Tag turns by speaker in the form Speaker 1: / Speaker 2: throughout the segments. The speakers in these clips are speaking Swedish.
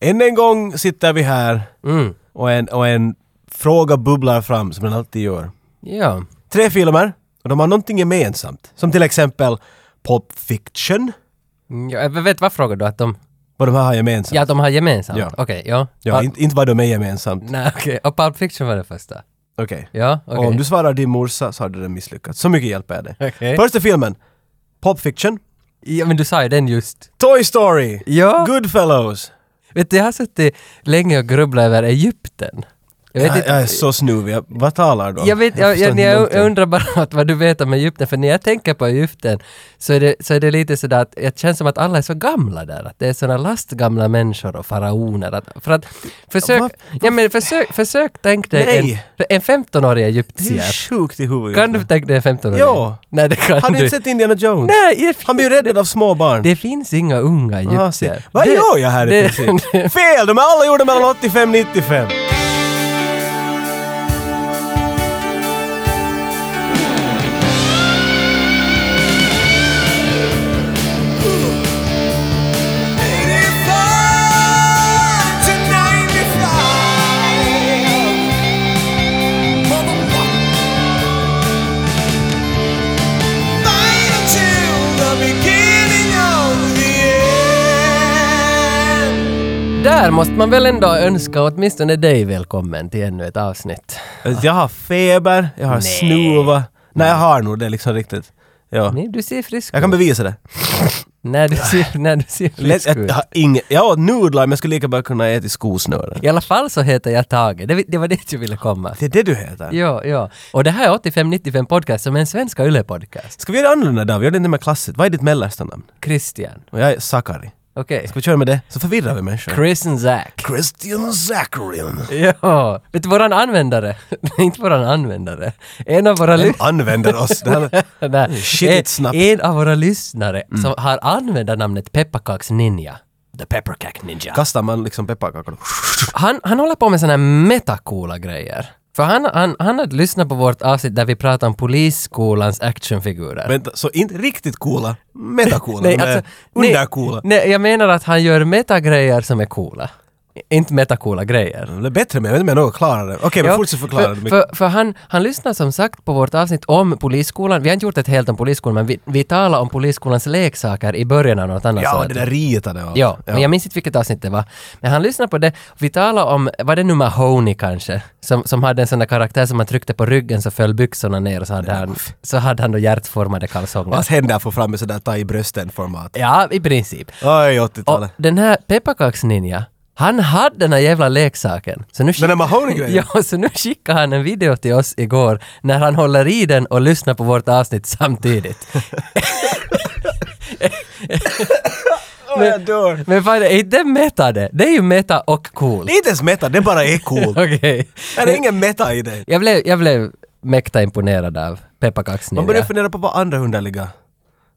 Speaker 1: Än en gång sitter vi här
Speaker 2: Mm.
Speaker 1: och en, och en fråga bubblar fram som den alltid gör.
Speaker 2: Ja.
Speaker 1: Tre filmer och de har någonting gemensamt. Som till exempel Pop Fiction.
Speaker 2: Mm, ja. Jag vet vad frågar du? Att de,
Speaker 1: Vad de här har gemensamt.
Speaker 2: ja, att de har gemensamt?
Speaker 1: Ja.
Speaker 2: Okej, ja.
Speaker 1: Ja,
Speaker 2: Pul-
Speaker 1: inte, inte vad de är gemensamt.
Speaker 2: Nej, okej. Och Pulp Fiction var det första?
Speaker 1: Okej.
Speaker 2: Mm. Ja,
Speaker 1: Och
Speaker 2: okej.
Speaker 1: om du svarar din morsa så har du den misslyckats. Så mycket hjälper jag dig.
Speaker 2: Okej.
Speaker 1: Första filmen. Pop Fiction.
Speaker 2: Ja, men du sa ju den just.
Speaker 1: Toy Story.
Speaker 2: Ja.
Speaker 1: Goodfellows.
Speaker 2: Vet du, jag har suttit länge och grubblat över Egypten. Jag vet
Speaker 1: Jag,
Speaker 2: inte.
Speaker 1: jag är så snuvig. Jag- Vad talar du om?
Speaker 2: Jag, vet, jag,
Speaker 1: förstår
Speaker 2: jag,
Speaker 1: inte
Speaker 2: jag,
Speaker 1: någonting.
Speaker 2: jag undrar bara att vad du vet om Egypten, för när jag tänker på Egypten så är det, så är det lite sådär att jag känns som att alla är så gamla där, att det är sådana lastgamla människor och faraoner. Att, för att, försök,
Speaker 1: Vad-
Speaker 2: ja, men försök, försök tänk dig
Speaker 1: Nej.
Speaker 2: en, en 15-årig
Speaker 1: Det är ju
Speaker 2: egyptier.
Speaker 1: sjukt i huvudet.
Speaker 2: Kan du tänka dig en 15-årig?
Speaker 1: Ja.
Speaker 2: Nej, det kan
Speaker 1: Har du
Speaker 2: du
Speaker 1: inte sett Indiana Jones?
Speaker 2: Nej, det,
Speaker 1: Han blir ju räddad av små barn.
Speaker 2: det finns inga unga
Speaker 1: Ah, se.
Speaker 2: egyptier.
Speaker 1: Vad
Speaker 2: Det-
Speaker 1: gör jag här i
Speaker 2: det-
Speaker 1: princip? Fel! De är alla gjorda mellan 85 95.
Speaker 2: Där måste man väl ändå önska åtminstone dig välkommen till ännu ett avsnitt.
Speaker 1: Alltså, Jag har feber, jag har
Speaker 2: Nej.
Speaker 1: snuva. Nej, jag har nog det liksom riktigt. Ja.
Speaker 2: Nej, du ser frisk
Speaker 1: Jag kan bevisa det.
Speaker 2: När du ser, när du ser
Speaker 1: Lätt,
Speaker 2: frisk
Speaker 1: jag,
Speaker 2: ut.
Speaker 1: jag har inget... Jag åt nudlar men jag skulle lika bra kunna äta i skosnören.
Speaker 2: I alla fall så heter jag Tage. Det, det var dit jag ville komma.
Speaker 1: Det är det du heter.
Speaker 2: Ja, ja. Och det här är 8595 Podcast som är en svenska YLE-podcast.
Speaker 1: Ska vi göra det annorlunda David? Vi gör det inte mer klassiskt. Vad är ditt mellersta namn?
Speaker 2: Christian.
Speaker 1: Och jag är Sakari.
Speaker 2: Okej.
Speaker 1: Ska vi köra med det? Så förvirrar vi människor.
Speaker 2: Christian Zack.
Speaker 1: Christian Zacharian.
Speaker 2: Ja. Vet du, våran användare. Inte våran användare. En av våra
Speaker 1: Vem
Speaker 2: lyssnare.
Speaker 1: använder oss? Det här... Mm, Shit, it's snabbt.
Speaker 2: Eh,
Speaker 1: Mm.
Speaker 2: en av våra lyssnare som har användarnamnet Pepparkaks Ninja. The Pepparkak Ninja.
Speaker 1: Kastar man liksom pepparkakor?
Speaker 2: Han, han håller på med såna här metacoola grejer. För han, han, han hade lyssnat på vårt avsnitt där vi pratade om polisskolans actionfigurer.
Speaker 1: Vänta, så inte riktigt coola? Metacoola?
Speaker 2: Nej,
Speaker 1: de är
Speaker 2: alltså, nej,
Speaker 1: undercoola?
Speaker 2: Nej, jag menar att han gör metagrejer som är coola. I- Inte metacoola grejer.
Speaker 1: De är bättre men jag vet inte om jag något klarare. Okej, Mm. men
Speaker 2: Ja,
Speaker 1: fortsätt förklara.
Speaker 2: För, för, för han, han lyssnar som sagt på vårt avsnitt om polisskolan. Vi har inte gjort ett helt om polisskolan, men vi, vi talar om polisskolans leksaker i början av något annat
Speaker 1: ja,
Speaker 2: sådant.
Speaker 1: det där ritade och allt.
Speaker 2: Ja, men jag minns inte vilket avsnitt det var. Men han lyssnade på det. Vi talade om, var det nu Mahoney kanske? Som, som hade en sån där karaktär som man tryckte på ryggen så föll byxorna ner och så hade han, så hade han då hjärtformade kalsonger.
Speaker 1: Hans händer får fram en sån där ta i brösten-format.
Speaker 2: Ja, i princip.
Speaker 1: Oj,
Speaker 2: Och
Speaker 1: 80-talet.
Speaker 2: den här pepparkaksninja, han hade den här jävla leksaken. Så nu skick-
Speaker 1: Den där Mahoney-grejen?
Speaker 2: Ja, så nu skickade han en video till oss igår när han håller i den och lyssnar på vårt avsnitt samtidigt.
Speaker 1: Åh, jag dör.
Speaker 2: Men vad är det? Är det meta det? Det är ju meta och cool.
Speaker 1: Det är inte ens meta, det bara är cool.
Speaker 2: Okej.
Speaker 1: Det är ingen meta i det.
Speaker 2: Jag blev, jag blev mäkta imponerad av
Speaker 1: Man börjar
Speaker 2: pepparkaksninja.
Speaker 1: fundera på vad andra underliga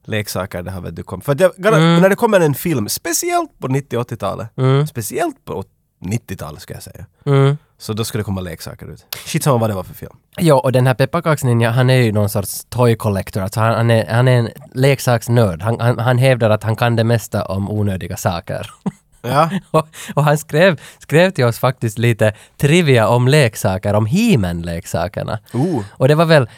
Speaker 1: leksaker det här vet du kom. För att jag, gar-
Speaker 2: Mm.
Speaker 1: när det kommer en film, speciellt på 90-80-talet, speciellt på 90-talet ska jag säga,
Speaker 2: Mm.
Speaker 1: så då ska det komma leksaker ut. Skitsamma vad det var för film.
Speaker 2: Ja, och den här pepparkaksninja, han är ju någon sorts toy collector, alltså han, han, är, han är en leksaksnörd. Han, han, han hävdar att han kan det mesta om onödiga saker.
Speaker 1: Ja.
Speaker 2: och, och han skrev, skrev till oss faktiskt lite trivia om leksaker, om he leksakerna
Speaker 1: Oh.
Speaker 2: Och det var väl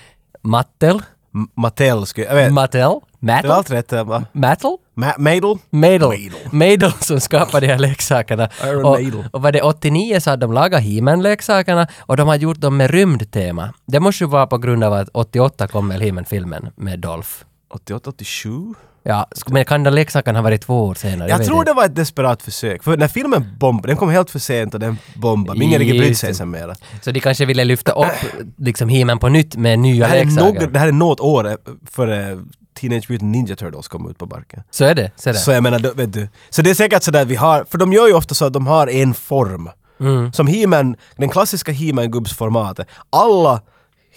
Speaker 2: Mattel,
Speaker 1: M- Mattel skulle jag... vet.
Speaker 2: Mattel,
Speaker 1: det var
Speaker 2: Mattel,
Speaker 1: allt rätt. Va?
Speaker 2: Mattel,
Speaker 1: Ma- Madel?
Speaker 2: Madel.
Speaker 1: Madel.
Speaker 2: Madel som skapade de här leksakerna.
Speaker 1: Iron
Speaker 2: och,
Speaker 1: Madel.
Speaker 2: och var det 89 så hade de lagat he leksakerna och de har gjort dem med rymdtema. Det måste ju vara på grund av att 88 kom väl he filmen med Dolph.
Speaker 1: 88, 87?
Speaker 2: Ja, sk- men kan den leksaken ha varit två år senare?
Speaker 1: Jag
Speaker 2: vet
Speaker 1: tror
Speaker 2: inte.
Speaker 1: det var ett desperat försök. För när filmen bombade, den kom helt för sent och den bombade. Ingen riktigt brydde sig sen mera.
Speaker 2: Så de kanske ville lyfta upp liksom he på nytt med nya
Speaker 1: Det här, är
Speaker 2: leksaker.
Speaker 1: nog, det här är något år eh, före Teenage Mutant Ninja Turtles kom ut på barken.
Speaker 2: Så är det. Så är det.
Speaker 1: Så jag menar, då- vet du. Så det är säkert sådär vi har, för de gör ju ofta så att de har en form.
Speaker 2: Mm.
Speaker 1: Som He-Man, den klassiska He-Man gubbsformatet. Alla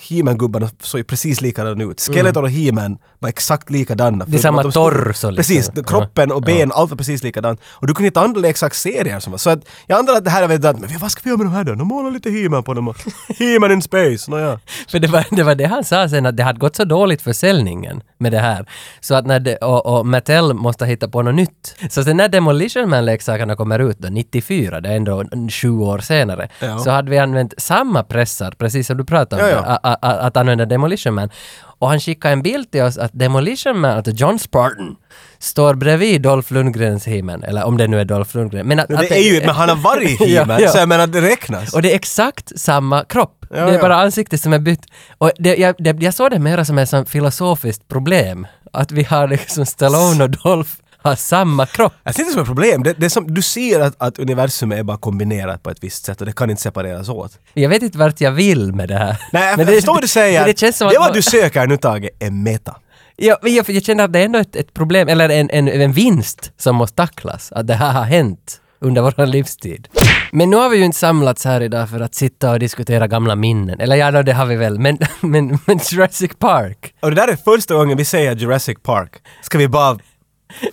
Speaker 1: He-Man gubbarna såg ju precis likadana ut. Skeletor och He-Man var exakt likadana.
Speaker 2: Mm. Det är samma
Speaker 1: Förutom att de stod-
Speaker 2: torso liksom.
Speaker 1: Precis, kroppen och ben, allt var precis likadant. Och du kunde hitta andra leksaksserier som var så att jag antar att det här är väl att, men vad ska vi göra med de här då? De målar lite He-Man på dem och He-Man in space, nåja.
Speaker 2: För det var, det var det han sa sen att det hade gått så dåligt försäljningen med det här. Så att när det, och, och Mattel måste hitta på något nytt. Så sen när Demolition Man-leksakerna kommer ut då, 94, det är ändå en- sju år senare,
Speaker 1: Ja.
Speaker 2: så hade vi använt samma pressar, precis som du pratade om,
Speaker 1: Ja, ja.
Speaker 2: a- a- a- att använda Demolition Man. Och han skickade en bild till oss att Demolition Man, att John Spartan, står bredvid Dolph Lundgrens He-Man, eller om det nu är Dolph Lundgren. Men att, att
Speaker 1: Det är ju, men han har varit
Speaker 2: Ja,
Speaker 1: He-Man,
Speaker 2: ja.
Speaker 1: så jag menar det räknas.
Speaker 2: och det är exakt samma kropp.
Speaker 1: Ja,
Speaker 2: det är
Speaker 1: ja.
Speaker 2: bara ansiktet som är bytt. Och det, jag, det, jag såg det mera som ett sånt filosofiskt problem. Att vi har liksom Stallone och Dolph har samma kropp.
Speaker 1: Jag ser inte Alltså, det som ett problem, det, det är som, du ser att, att universum är bara kombinerat på ett visst sätt och det kan inte separeras åt.
Speaker 2: Jag vet inte vart jag vill med det här.
Speaker 1: Nej, jag
Speaker 2: Men
Speaker 1: förstår vad du säger.
Speaker 2: men Det känns som
Speaker 1: det
Speaker 2: att...
Speaker 1: vad du söker nu Tage, är meta.
Speaker 2: Ja, men jag, jag känner att det är ändå ett, ett problem, eller en, en, en vinst som måste tacklas. Att det här har hänt under vår livstid. Men nu har vi ju inte samlats här idag för att sitta och diskutera gamla minnen. Eller ja, no, det har vi väl. Men, men, men Jurassic Park.
Speaker 1: Och det där är första gången vi säger Jurassic Park. Ska vi bara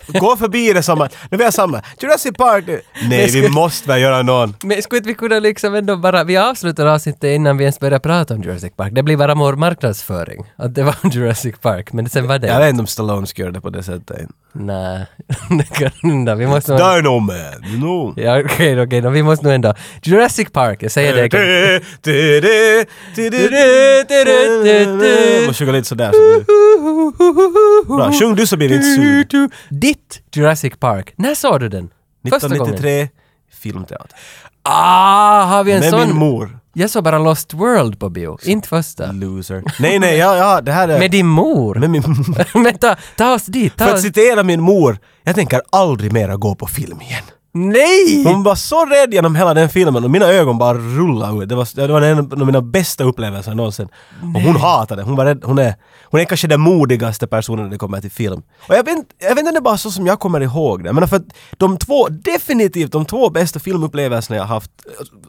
Speaker 1: gå förbi det som att, nu vi har samma, Jurassic Park, det- nej vi måste väl göra någon.
Speaker 2: Men skulle inte vi kunna liksom ändå bara, vi avslutar avsnittet innan vi ens börjar prata om Jurassic Park. Det blir bara vår marknadsföring, att det var Jurassic Park, men sen var det...
Speaker 1: Jag vet inte om Stallone ska göra det på det sättet.
Speaker 2: Nej, det kan hända. Vi måste nog...
Speaker 1: Dino Man, you know.
Speaker 2: Ja, okej, okej, då, vi måste nog ändå... Jurassic Park, jag säger det igen.
Speaker 1: Jag måste sjunga lite sådär. Så det- Bra, sjung du så blir vi inte sur.
Speaker 2: Ditt Jurassic Park, när såg du den? Första gången?
Speaker 1: 1993, filmteater.
Speaker 2: Ah, har vi en
Speaker 1: Med min
Speaker 2: sån?
Speaker 1: mor.
Speaker 2: Jag såg bara Lost World på bio, inte första.
Speaker 1: Loser. Nej, nej, ja, ja, det här är...
Speaker 2: Med din mor?
Speaker 1: Med min,
Speaker 2: Men ta, ta oss dit, ta
Speaker 1: för att
Speaker 2: oss...
Speaker 1: citera min mor, jag tänker aldrig mera gå på film igen.
Speaker 2: Nej!
Speaker 1: Hon var så rädd genom hela den filmen och mina ögon bara rullade ut. Det var, det var en av mina bästa upplevelser någonsin. Och hon hatade det. Hon var rädd. Hon är, hon är kanske den modigaste personen när det kommer till film. Och jag vet, inte- jag vet inte om det är bara så som jag kommer ihåg det. Men för att de två, definitivt de två bästa filmupplevelserna jag haft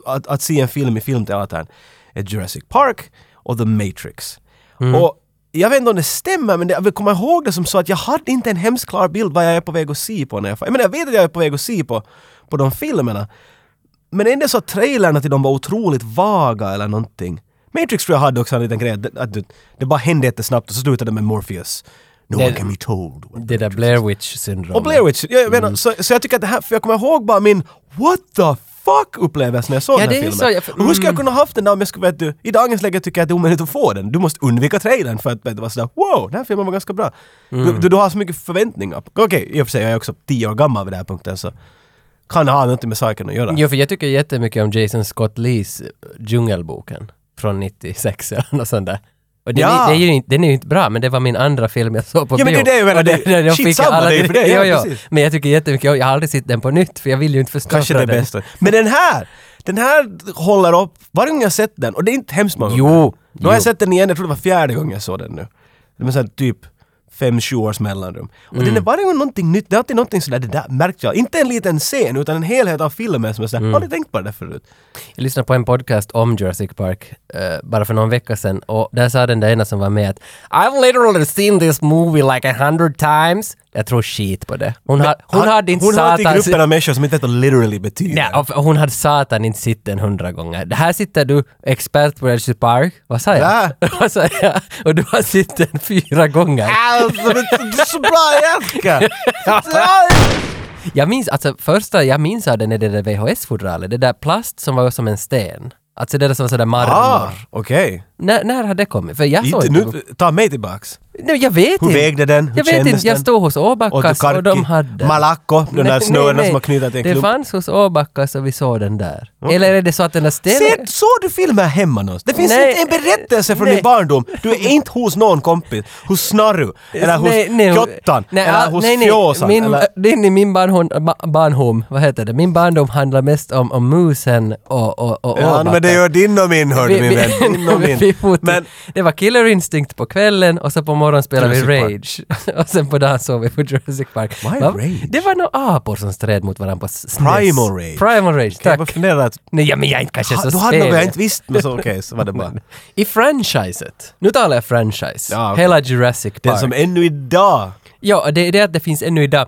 Speaker 1: att, att se en film i filmteatern är Jurassic Park och The Matrix. Och jag vet inte om det stämmer, men det, jag vill komma ihåg det som så att jag hade inte en hemskt klar bild vad jag är på väg att se på när jag... Jag menar, jag vet att jag är på väg att se på, på de filmerna. Men ändå så att trailerna till dem var otroligt vaga eller någonting. Matrix tror jag hade också en liten grej, att- att det, det bara hände jättesnabbt och så slutade det med Morpheus. No
Speaker 2: Det-
Speaker 1: one can be told.
Speaker 2: Det där Blair Witch-syndromet.
Speaker 1: Och Blair Witch, jag, jag menar, så, så jag tycker att det här, för jag kommer ihåg bara min what the fuck upplevelse när jag såg
Speaker 2: Ja,
Speaker 1: den
Speaker 2: det
Speaker 1: här
Speaker 2: är
Speaker 1: filmen.
Speaker 2: så, jag- för- mm.
Speaker 1: Och hur skulle jag kunna haft den där om jag skulle, vet du, i dagens läge tycker jag att det är omöjligt att få den. Du måste undvika trailern för att vet du, vara sådär wow, den här filmen var ganska bra. Du, du, du har så mycket förväntningar. Okej, i och för sig, jag är också tio år gammal vid den här punkten så kan det ha något med saken att göra.
Speaker 2: Jo, för jag tycker jättemycket om Jason Scott Lees Djungelboken från 96 eller något sånt där. Och den,
Speaker 1: Ja.
Speaker 2: är, den, är ju inte, den är ju inte bra, men det var min andra film jag såg på
Speaker 1: Ja, men
Speaker 2: bio.
Speaker 1: det är det jag menar,
Speaker 2: Och
Speaker 1: det- skitsamma, det är för det, ja,
Speaker 2: jo, jo.
Speaker 1: precis.
Speaker 2: Men jag tycker jättemycket, om- jag har aldrig sett den på nytt, för jag vill ju inte förstå
Speaker 1: Kanske det
Speaker 2: från den.
Speaker 1: bästa. Men den här! Den här håller upp. Varje gång jag sett den, och det är inte hemskt många
Speaker 2: Jo,
Speaker 1: gånger. Nu har jag
Speaker 2: jo.
Speaker 1: sett den igen, jag tror det var fjärde gången jag såg den nu. Det var så här typ fem, sju års mellanrum. Och
Speaker 2: Mm.
Speaker 1: den är varje gång någonting nytt, det är alltid någonting sådär, det där märkte jag. Inte en liten scen, utan en helhet av filmen som är
Speaker 2: Mm.
Speaker 1: sådär, har ni tänkt på det där förut?
Speaker 2: Jag lyssnade på en podcast om Jurassic Park eh, bara för någon vecka sedan och där sa den där ena som var med att I've literally seen this movie like a hundred times. Jag tror shit på det. Hon, har, hon hade inte
Speaker 1: Hon hör till
Speaker 2: satans-
Speaker 1: gruppen av människor som inte vet vad literally betyder.
Speaker 2: Nej, och f- hon hade satan inte sett den hundra gånger. Det här sitter du, expert på Jurassic Park. Vad sa jag? Vad sa jag? Och du har sett den fyra gånger.
Speaker 1: Alltså, men du är så bra Jerka!
Speaker 2: Jag minns, alltså första jag minns av den är det där VHS-fodralet, det där plast som var som en sten. Alltså det där som var sådär marmor.
Speaker 1: Ah, okej.
Speaker 2: När, när har det kommit? För jag såg
Speaker 1: Inte
Speaker 2: inte.
Speaker 1: nu, ta mig tillbaks.
Speaker 2: Nej, jag vet
Speaker 1: Hur
Speaker 2: inte.
Speaker 1: vägde den? Hur
Speaker 2: jag vet
Speaker 1: kändes
Speaker 2: inte, jag
Speaker 1: den?
Speaker 2: stod hos Åbackas och,
Speaker 1: Åt du
Speaker 2: de
Speaker 1: karki?
Speaker 2: hade.
Speaker 1: Malacco, de där
Speaker 2: Nej, nej,
Speaker 1: snörena
Speaker 2: nej.
Speaker 1: som har knutit i en
Speaker 2: Det
Speaker 1: klump.
Speaker 2: fanns hos Åbackas och vi såg den där. Eller är det så att den där stenen...
Speaker 1: Se, såg du filmer hemma någonstans? Det finns
Speaker 2: Nej.
Speaker 1: inte en berättelse från
Speaker 2: Nej.
Speaker 1: din barndom. Du är inte hos någon kompis. Hos Snarru, eller hos Fjottan, eller
Speaker 2: ah,
Speaker 1: hos
Speaker 2: nej, nej.
Speaker 1: Fjåsan.
Speaker 2: Min,
Speaker 1: eller...
Speaker 2: din, min barnhom, ba- barnhom, vad heter det? Min barndom handlar mest om, om musen och, och, och
Speaker 1: Ja,
Speaker 2: Åbacka.
Speaker 1: men det gör din och min, hörde
Speaker 2: Vi-
Speaker 1: min
Speaker 2: vi-
Speaker 1: vän. Din och
Speaker 2: vi
Speaker 1: min.
Speaker 2: fotar.
Speaker 1: Men
Speaker 2: det var Killer Instinct på kvällen och så på morgonen spelade vi Rage.
Speaker 1: Jurassic
Speaker 2: och sen på dagen såg vi på Jurassic Park.
Speaker 1: Why
Speaker 2: Va?
Speaker 1: Rage?
Speaker 2: Det var några apor som stred mot varandra på SNES.
Speaker 1: Primal Rage.
Speaker 2: Primal Rage,
Speaker 1: kan jag
Speaker 2: tack.
Speaker 1: bara fundera att...
Speaker 2: Nej, ja, men jag är inte kanske
Speaker 1: Ha,
Speaker 2: så
Speaker 1: du hade något jag
Speaker 2: spelig.
Speaker 1: inte visste, men så okej, så var det bara.
Speaker 2: I franchiset, nu talar jag franchise,
Speaker 1: Ja, okej.
Speaker 2: hela Jurassic Park.
Speaker 1: Den som ännu idag...
Speaker 2: Ja, det är det att det finns ännu idag.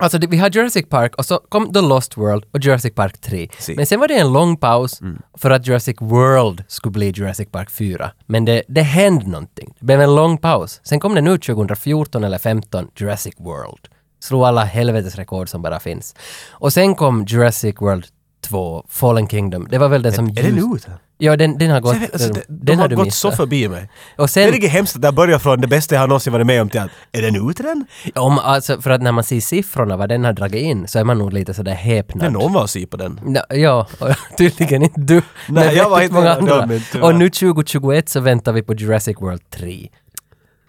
Speaker 2: Alltså det- vi har Jurassic Park och så kom The Lost World och Jurassic Park 3.
Speaker 1: Si. Mm.
Speaker 2: Men sen var det en lång paus för att Jurassic World skulle bli Jurassic Park 4. Men det, det hände någonting. Det blev en lång paus. Sen kom det nu 2014 eller 15 Jurassic World. Slog alla helvetes rekord som bara finns. Och sen kom Jurassic World 2, Fallen Kingdom. Det var väl den som...
Speaker 1: Är det
Speaker 2: ljus-
Speaker 1: nu ute?
Speaker 2: Ja, den, den har gått...
Speaker 1: Jag vet, alltså,
Speaker 2: den,
Speaker 1: det, de har
Speaker 2: har du
Speaker 1: gått så
Speaker 2: missat.
Speaker 1: förbi mig.
Speaker 2: Och
Speaker 1: Det är
Speaker 2: sen,
Speaker 1: riktigt hemskt att det börjar från det bästa jag har någonsin varit med om till att är den ute den?
Speaker 2: om, alltså, för att när man ser siffrorna vad den har dragit in så är man nog lite sådär häpnad.
Speaker 1: Men någon var och sy på den.
Speaker 2: Nå, ja, och tydligen inte du. men
Speaker 1: jag
Speaker 2: väldigt
Speaker 1: var inte
Speaker 2: många
Speaker 1: en av dem,
Speaker 2: andra.
Speaker 1: men tyvärr.
Speaker 2: Och nu 2021 så väntar vi på Jurassic World 3.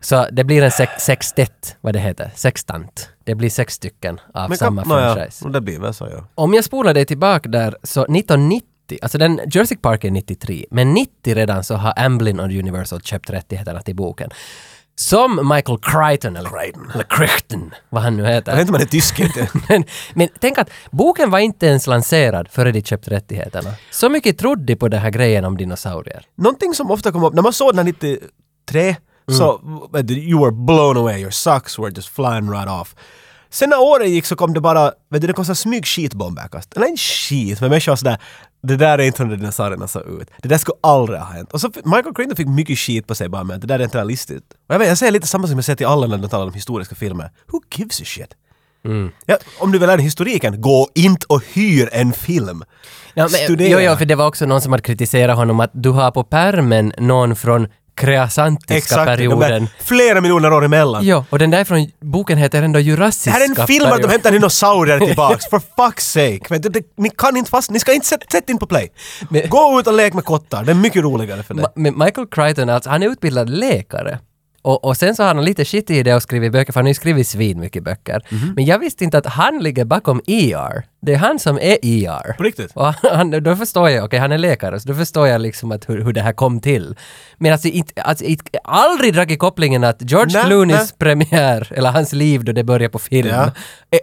Speaker 2: Så det blir en sex- sextett, vad det heter, sextant. Det blir sex stycken av
Speaker 1: Men
Speaker 2: samma
Speaker 1: kap- nåja,
Speaker 2: franchise.
Speaker 1: och det blir väl så ja.
Speaker 2: Om jag spolar dig tillbaka där, så 1990, alltså den, Jurassic Park är 93, men 90 redan så har Amblin och Universal köpt rättigheterna till boken. Som Michael Crichton, eller Crichton, eller Crichton vad han nu heter.
Speaker 1: Jag vet inte om man är tysk inte.
Speaker 2: Men, men tänk att boken var inte ens lanserad före de köpte rättigheterna. Så mycket trodde de på den här grejen om dinosaurier.
Speaker 1: Någonting som ofta kom upp, när man såg den här 93
Speaker 2: Mm.
Speaker 1: så vet du, you were blown away, your socks were just flying right off. Sen när åren gick så kom det bara, vet du, det kom så här smyg skitbombärkast. Eller inte skit, men människor var sådär, det där är inte hur dinosaurierna såg ut. Det där skulle aldrig ha hänt. Och så f- Michael Crichton fick mycket skit på sig bara med att det där är inte realistiskt. Och jag, vet, jag säger lite samma som jag säger till alla när de talar om historiska filmer. Who gives a shit?
Speaker 2: Mm.
Speaker 1: Ja, om du vill lära dig historiken, gå inte och hyr en film.
Speaker 2: Ja, men,
Speaker 1: Studera.
Speaker 2: jo, jo, för det var också någon som hade kritiserat honom att du har på pärmen någon från kreasantiska
Speaker 1: de
Speaker 2: perioden.
Speaker 1: där flera miljoner år emellan.
Speaker 2: Ja, och den där från boken heter ändå
Speaker 1: Det
Speaker 2: jurassiska
Speaker 1: här är en film att de
Speaker 2: perioden.
Speaker 1: hämtar dinosaurier tillbaks, for fuck's sake! Men det, det, ni kan inte fast, ni ska inte sätta sätt in på play.
Speaker 2: Men-
Speaker 1: Gå ut och lek med kottar, det är mycket roligare för dig.
Speaker 2: Ma- Men Michael Crichton, alltså, han är utbildad läkare. Och, och sen så har han lite shit i det och skrivit böcker, för han har ju skrivit svin mycket böcker.
Speaker 1: Mhm.
Speaker 2: Men jag visste inte att han ligger bakom ER. Det är han som är E ER.
Speaker 1: På riktigt?
Speaker 2: Och han, då förstår jag, okej han är läkare, så då förstår jag liksom att hur, hur det här kom till. Men alltså, inte, alltså inte, aldrig dragit kopplingen att George
Speaker 1: Nej,
Speaker 2: Clooneys
Speaker 1: nej.
Speaker 2: premiär, eller hans liv då det börjar på film,
Speaker 1: Ja.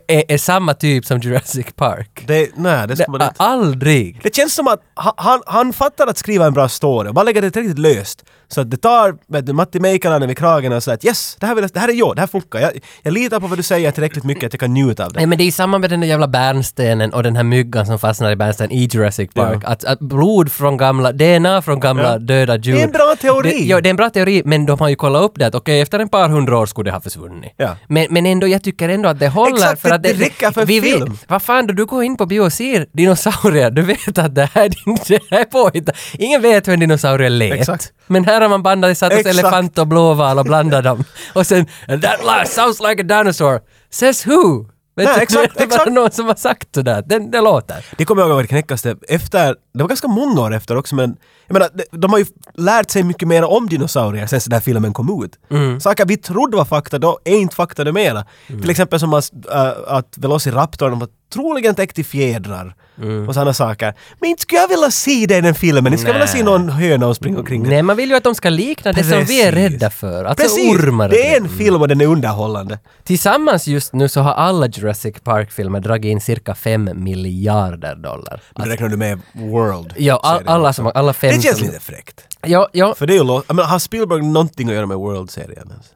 Speaker 2: är, är, är samma typ som Jurassic Park.
Speaker 1: Det, nej, det ska man
Speaker 2: Det-
Speaker 1: inte.
Speaker 2: aldrig!
Speaker 1: Det känns som att ha- han, han fattar att skriva en bra story och bara lägger det riktigt löst. Så att det tar vet du, Matti Meikalainen vid kragen och säger att yes, det här, vill, jag- det här är jag, det här funkar. Jag, jag litar på vad du säger tillräckligt mycket att jag kan njuta av det.
Speaker 2: Nej men det är ju samma med den där jävla bärnstenen och den här myggan som fastnar i bärnstenen i Jurassic Park. Att, att blod från gamla, DNA från gamla
Speaker 1: Ja.
Speaker 2: döda djur.
Speaker 1: Det är en bra teori.
Speaker 2: Det, ja, det är en bra teori men de har ju kollat upp det att okej efter en par hundra år skulle det ha försvunnit.
Speaker 1: Ja.
Speaker 2: Men, men ändå, jag tycker ändå att det håller.
Speaker 1: Exakt,
Speaker 2: för
Speaker 1: det-
Speaker 2: att det,
Speaker 1: det räcker för en
Speaker 2: vi vet-
Speaker 1: film.
Speaker 2: Vad fan, då du går in på bio och ser dinosaurier, du vet att det här, det här är påhittat. Ingen vet hur en dinosaurie lät.
Speaker 1: Exakt.
Speaker 2: Men här har man bandat satt oss
Speaker 1: Exakt.
Speaker 2: elefant och blåval och blandat dem. Och sen "And “That last sounds like a dinosaur”. Says who? Vet
Speaker 1: Nej,
Speaker 2: du,
Speaker 1: exakt,
Speaker 2: det är bara
Speaker 1: exakt.
Speaker 2: någon som har sagt det där. Den, det låter.
Speaker 1: Det kommer jag ihåg var det knäckaste. Efter, det var ganska många år efter också men jag menar, de, de har ju lärt sig mycket mer om dinosaurier sen så den här filmen kom ut.
Speaker 2: Mm.
Speaker 1: Saker vi trodde var fakta då är inte fakta numera. Till exempel som att, äh, att Velociraptorn var troligen täckt i fjädrar
Speaker 2: Mm.
Speaker 1: och sådana saker. Men inte skulle jag vilja se det i den filmen, inte skulle jag vilja
Speaker 2: Nej.
Speaker 1: se någon höna och springa omkring.
Speaker 2: Nej, man vill ju att de ska likna det som vi är
Speaker 1: Precis.
Speaker 2: rädda för. Alltså
Speaker 1: Precis!
Speaker 2: ormar.
Speaker 1: Det är en film och den är underhållande.
Speaker 2: Tillsammans just nu så har alla Jurassic Park-filmer dragit in cirka 5 miljarder dollar.
Speaker 1: Men räknar du med World?
Speaker 2: Alltså- Ja, all,
Speaker 1: serien
Speaker 2: alla,
Speaker 1: också?
Speaker 2: som, alla fem
Speaker 1: Det känns
Speaker 2: som...
Speaker 1: lite fräckt.
Speaker 2: Ja, ja,
Speaker 1: För det är ju lo- jag menar, har Spielberg någonting att göra med World-serien? ens?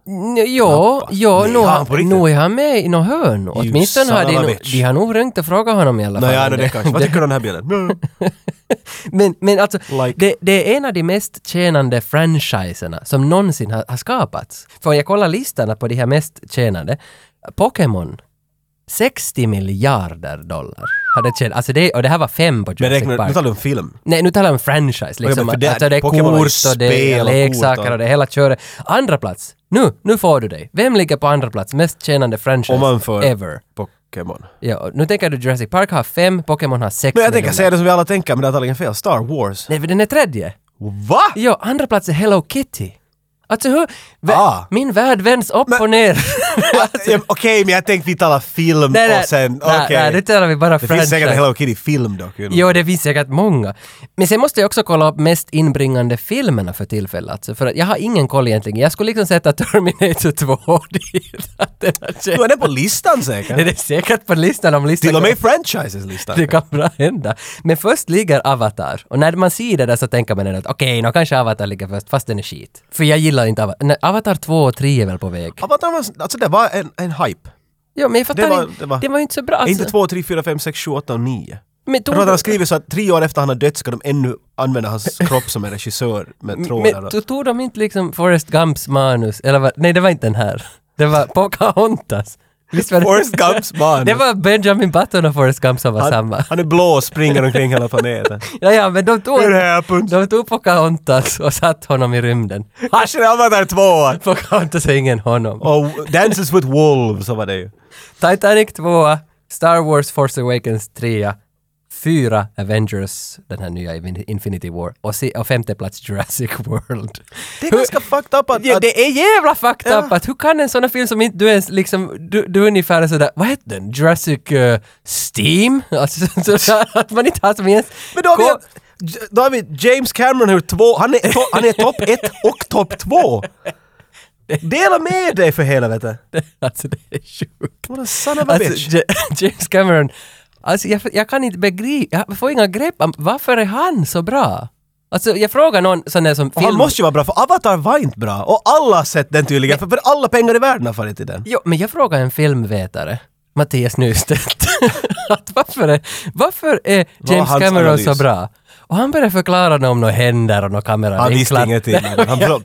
Speaker 2: N- Ja,
Speaker 1: Knappast.
Speaker 2: ja
Speaker 1: Nej,
Speaker 2: nu
Speaker 1: han på
Speaker 2: har
Speaker 1: riktigt?
Speaker 2: nu är han med i något hörn. Åtminstone har de,
Speaker 1: son of a
Speaker 2: nog-
Speaker 1: bitch.
Speaker 2: de har nog ringt och frågat honom i alla fall.
Speaker 1: Nej, ja, det kanske. Vad tycker du om den här bilden? Mm.
Speaker 2: men, men alltså,
Speaker 1: Like.
Speaker 2: det, det är en av de mest tjänande franchiserna som någonsin har, har skapats. För jag kollar listan på de här mest tjänande. Pokémon. 60 miljarder dollar har det tjänat. Alltså det, och det här var fem på
Speaker 1: Men
Speaker 2: Jurassic
Speaker 1: räknar, nu
Speaker 2: Park.
Speaker 1: talar du om film.
Speaker 2: Nej, nu talar jag om franchise. Liksom.
Speaker 1: men för det-
Speaker 2: alltså det är
Speaker 1: Pokémon har ju
Speaker 2: kort och det är
Speaker 1: spel och
Speaker 2: leksaker
Speaker 1: kort
Speaker 2: och
Speaker 1: och-
Speaker 2: det är hela köret. Andra plats. Nu, nu får du dig. Vem ligger på andra plats? Mest tjänande franchise
Speaker 1: Om man får-
Speaker 2: ever.
Speaker 1: Pokémon.
Speaker 2: Ja, och nu tänker du Jurassic Park har fem, Pokémon har sex.
Speaker 1: Men jag tänker
Speaker 2: miljoner.
Speaker 1: säga det som vi alla tänker, men det är antagligen fel. Star Wars.
Speaker 2: Nej, för den är tredje.
Speaker 1: Va?
Speaker 2: Ja, andra plats är Hello Kitty. Alltså hur... Vä-
Speaker 1: Ah.
Speaker 2: Min värld vänds upp och ner.
Speaker 1: Ja, typ. Okej, men jag tänkte vi talar film
Speaker 2: Nej, nej,
Speaker 1: och sen...
Speaker 2: nej,
Speaker 1: Okej.
Speaker 2: nej, nu talar vi
Speaker 1: Det
Speaker 2: bara
Speaker 1: finns säkert en
Speaker 2: franchise.
Speaker 1: Hello Kitty-film dock. you know.
Speaker 2: Jo, det finns säkert många. Men sen måste jag också kolla upp mest inbringande filmerna för tillfället. Alltså, för att jag har ingen koll egentligen. Jag skulle liksom sätta Terminator 2 dit. Att den har
Speaker 1: Nu är
Speaker 2: tjänat-
Speaker 1: den på listan
Speaker 2: Den
Speaker 1: säkert.
Speaker 2: är säkert på listan om listan
Speaker 1: Till och
Speaker 2: går-
Speaker 1: med franchises-listan.
Speaker 2: Det kan bra hända. Men först ligger Avatar. Och när man ser det där så tänker man ändå att okej, nå kanske Avatar ligger först, fast den är skit. För jag gillar inte Avatar. Nej, Avatar 2 och 3 är väl på väg?
Speaker 1: Avatar var, alltså det var en, en hype.
Speaker 2: Ja, men jag fattar
Speaker 1: var-
Speaker 2: inte.
Speaker 1: det var-
Speaker 2: det var ju inte så bra. Alltså.
Speaker 1: Inte 2, 3, 4, 5, 6, 7, 8 och 9.
Speaker 2: men
Speaker 1: Jag
Speaker 2: tog,
Speaker 1: tror att han har skrivit så att tre år efter han har dött ska de ännu använda hans kropp som en regissör med trådar.
Speaker 2: men
Speaker 1: och-
Speaker 2: tog, tog de inte liksom Forrest Gumps manus? Eller vad? Nej, det var inte den här. Det var Pocahontas. Visst var det?
Speaker 1: Forrest Gumps man.
Speaker 2: Det var Benjamin Button och Forrest Gump som var
Speaker 1: han,
Speaker 2: samma.
Speaker 1: han är blå och springer omkring hela planeten.
Speaker 2: Ja, ja, men de tog,
Speaker 1: It happened.
Speaker 2: de tog Pocahontas och satt honom i rymden.
Speaker 1: Kanske det var där tvåan.
Speaker 2: Pocahontas är ingen honom.
Speaker 1: Och Oh, Dances with Wolves så var det ju.
Speaker 2: Titanic 2, Star Wars Force Awakens 3, 4 Avengers, den här nya Invin- Infinity War och, si- och femte plats Jurassic World.
Speaker 1: Det är ganska fucked up att...
Speaker 2: Ja,
Speaker 1: att
Speaker 2: det är jävla fucked
Speaker 1: Ja.
Speaker 2: up att hur kan en sån här film som inte du ens liksom, du, du är ungefär sådär, vad heter den, Jurassic eh, Steam? Alltså sådär att man inte har som ens...
Speaker 1: men då har,
Speaker 2: Ko-
Speaker 1: vi, då har vi James Cameron hur två, han är, to, han är topp ett och topp två. Dela med dig för helvete.
Speaker 2: Alltså det är sjukt.
Speaker 1: What a son of a bitch.
Speaker 2: Alltså, Ja- James Cameron, alltså jag, jag kan inte begripa, jag får inga grepp om varför är han så bra? Alltså jag frågar någon sån där som
Speaker 1: Och han måste ju vara bra för Avatar var inte bra. Och alla har sett den tydligen för, för alla pengar i världen har fallit i den.
Speaker 2: Jo, men jag frågar en filmvetare, Mattias Nystedt, att varför är, varför är
Speaker 1: var
Speaker 2: James
Speaker 1: hans
Speaker 2: Cameron
Speaker 1: analys?
Speaker 2: så bra? Och han började förklara något om några händer och några kameravinklar.
Speaker 1: Han visste ingenting. Han, han,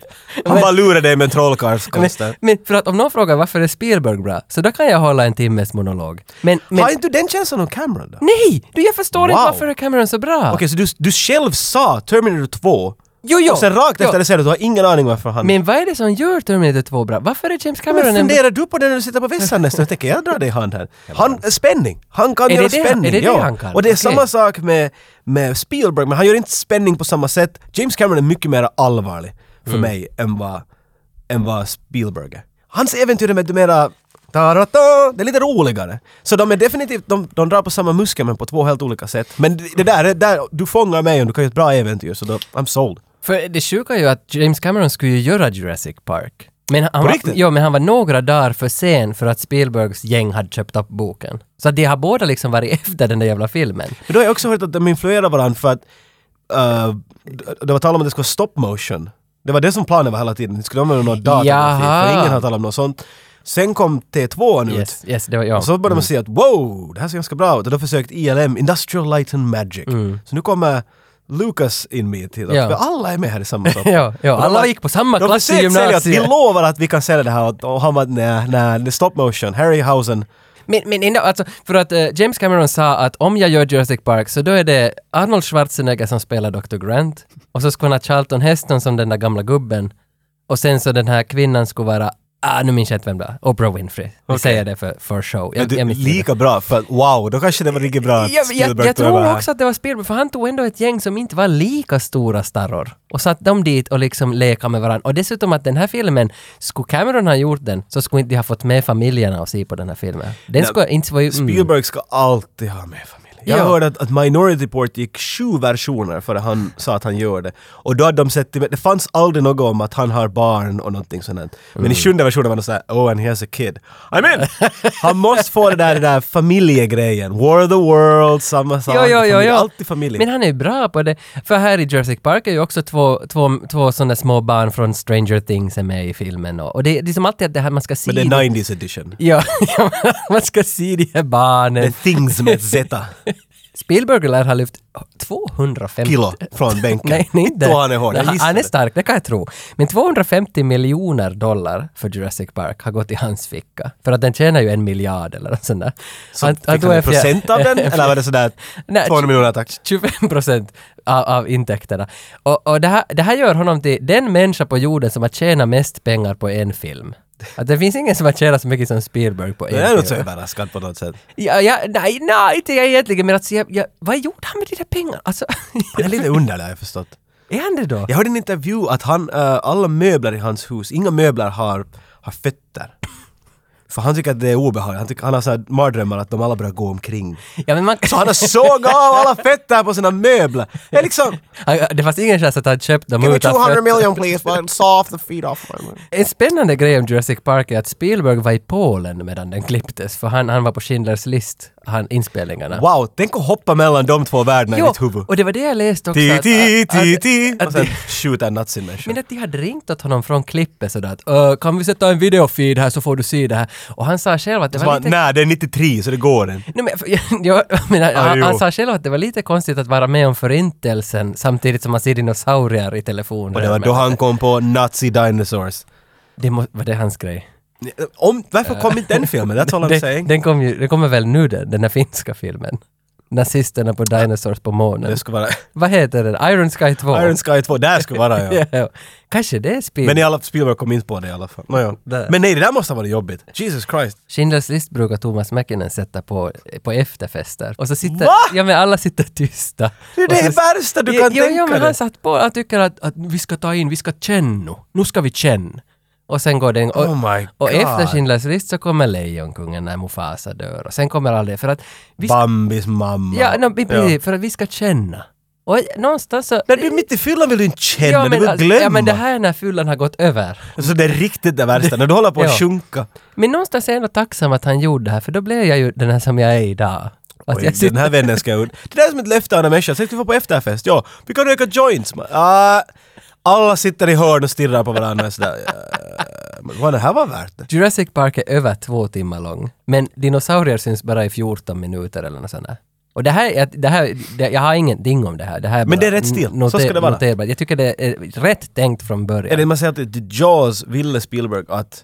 Speaker 1: han bara lurade dig med en trollkarlskonst
Speaker 2: men,
Speaker 1: där.
Speaker 2: men för att om någon frågar varför är Spielberg bra, så då kan jag hålla en timmes monolog. Men, men
Speaker 1: Har inte du den känslan om Cameron då? Okej,
Speaker 2: nej! Du, jag förstår inte
Speaker 1: Wow.
Speaker 2: varför är Cameron så bra.
Speaker 1: så du, du själv sa Terminator 2
Speaker 2: Jo, jo.
Speaker 1: och sen rakt
Speaker 2: jo.
Speaker 1: efter det säger du att du har ingen aning varför han...
Speaker 2: Men vad är det som gör Terminator 2 bra? Varför är James Cameron
Speaker 1: Men
Speaker 2: en...
Speaker 1: funderar du på det när du sitter på vässan nästan? Jag tänker, jag drar dig i hand här. Han, spänning! Han kan
Speaker 2: det
Speaker 1: göra
Speaker 2: det han-
Speaker 1: spänning,
Speaker 2: är det det
Speaker 1: ja.
Speaker 2: han kan?
Speaker 1: Och det är
Speaker 2: Okej.
Speaker 1: samma sak med, med Spielberg, men han gör inte spänning på samma sätt. James Cameron är mycket mer allvarlig för
Speaker 2: Mm.
Speaker 1: mig än vad, än vad Spielberg är. Hans äventyr är med mera... Ta-ra-ta, det är lite roligare. Så de är definitivt, de, de drar på samma muskel men på två helt olika sätt. Men det- det där, det där du fångar mig om du kan göra ett bra äventyr så då, I'm sold.
Speaker 2: För det sjuka är ju att James Cameron skulle ju göra Jurassic Park. Men han, var,
Speaker 1: riktigt?
Speaker 2: ja, men han var några dagar för sen för att Spielbergs gäng hade köpt upp boken. Så att de har båda liksom varit efter den där jävla filmen.
Speaker 1: Men då har jag också hört att de influerar varandra för att eh, det- det var tal om att det skulle vara stop motion. Det var det som planen var hela tiden. Det skulle använda någon datagrafik,
Speaker 2: Jaha.
Speaker 1: för ingen har talat om något sånt. Sen kom T2 ut.
Speaker 2: Yes, yes, det var jag.
Speaker 1: Och så började man se att wow, det här ser ganska bra ut. Och då försökte ILM, Industrial Light and Magic. Så nu kommer Lucas in med till
Speaker 2: Mm. Ja.
Speaker 1: ja. Alla är med här i samma sak.
Speaker 2: Ja, ja,
Speaker 1: Och de
Speaker 2: alla
Speaker 1: var-
Speaker 2: gick på samma
Speaker 1: de
Speaker 2: klass i
Speaker 1: försökte sälja att Vi
Speaker 2: gymnasiet.
Speaker 1: lovar att vi kan sälja det här. Och han var nej, nej, det är stop motion. Harryhausen.
Speaker 2: Men, men ändå, alltså, för att eh, James Cameron sa att om jag gör Jurassic Park så då är det Arnold Schwarzenegger som spelar Dr. Grant och så skulle han ha Charlton Heston som den där gamla gubben och sen så den här kvinnan skulle vara, ah nu minns jag inte vem det var, Oprah Winfrey. Vi säger det för, för show. Jag,
Speaker 1: Men du,
Speaker 2: jag minns inte.
Speaker 1: lika bra, för att, wow, då kanske det var riktigt bra att
Speaker 2: jag, jag,
Speaker 1: Spielberg
Speaker 2: jag
Speaker 1: tog över
Speaker 2: tror
Speaker 1: här.
Speaker 2: också att det var Spielberg, för han tog ändå ett gäng som inte var lika stora starror och satt dem dit och liksom leka med varandra. Och dessutom att den här filmen, skulle Cameron ha gjort den så skulle inte de ha fått med familjerna och se på den här filmen. Den
Speaker 1: Nej,
Speaker 2: skulle inte vara ju... Mm.
Speaker 1: Spielberg ska alltid ha med familj. Jag
Speaker 2: Ja.
Speaker 1: hörde att, att Minority Report gick sju versioner före han sa att han gör det. Och då hade de sett, det fanns aldrig något om att han har barn och någonting sånt. där. Men
Speaker 2: Mm.
Speaker 1: i sjunde versionen var det såhär “Oh and he has a kid”. I'm in! han måste få det där, det där familjegrejen. War of the World, samma sak.
Speaker 2: Ja, ja, ja,
Speaker 1: Familj-
Speaker 2: ja.
Speaker 1: Alltid familj.
Speaker 2: Men han är ju bra på det. För här i Jurassic Park är ju också två, två, två sådana små barn från Stranger Things är med i filmen. Och, och det, det är som alltid att det här man ska se...
Speaker 1: Men det är 90s edition.
Speaker 2: Ja, man ska se de här barnen.
Speaker 1: The things med Z.
Speaker 2: Spielberg lär ha lyft 250
Speaker 1: Kilo från bänken.
Speaker 2: Nej, nej inte.
Speaker 1: Då han är hård. Jag
Speaker 2: han,
Speaker 1: gissar
Speaker 2: han är
Speaker 1: det.
Speaker 2: stark, det kan jag tro. Men 250 miljoner dollar för Jurassic Park har gått i hans ficka. För att den tjänar ju en miljard eller något sånt där.
Speaker 1: Så fick han
Speaker 2: tog
Speaker 1: en
Speaker 2: fjär-
Speaker 1: procent av den? Eller var det sådär
Speaker 2: Nej,
Speaker 1: 200 miljoner tack?
Speaker 2: 25 procent av, av intäkterna. Och, och det, här, det här gör honom till den människa på jorden som har tjänat mest pengar på en film. Att det finns ingen som har tjänat så mycket som Spielberg på en
Speaker 1: Jag är nog
Speaker 2: film.
Speaker 1: så överraskad på något sätt.
Speaker 2: Ja, ja, nej, nej, inte jag egentligen, men alltså, jag, jag, vad gjorde han med de där pengarna? Alltså,
Speaker 1: Han är lite underlig har jag förstått.
Speaker 2: är han det då?
Speaker 1: Jag hörde en intervju att han, eh, alla möbler i hans hus, inga möbler har, har fötter. För han tycker att det är obehagligt. Han, tycker, han har så här mardrömmar att de alla börjar gå omkring.
Speaker 2: Ja, men man,
Speaker 1: Så han har sågat av alla fötter på sina möbler. Det är liksom...
Speaker 2: Ja, Det fanns ingen chans att han köpt dem
Speaker 1: Give me
Speaker 2: utan fötter.
Speaker 1: 200 million please, but saw off the feet off my man.
Speaker 2: En spännande grej om Jurassic Park är att Spielberg var i Polen medan den klipptes, för han, han var på Schindler's list. han, inspelningarna.
Speaker 1: Wow, tänk att hoppa mellan de två världarna i ditt huvud.
Speaker 2: och det var det jag läste också.
Speaker 1: Ti,
Speaker 2: att-
Speaker 1: ti,
Speaker 2: att-
Speaker 1: ti, ti.
Speaker 2: att-
Speaker 1: Och
Speaker 2: att-
Speaker 1: sen skjuta en nazi-människa.
Speaker 2: Men att de hade ringt åt honom från klippet sådär att "Ö, kan vi sätta en videofeed här så får du se det här. Och han sa själv att det
Speaker 1: Så
Speaker 2: var
Speaker 1: bara,
Speaker 2: lite...
Speaker 1: nej, det är 93 så det går inte.
Speaker 2: Nej, men, jag, jag menar, han,
Speaker 1: Ah, jo.
Speaker 2: han sa själv att det var lite konstigt att vara med om förintelsen samtidigt som man ser dinosaurier i telefonen.
Speaker 1: Och det var
Speaker 2: Men
Speaker 1: då han kom på Nazi Dinosaurs.
Speaker 2: det må, var det hans grej?
Speaker 1: Om, varför kom inte den filmen? That's all I'm
Speaker 2: Den,
Speaker 1: saying.
Speaker 2: den, kom ju, den kommer väl nu den, den här finska filmen? Nazisterna på Dinosaurs på månen.
Speaker 1: Det skulle vara
Speaker 2: Vad heter den? Iron Sky 2?
Speaker 1: Iron Sky 2, där skulle vara ja.
Speaker 2: Ja, ja. Kanske det är spel.
Speaker 1: Men i alla fall, Spielberg kom inte på det i alla fall. Nåja.
Speaker 2: Där.
Speaker 1: Men nej, det där måste ha varit jobbigt. Jesus Christ.
Speaker 2: Schindler's list brukar Thomas Mäkinen sätta på, på efterfester. Och så sitter,
Speaker 1: Va?
Speaker 2: ja men alla sitter tysta.
Speaker 1: Det är
Speaker 2: Och så-
Speaker 1: det värsta du kan
Speaker 2: jo, jo,
Speaker 1: tänka
Speaker 2: men
Speaker 1: dig.
Speaker 2: han satt på, han tycker att, att vi ska ta in, vi ska känna. Nu ska vi känna. Och sen går den... Och,
Speaker 1: Oh my
Speaker 2: och
Speaker 1: God.
Speaker 2: efter Schindler's list så kommer Lejonkungen när Mufasa dör. Och sen kommer all det. För att vi, ska-
Speaker 1: Bambis mamma.
Speaker 2: ja, no, i princip, för att vi ska känna. Och någonstans så...
Speaker 1: När du är mitt i fyllan vill du inte känna,
Speaker 2: ja,
Speaker 1: du
Speaker 2: men,
Speaker 1: vill
Speaker 2: alltså,
Speaker 1: glömma.
Speaker 2: ja men det här är när fyllan har gått över.
Speaker 1: Så det är riktigt det värsta, när du håller på att
Speaker 2: Ja.
Speaker 1: sjunka.
Speaker 2: Men någonstans är jag ändå tacksam att han gjorde det här för då blev jag ju den här som jag är idag. Att
Speaker 1: Oj,
Speaker 2: jag sitter-
Speaker 1: den här vännen ska ut. Det där är som ett löfte av en människa. Säg att vi får på efterfest. Ja, vi kan röka joints. Man, ah, alla sitter i hörn och stirrar på varandra sådär. Ja, men vad det här var värt det.
Speaker 2: Jurassic Park är över två timmar lång, men dinosaurier syns bara i 14 minuter eller något sånt där. Och det här, är- det här det, jag har ingenting om det här. Det här
Speaker 1: Men
Speaker 2: bara
Speaker 1: det är rätt stil.
Speaker 2: noter-
Speaker 1: Så ska det vara.
Speaker 2: noterbart. Jag tycker det är rätt tänkt från början.
Speaker 1: Eller man säger att The Jaws ville Spielberg att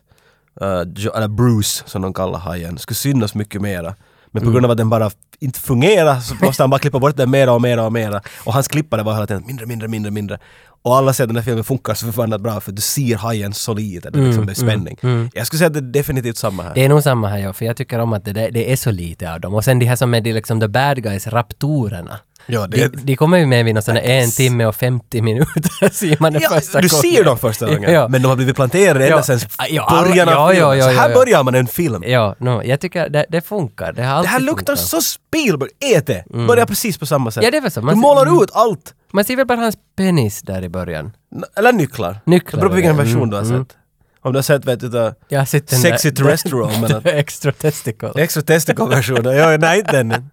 Speaker 1: eh, Jo- eller Bruce, som de kallar hajen, skulle synas mycket mera. Men på
Speaker 2: Mm.
Speaker 1: grund av att den bara f- inte fungerar så måste han bara klippa bort den mera och mera och mera. Och hans klippare var hela tiden mindre, mindre, mindre, mindre. Och alla säger att den här filmen funkar så förbannat bra för du ser hajen så lite, det är
Speaker 2: Mm,
Speaker 1: liksom det är spänning. Jag skulle säga att det är definitivt samma här.
Speaker 2: Det är nog samma här jag, för jag tycker om att det, där- det är så lite av dem. Och sen de här som är de, liksom the bad guys, raptorerna.
Speaker 1: Ja, det-
Speaker 2: de, de kommer ju med vid någon sån här en timme och 50 minuter, ser man den
Speaker 1: Ja,
Speaker 2: första
Speaker 1: du
Speaker 2: gången.
Speaker 1: ser dem första gången,
Speaker 2: Ja, ja.
Speaker 1: men de har blivit planterade ända
Speaker 2: Ja.
Speaker 1: sedan
Speaker 2: Ja, ja, alla-
Speaker 1: början av
Speaker 2: ja,
Speaker 1: filmen.
Speaker 2: ja, ja,
Speaker 1: så här
Speaker 2: ja.
Speaker 1: börjar man en film.
Speaker 2: Ja, no, jag tycker det, det funkar. Det, har
Speaker 1: Det här
Speaker 2: alltid
Speaker 1: luktar
Speaker 2: funkat.
Speaker 1: så Spielberg, ät det! Börjar precis på samma sätt.
Speaker 2: Mm. Ja, det är väl så.
Speaker 1: Du
Speaker 2: Man, mm.
Speaker 1: målar ut allt!
Speaker 2: man ser väl bara hans penis där i början.
Speaker 1: N- Eller nycklar.
Speaker 2: Nycklar,
Speaker 1: Det beror på vilken
Speaker 2: ja.
Speaker 1: version
Speaker 2: Mm,
Speaker 1: du har
Speaker 2: mm.
Speaker 1: sett. Om du har sett vet du, the
Speaker 2: Jag har sett den
Speaker 1: Sexy
Speaker 2: där,
Speaker 1: Terrestrial men att-
Speaker 2: den extra testicle.
Speaker 1: extra testicle-versionen. ja, nej inte den.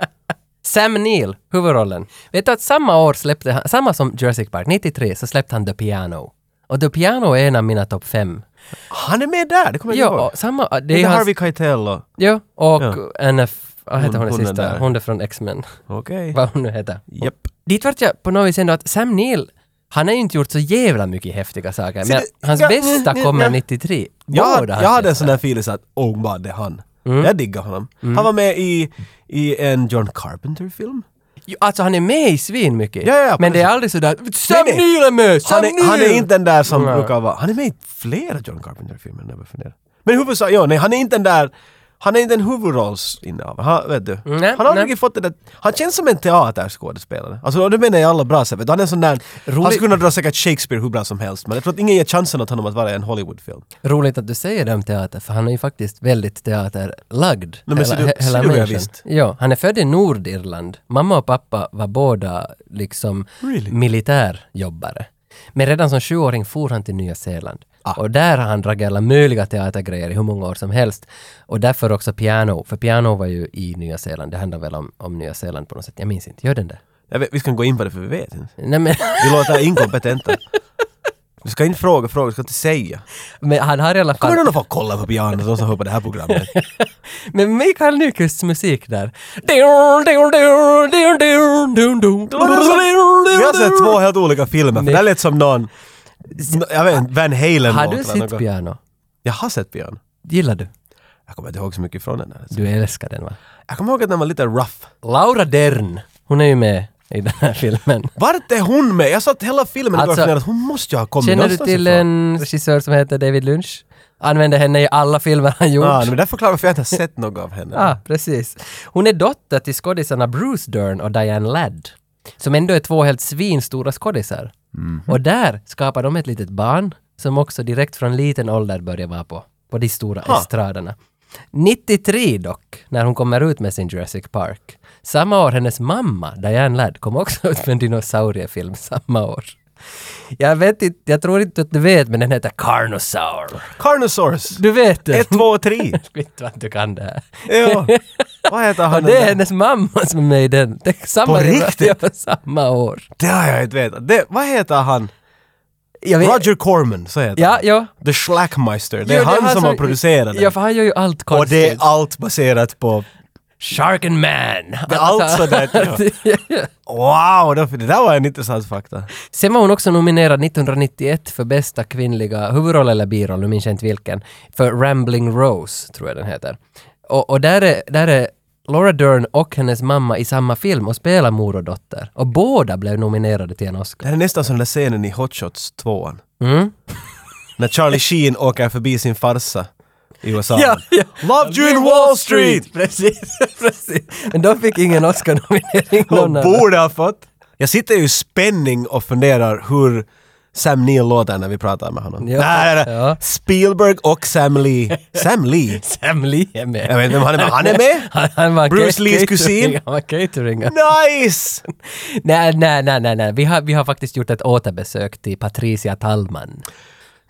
Speaker 2: Sam Neill, huvudrollen. Vet du att samma år släppte han, samma som Jurassic Park, 93, så släppte han The Piano. Och The Piano är en av mina topp fem.
Speaker 1: Han är med där, det kommer jag
Speaker 2: Jo,
Speaker 1: ihåg.
Speaker 2: och samma,
Speaker 1: Det
Speaker 2: det
Speaker 1: är
Speaker 2: är hans,
Speaker 1: Harvey Keitel och...
Speaker 2: jo, och
Speaker 1: Ja.
Speaker 2: Anna, F- vad
Speaker 1: Hon-
Speaker 2: heter hon den
Speaker 1: hon den
Speaker 2: sista?
Speaker 1: där.
Speaker 2: Hon är från X-Men.
Speaker 1: Okej.
Speaker 2: Vad hon nu heter.
Speaker 1: Japp.
Speaker 2: Dit vart jag på något vis ändå att Sam Neill, han har ju inte gjort så jävla mycket häftiga saker,
Speaker 1: Så
Speaker 2: men
Speaker 1: det-
Speaker 2: hans
Speaker 1: ja,
Speaker 2: bästa
Speaker 1: ja,
Speaker 2: kommer
Speaker 1: ja.
Speaker 2: 93.
Speaker 1: Jag,
Speaker 2: Båda
Speaker 1: jag
Speaker 2: hans
Speaker 1: hade en
Speaker 2: bästa.
Speaker 1: sån där feeling så att åh vad det är han.
Speaker 2: Mm.
Speaker 1: Jag diggar honom. Han var med i, i en John Carpenter-film.
Speaker 2: Jo, Alltså han är med i svin mycket.
Speaker 1: Ja, ja,
Speaker 2: men det är
Speaker 1: precis.
Speaker 2: aldrig sådär Sam
Speaker 1: Nej, nej.
Speaker 2: Neill är med! Sam
Speaker 1: Han är, han är
Speaker 2: Neill!"
Speaker 1: inte den där som
Speaker 2: Nej.
Speaker 1: brukar vara... Han är med i flera John Carpenter-filmer när jag börjar fundera. Men i huvudsak, ja, nej, han är inte den där... Han är inte en huvudrollsinnehavare, han, vet du.
Speaker 2: Nej,
Speaker 1: han har aldrig
Speaker 2: nej.
Speaker 1: fått det där... Han känns som en teaterskådespelare. Alltså och det menar jag alla bra sätt. vet du. Han är en sån där... Han skulle kunna dra säkert Shakespeare hur bra som helst men jag tror att ingen ger chansen åt honom att vara i en Hollywoodfilm.
Speaker 2: Roligt att du säger det om teater, för han är ju faktiskt väldigt teaterlagd.
Speaker 1: men ser du-
Speaker 2: he-
Speaker 1: ser du vad jag
Speaker 2: människan.
Speaker 1: visste?
Speaker 2: Ja, han är född i Nordirland. Mamma och pappa var båda liksom
Speaker 1: Really?
Speaker 2: militärjobbare. Men redan som sjuåring for han till Nya Zeeland. Och där har han dragit alla möjliga teatergrejer i hur många år som helst. Och därför också piano, för piano var ju i Nya Zeeland. Det handlar väl om, om Nya Zeeland på något sätt. Jag minns inte, gör den det?
Speaker 1: Jag vet, vi ska inte gå in på det för vi vet inte.
Speaker 2: Nej, men...
Speaker 1: Vi låter inkompetenta. Du ska inte fråga frågor, du ska inte säga.
Speaker 2: Men han har i alla fall...
Speaker 1: Kommer någon att få kolla på pianot de som hör på det här programmet?
Speaker 2: Men Mikael Nyqvists musik där.
Speaker 1: Vi har sett två helt olika filmer, för
Speaker 2: Nej.
Speaker 1: det här lät som någon... Jag vet inte, Van Halen
Speaker 2: Har
Speaker 1: låt
Speaker 2: du
Speaker 1: eller
Speaker 2: sett
Speaker 1: något.
Speaker 2: piano?
Speaker 1: Jag har sett piano.
Speaker 2: Gillar du?
Speaker 1: Jag kommer inte ihåg så mycket från den här.
Speaker 2: Du älskar den va?
Speaker 1: Jag kommer ihåg att den var lite rough.
Speaker 2: Laura Dern, hon är ju med i den här filmen.
Speaker 1: Vart är hon med? Jag satt hela filmen och
Speaker 2: Alltså,
Speaker 1: alltså, att hon måste ju ha kommit
Speaker 2: Känner du
Speaker 1: någonstans
Speaker 2: till
Speaker 1: ifrån.
Speaker 2: en regissör som heter David Lynch? Använder henne i alla filmer han gjort.
Speaker 1: Ah, nej, men det förklarar varför jag inte har sett något av henne.
Speaker 2: Ah, precis. Hon är dotter till skådisarna Bruce Dern och Diane Ladd, som ändå är två helt svinstora skådisar. Och där skapar de ett litet barn som också direkt från liten ålder börjar vara på, på de stora
Speaker 1: Ha.
Speaker 2: estraderna. 93 dock, när hon kommer ut med sin Jurassic Park. Samma år hennes mamma, Diane Ladd, kom också ut med en dinosauriefilm samma år. Jag vet inte, jag tror inte att du vet, men den heter Carnosaur.
Speaker 1: Carnosaurs!
Speaker 2: Du vet det?
Speaker 1: Ett, två, tre!
Speaker 2: Jag vet inte vad du kan det här.
Speaker 1: Ja. Vad heter han
Speaker 2: Och
Speaker 1: den
Speaker 2: det är
Speaker 1: där?
Speaker 2: hennes mamma som är med i den. Det är samma
Speaker 1: På riktigt?
Speaker 2: Ja, på samma år.
Speaker 1: Det har jag inte vetat. Det, vad heter han?
Speaker 2: Jag vet-
Speaker 1: Roger Corman, så heter
Speaker 2: Ja, ja.
Speaker 1: han. The Schlackmeister. Det är
Speaker 2: Jo,
Speaker 1: han som har producerat den.
Speaker 2: Ja, för han gör ju allt
Speaker 1: och
Speaker 2: konstigt.
Speaker 1: det är allt baserat på...
Speaker 2: Shark and man!
Speaker 1: Det är allt sådär. Ja. Wow, det det där var en intressant fakta.
Speaker 2: Sen var hon också nominerad 1991 för bästa kvinnliga huvudroll eller biroll, nu minns jag inte vilken, för Rambling Rose, tror jag den heter. Och, och där, är, där är Laura Dern och hennes mamma i samma film och spelar mor och dotter. Och båda blev nominerade till en Oscar.
Speaker 1: Det här är nästan som den där scenen i Hot Shots 2.
Speaker 2: Mm.
Speaker 1: När Charlie Sheen åker förbi sin farsa i USA.
Speaker 2: Ja, ja.
Speaker 1: Loved you in Wall Street!
Speaker 2: Precis, precis. Men de fick ingen Oscar-nominering.
Speaker 1: Och
Speaker 2: någon av dem.
Speaker 1: borde ha fått. Jag sitter ju i spänning och funderar hur Sam Neill låter när vi pratar med honom.
Speaker 2: Ja,
Speaker 1: nej, nej, nej.
Speaker 2: ja.
Speaker 1: Spielberg och Sam Lee. Sam Lee?
Speaker 2: Sam Lee är med.
Speaker 1: Jag vet inte vem han är med. Han är med?
Speaker 2: Han, han var
Speaker 1: Bruce
Speaker 2: ca-
Speaker 1: Lees
Speaker 2: catering-
Speaker 1: kusin?
Speaker 2: Han var cateringa.
Speaker 1: Nice!
Speaker 2: Nej, nej, nej, nej, nej. Vi har, vi har faktiskt gjort ett återbesök till Patricia Tallman.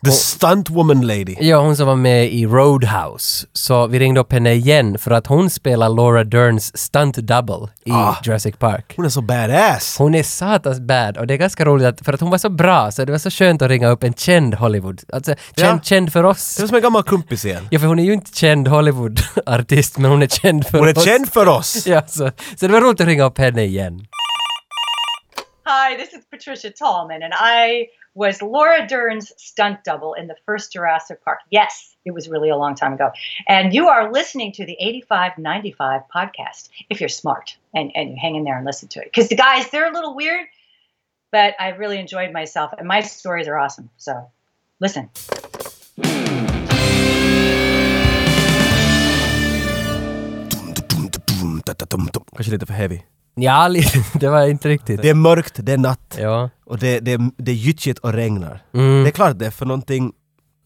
Speaker 1: The stunt woman lady.
Speaker 2: Ja, hon som var med i Roadhouse. Så vi ringde upp henne igen för att hon spelar Laura Derns stunt double i
Speaker 1: Ah.
Speaker 2: Jurassic Park.
Speaker 1: Hon är så badass.
Speaker 2: Hon är satans bad och det är ganska roligt att, för att hon var så bra så det var så skönt att ringa upp en känd Hollywood. Alltså, känd,
Speaker 1: Ja.
Speaker 2: känd för oss.
Speaker 1: Det är som en gammal kumpis igen.
Speaker 2: Ja, för hon är ju inte känd Hollywood-artist men hon är känd för
Speaker 1: Hon är
Speaker 2: oss.
Speaker 1: känd för oss.
Speaker 2: Ja, så, så det var roligt att ringa upp henne igen.
Speaker 3: Hi, this is Patricia Tallman, and I was Laura Dern's stunt double in the first Jurassic Park. Yes, it was really a long time ago. And you are listening to the 8595 podcast if you're smart and, and you hang in there and listen to it. Because the guys, they're a little weird, but I really enjoyed myself, and my stories are awesome. So listen.
Speaker 1: Kanske lite för heavy.
Speaker 2: Ja, li- det var inte riktigt.
Speaker 1: Det är mörkt, det är natt
Speaker 2: Ja.
Speaker 1: och det, det, det är gyttjigt och regnar.
Speaker 2: Mm.
Speaker 1: Det är klart det är för någonting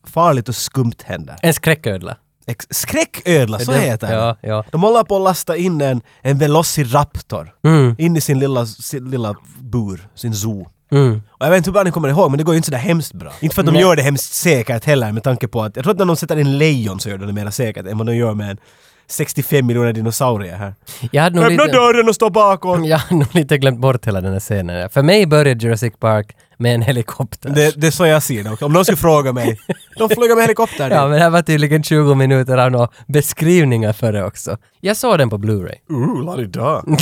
Speaker 1: farligt och skumt händer.
Speaker 2: En skräcködla.
Speaker 1: Ex- Skräcködla, så
Speaker 2: Det-
Speaker 1: heter det.
Speaker 2: Ja, ja.
Speaker 1: De håller på att lasta in en, en Velociraptor
Speaker 2: Mm,
Speaker 1: in i sin lilla, sin lilla bur, sin zoo.
Speaker 2: mm.
Speaker 1: Och jag vet inte hur bra ni kommer ihåg men det går ju inte sådär hemskt bra. Inte för att de
Speaker 2: Nej.
Speaker 1: gör det hemskt säkert heller med tanke på att jag tror att när de sätter in lejon så gör de det mer säkert än vad de gör med en 65 miljoner dinosaurier här.
Speaker 2: Jag hade nog
Speaker 1: Öppna
Speaker 2: lite...
Speaker 1: dörren och stå bakom!
Speaker 2: Jag hade nog lite glömt bort hela den här scenen. För mig började Jurassic Park med en helikopter.
Speaker 1: Det, det är så jag ser det också. Om någon skulle fråga mig. De flyger med helikopter
Speaker 2: Ja,
Speaker 1: dit.
Speaker 2: men det här var tydligen 20 minuter av några beskrivningar för det också. Jag såg den på Blu-ray.
Speaker 1: Ooh, la-di-da.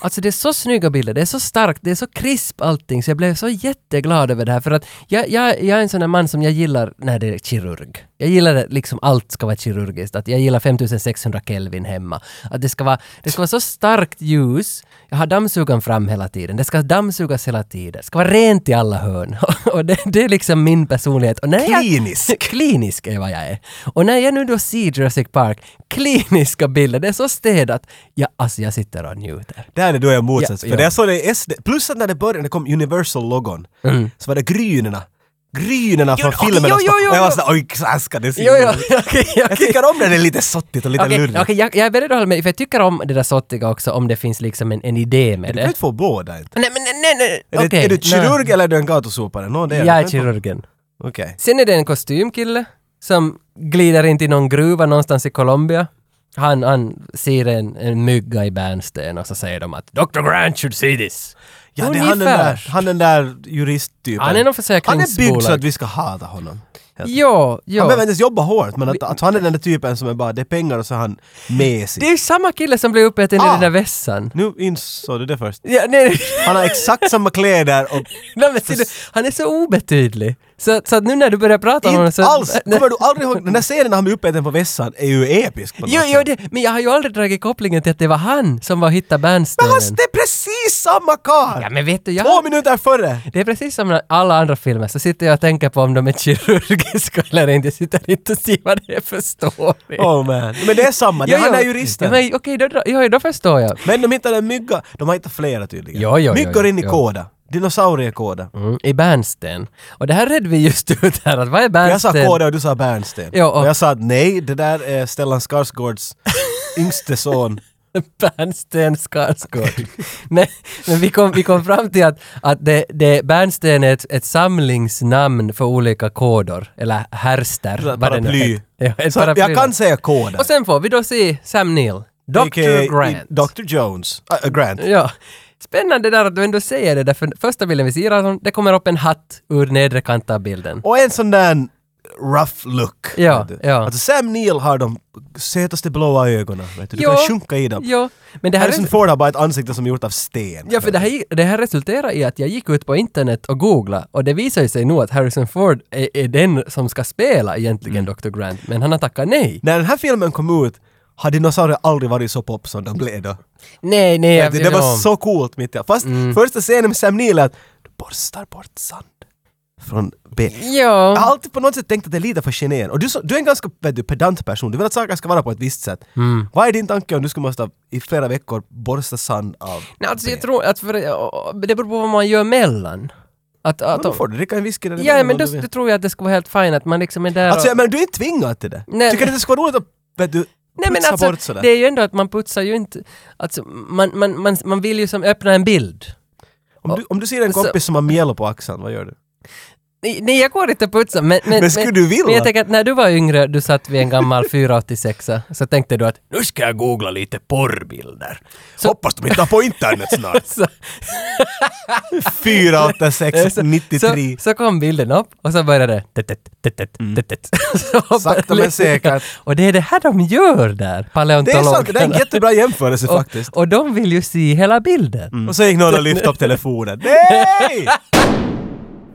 Speaker 2: Alltså det är så snygga bilder, det är så starkt, det är så krisp allting så jag blev så jätteglad över det här för att jag, jag, jag är en sån där man som jag gillar när det är kirurg. Jag gillar det, liksom allt ska vara kirurgiskt, att jag gillar 5600 Kelvin hemma. Att det ska vara, det ska vara så starkt ljus, jag har dammsugaren fram hela tiden, det ska dammsugas hela tiden, det ska vara rent i alla hörn. Och det, det är liksom min personlighet. Och när jag,
Speaker 1: Klinisk.
Speaker 2: klinisk är vad jag är. Och när jag nu då ser Jurassic Park, kliniska bilder, det är så städat. Ja, alltså jag sitter och njuter.
Speaker 1: Där är då jag motsats.
Speaker 2: Ja,
Speaker 1: För
Speaker 2: ja.
Speaker 1: när jag såg det i SD, plus att när det började, det kom Universal-logon,
Speaker 2: Mm.
Speaker 1: så var det grynerna. Grynerna från
Speaker 2: jo,
Speaker 1: filmerna.
Speaker 2: jo,
Speaker 1: som-
Speaker 2: jo,
Speaker 1: och jag var
Speaker 2: jo.
Speaker 1: sådär, oj, klaska, det ser
Speaker 2: Jo, jo,
Speaker 1: ut."
Speaker 2: okej,
Speaker 1: Jag
Speaker 2: okej.
Speaker 1: tycker om när det är lite sottigt och lite
Speaker 2: Okej,
Speaker 1: lurigt.
Speaker 2: okej, jag, jag är beredd att hålla med, för jag tycker om det där sottiga också, om det finns liksom en, en idé med
Speaker 1: Du kan
Speaker 2: det.
Speaker 1: inte få båda. Inte.
Speaker 2: Nej, men nej, nej, nej.
Speaker 1: Är, det,
Speaker 2: okej,
Speaker 1: är du
Speaker 2: nej.
Speaker 1: kirurg eller är du en gatusopare? Nå, det är du.
Speaker 2: Jag
Speaker 1: Du
Speaker 2: är
Speaker 1: kan inte få-
Speaker 2: kirurgen.
Speaker 1: Okej.
Speaker 2: Sen är det en kostymkille som glider in till någon gruva någonstans i Colombia. Han, han ser en, en mygga i bärnsten och så säger de att Dr. Grant should see this.
Speaker 1: Ja, det är han den, där,
Speaker 2: Ungefär.
Speaker 1: han den där juristtypen.
Speaker 2: Han är någon
Speaker 1: Han är byggd så
Speaker 2: försäkringsbolag.
Speaker 1: att vi ska hata honom. Helt.
Speaker 2: Jo, jo.
Speaker 1: Han behöver inte ens jobba hårt, men att, att han är den där typen som är bara, det är pengar och så är han mesig.
Speaker 2: Det är ju samma kille som blev uppäten i
Speaker 1: Ah.
Speaker 2: den där vässan.
Speaker 1: Nu insåg du det först.
Speaker 2: Ja, nej,
Speaker 1: Han har exakt samma kläder och
Speaker 2: nej, men, ser du, han är så obetydlig. Så, så att nu när du börjar prata om honom
Speaker 1: Inte
Speaker 2: så...
Speaker 1: alls!
Speaker 2: Nej.
Speaker 1: Kommer du aldrig ihåg? Den där scenen när han blir uppäten på vässan är ju episk på något
Speaker 2: Jo,
Speaker 1: sätt.
Speaker 2: jo, det, men jag har ju aldrig dragit kopplingen till att det var han som var och hittade
Speaker 1: Men han,
Speaker 2: bärnstenen.
Speaker 1: det är precis samma karl!
Speaker 2: Ja, men vet du, jag...
Speaker 1: Två minuter före!
Speaker 2: Det är precis som när alla andra filmer, så sitter jag och tänker på om de är kirurgiska eller inte. Jag sitter inte och ser vad det är för story.
Speaker 1: Oh man. Men det är samma, det är
Speaker 2: Jo,
Speaker 1: han
Speaker 2: jo.
Speaker 1: där juristen.
Speaker 2: Ja, men Okej, då, då, då förstår jag.
Speaker 1: Men de hittade en mygga. De har hittat flera tydligen.
Speaker 2: Jo, jo, jo,
Speaker 1: Myggor
Speaker 2: jo,
Speaker 1: in i
Speaker 2: jo.
Speaker 1: kåda. Dinosauriekoda.
Speaker 2: Mm, I Bernsten. Och det här redde vi just ut här, att vad är
Speaker 1: Jag sa
Speaker 2: Bernsten?
Speaker 1: kåda och du sa bärnsten.
Speaker 2: Jo, och-
Speaker 1: Och jag sa att nej, det där är Stellan Skarsgårds yngste son
Speaker 2: Bernsten Skarsgård. men, men vi, kom, vi kom fram till att, att det, det, Bernsten är ett, ett samlingsnamn för olika kodor, eller härster.
Speaker 1: Ett
Speaker 2: vad det nu
Speaker 1: paraply.
Speaker 2: heter. Ja, ett
Speaker 1: Så
Speaker 2: paraply.
Speaker 1: jag kan säga koden.
Speaker 2: Och sen får vi då se Sam Neill. Dr. Grant.
Speaker 1: Dr. E Jones. Äh, Grant.
Speaker 2: Ja. Spännande där att du ändå säger det där, för första bilden vi ser, alltså, det kommer upp en hatt ur nedre kant av bilden.
Speaker 1: Och en sån där rough look.
Speaker 2: Ja,
Speaker 1: vet du.
Speaker 2: ja.
Speaker 1: Alltså Sam Neill har de sötaste blåa ögonen. Vet du. du kan
Speaker 2: Jo,
Speaker 1: sjunka i dem.
Speaker 2: Jo, men det här
Speaker 1: Harrison Ford har bara ett ansikte som är gjort av sten.
Speaker 2: Ja, för det här, det här resulterar i att jag gick ut på internet och googlade och det visar ju sig nu att Harrison Ford är, är den som ska spela egentligen Dr. Grant, men han har tackat nej.
Speaker 1: När den här filmen kom ut har dinosaurier aldrig varit så pop som de blev då.
Speaker 2: Nej, nej, jag
Speaker 1: Det,
Speaker 2: vet
Speaker 1: det var
Speaker 2: om. Mm.
Speaker 1: så coolt mitt i allt. Fast första scenen med Sam Neill är att du borstar bort sand från benet.
Speaker 2: Ja.
Speaker 1: Jag har alltid på något sätt tänkt att det är lite för generande. Och du, så- du är en ganska vet du, pedant person. Du vill att saker ska vara på ett visst sätt.
Speaker 2: Mm.
Speaker 1: Vad är din tanke om du skulle måste i flera veckor borsta sand av
Speaker 2: Nej, alltså jag tror att för, det beror på vad man gör mellan. Att,
Speaker 1: Men
Speaker 2: att,
Speaker 1: då får du dricka en whisky eller
Speaker 2: ja,
Speaker 1: något
Speaker 2: men
Speaker 1: om
Speaker 2: då,
Speaker 1: du vill.
Speaker 2: då tror jag att det skulle vara helt fint att man liksom är där
Speaker 1: Alltså,
Speaker 2: och,
Speaker 1: jag menar, du är inte tvingad till det.
Speaker 2: Nej,
Speaker 1: Tycker du
Speaker 2: men-
Speaker 1: att det skulle vara roligt att vet du,
Speaker 2: Nej men
Speaker 1: putsa
Speaker 2: alltså,
Speaker 1: bort sådär?
Speaker 2: det är ju ändå att man putsar ju inte, alltså man, man, man, man vill ju som öppna en bild.
Speaker 1: Om, du, om du ser en
Speaker 2: Så-
Speaker 1: kompis som har mjäll på axeln, vad gör du?
Speaker 2: Nej, nej jag går inte och putsar men... Men,
Speaker 1: Men skulle du vilja?
Speaker 2: Men jag tänker att när du var yngre, du satt vid en gammal 486 så tänkte du att nu ska jag googla lite porrbilder. Så-
Speaker 1: Hoppas de hittar på internet snart!
Speaker 2: Så,
Speaker 1: 486
Speaker 2: så,
Speaker 1: 93.
Speaker 2: så kom bilden upp och så började det... tet, tet, tet, tet, tet, tet. Så hoppade
Speaker 1: Mm. Sakta men
Speaker 2: lite.
Speaker 1: säkert.
Speaker 2: Och det är det här de gör där,
Speaker 1: Det är sant, det är en
Speaker 2: paleontologerna.
Speaker 1: jättebra jämförelse faktiskt. Mm.
Speaker 2: och, och de vill ju se hela bilden.
Speaker 1: Och så gick någon och lyfte upp telefonen. Nej!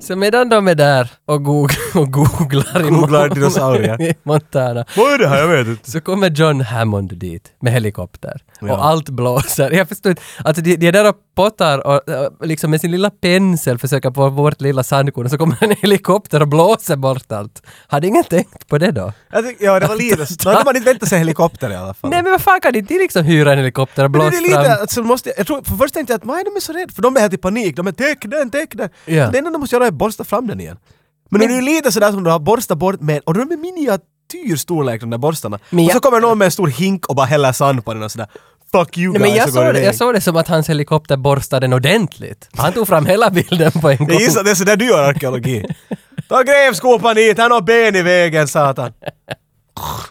Speaker 2: Så medan de är där och, goog- och googlar, i
Speaker 1: Googlar
Speaker 2: Mon-
Speaker 1: dinosaurier.
Speaker 2: i Montana
Speaker 1: Vad är det här? Jag vet inte.
Speaker 2: så kommer John Hammond dit med helikopter
Speaker 1: Ja.
Speaker 2: och allt blåser. Jag förstår inte. Alltså de, de är där och pottar och, och liksom med sin lilla pensel försöker få bort lilla sandkorn och så kommer en helikopter och blåser bort allt. Hade ingen tänkt på det då?
Speaker 1: Jag tycker- Ja, det var lite... Då hade man inte väntat sig helikopter i alla fall.
Speaker 2: Nej men vad fan kan inte de liksom hyra en helikopter och
Speaker 1: Men
Speaker 2: blåsa
Speaker 1: det är lite,
Speaker 2: fram?
Speaker 1: alltså, måste, jag- jag tror, för först tänkte jag att nej, de är så rädda, för de är helt i panik. De är täck den, täck den.
Speaker 2: Ja.
Speaker 1: Det enda de måste göra är borsta fram den igen. Men, det är ju lite sådär som du har borstat bort med, och de är miniatyrstorlek de där borstarna.
Speaker 2: Men
Speaker 1: och så
Speaker 2: jag-
Speaker 1: kommer någon med en stor hink och bara häller sand på den och sådär. Fuck you
Speaker 2: Nej,
Speaker 1: guys,
Speaker 2: men jag
Speaker 1: och går
Speaker 2: såg, det,
Speaker 1: iväg.
Speaker 2: jag såg det som att hans helikopter borstade den ordentligt. Han tog fram hela bilden på en gång.
Speaker 1: Jag gissar att det är sådär du gör arkeologi. Ta grävskopan hit, han har ben i vägen satan.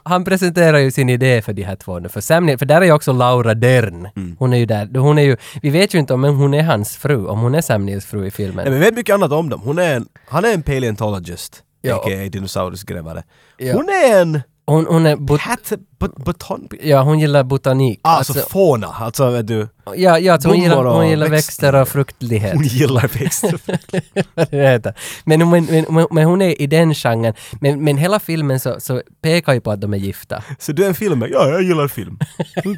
Speaker 2: han presenterar ju sin idé för de här två nu, för Sam Neill, för där är ju också Laura Dern.
Speaker 1: Mm.
Speaker 2: Hon är ju där, hon är ju, vi vet ju inte om hon är hans fru, om hon är Sam Neills fru i filmen.
Speaker 1: Nej, men vi vet mycket annat om dem. Hon är en, han är en paleontologist,
Speaker 2: Ja.
Speaker 1: a.k.a. dinosauriesgrävare.
Speaker 2: Ja.
Speaker 1: Hon är en
Speaker 2: Hon, hon är bot-
Speaker 1: pat, but, buton,
Speaker 2: ja, hon gillar botanik.
Speaker 1: Ah, alltså, fauna, alltså vet du,
Speaker 2: ja, ja, alltså hon,
Speaker 1: blommor
Speaker 2: gillar, hon
Speaker 1: och
Speaker 2: gillar
Speaker 1: växter.
Speaker 2: växter och fruktlighet.
Speaker 1: hon gillar växter.
Speaker 2: Vad det heter. men, hon- men, men, men hon är i den genren. Men, men hela filmen så, så pekar ju på att de är gifta.
Speaker 1: så du är en film? Ja, jag gillar film. Okej.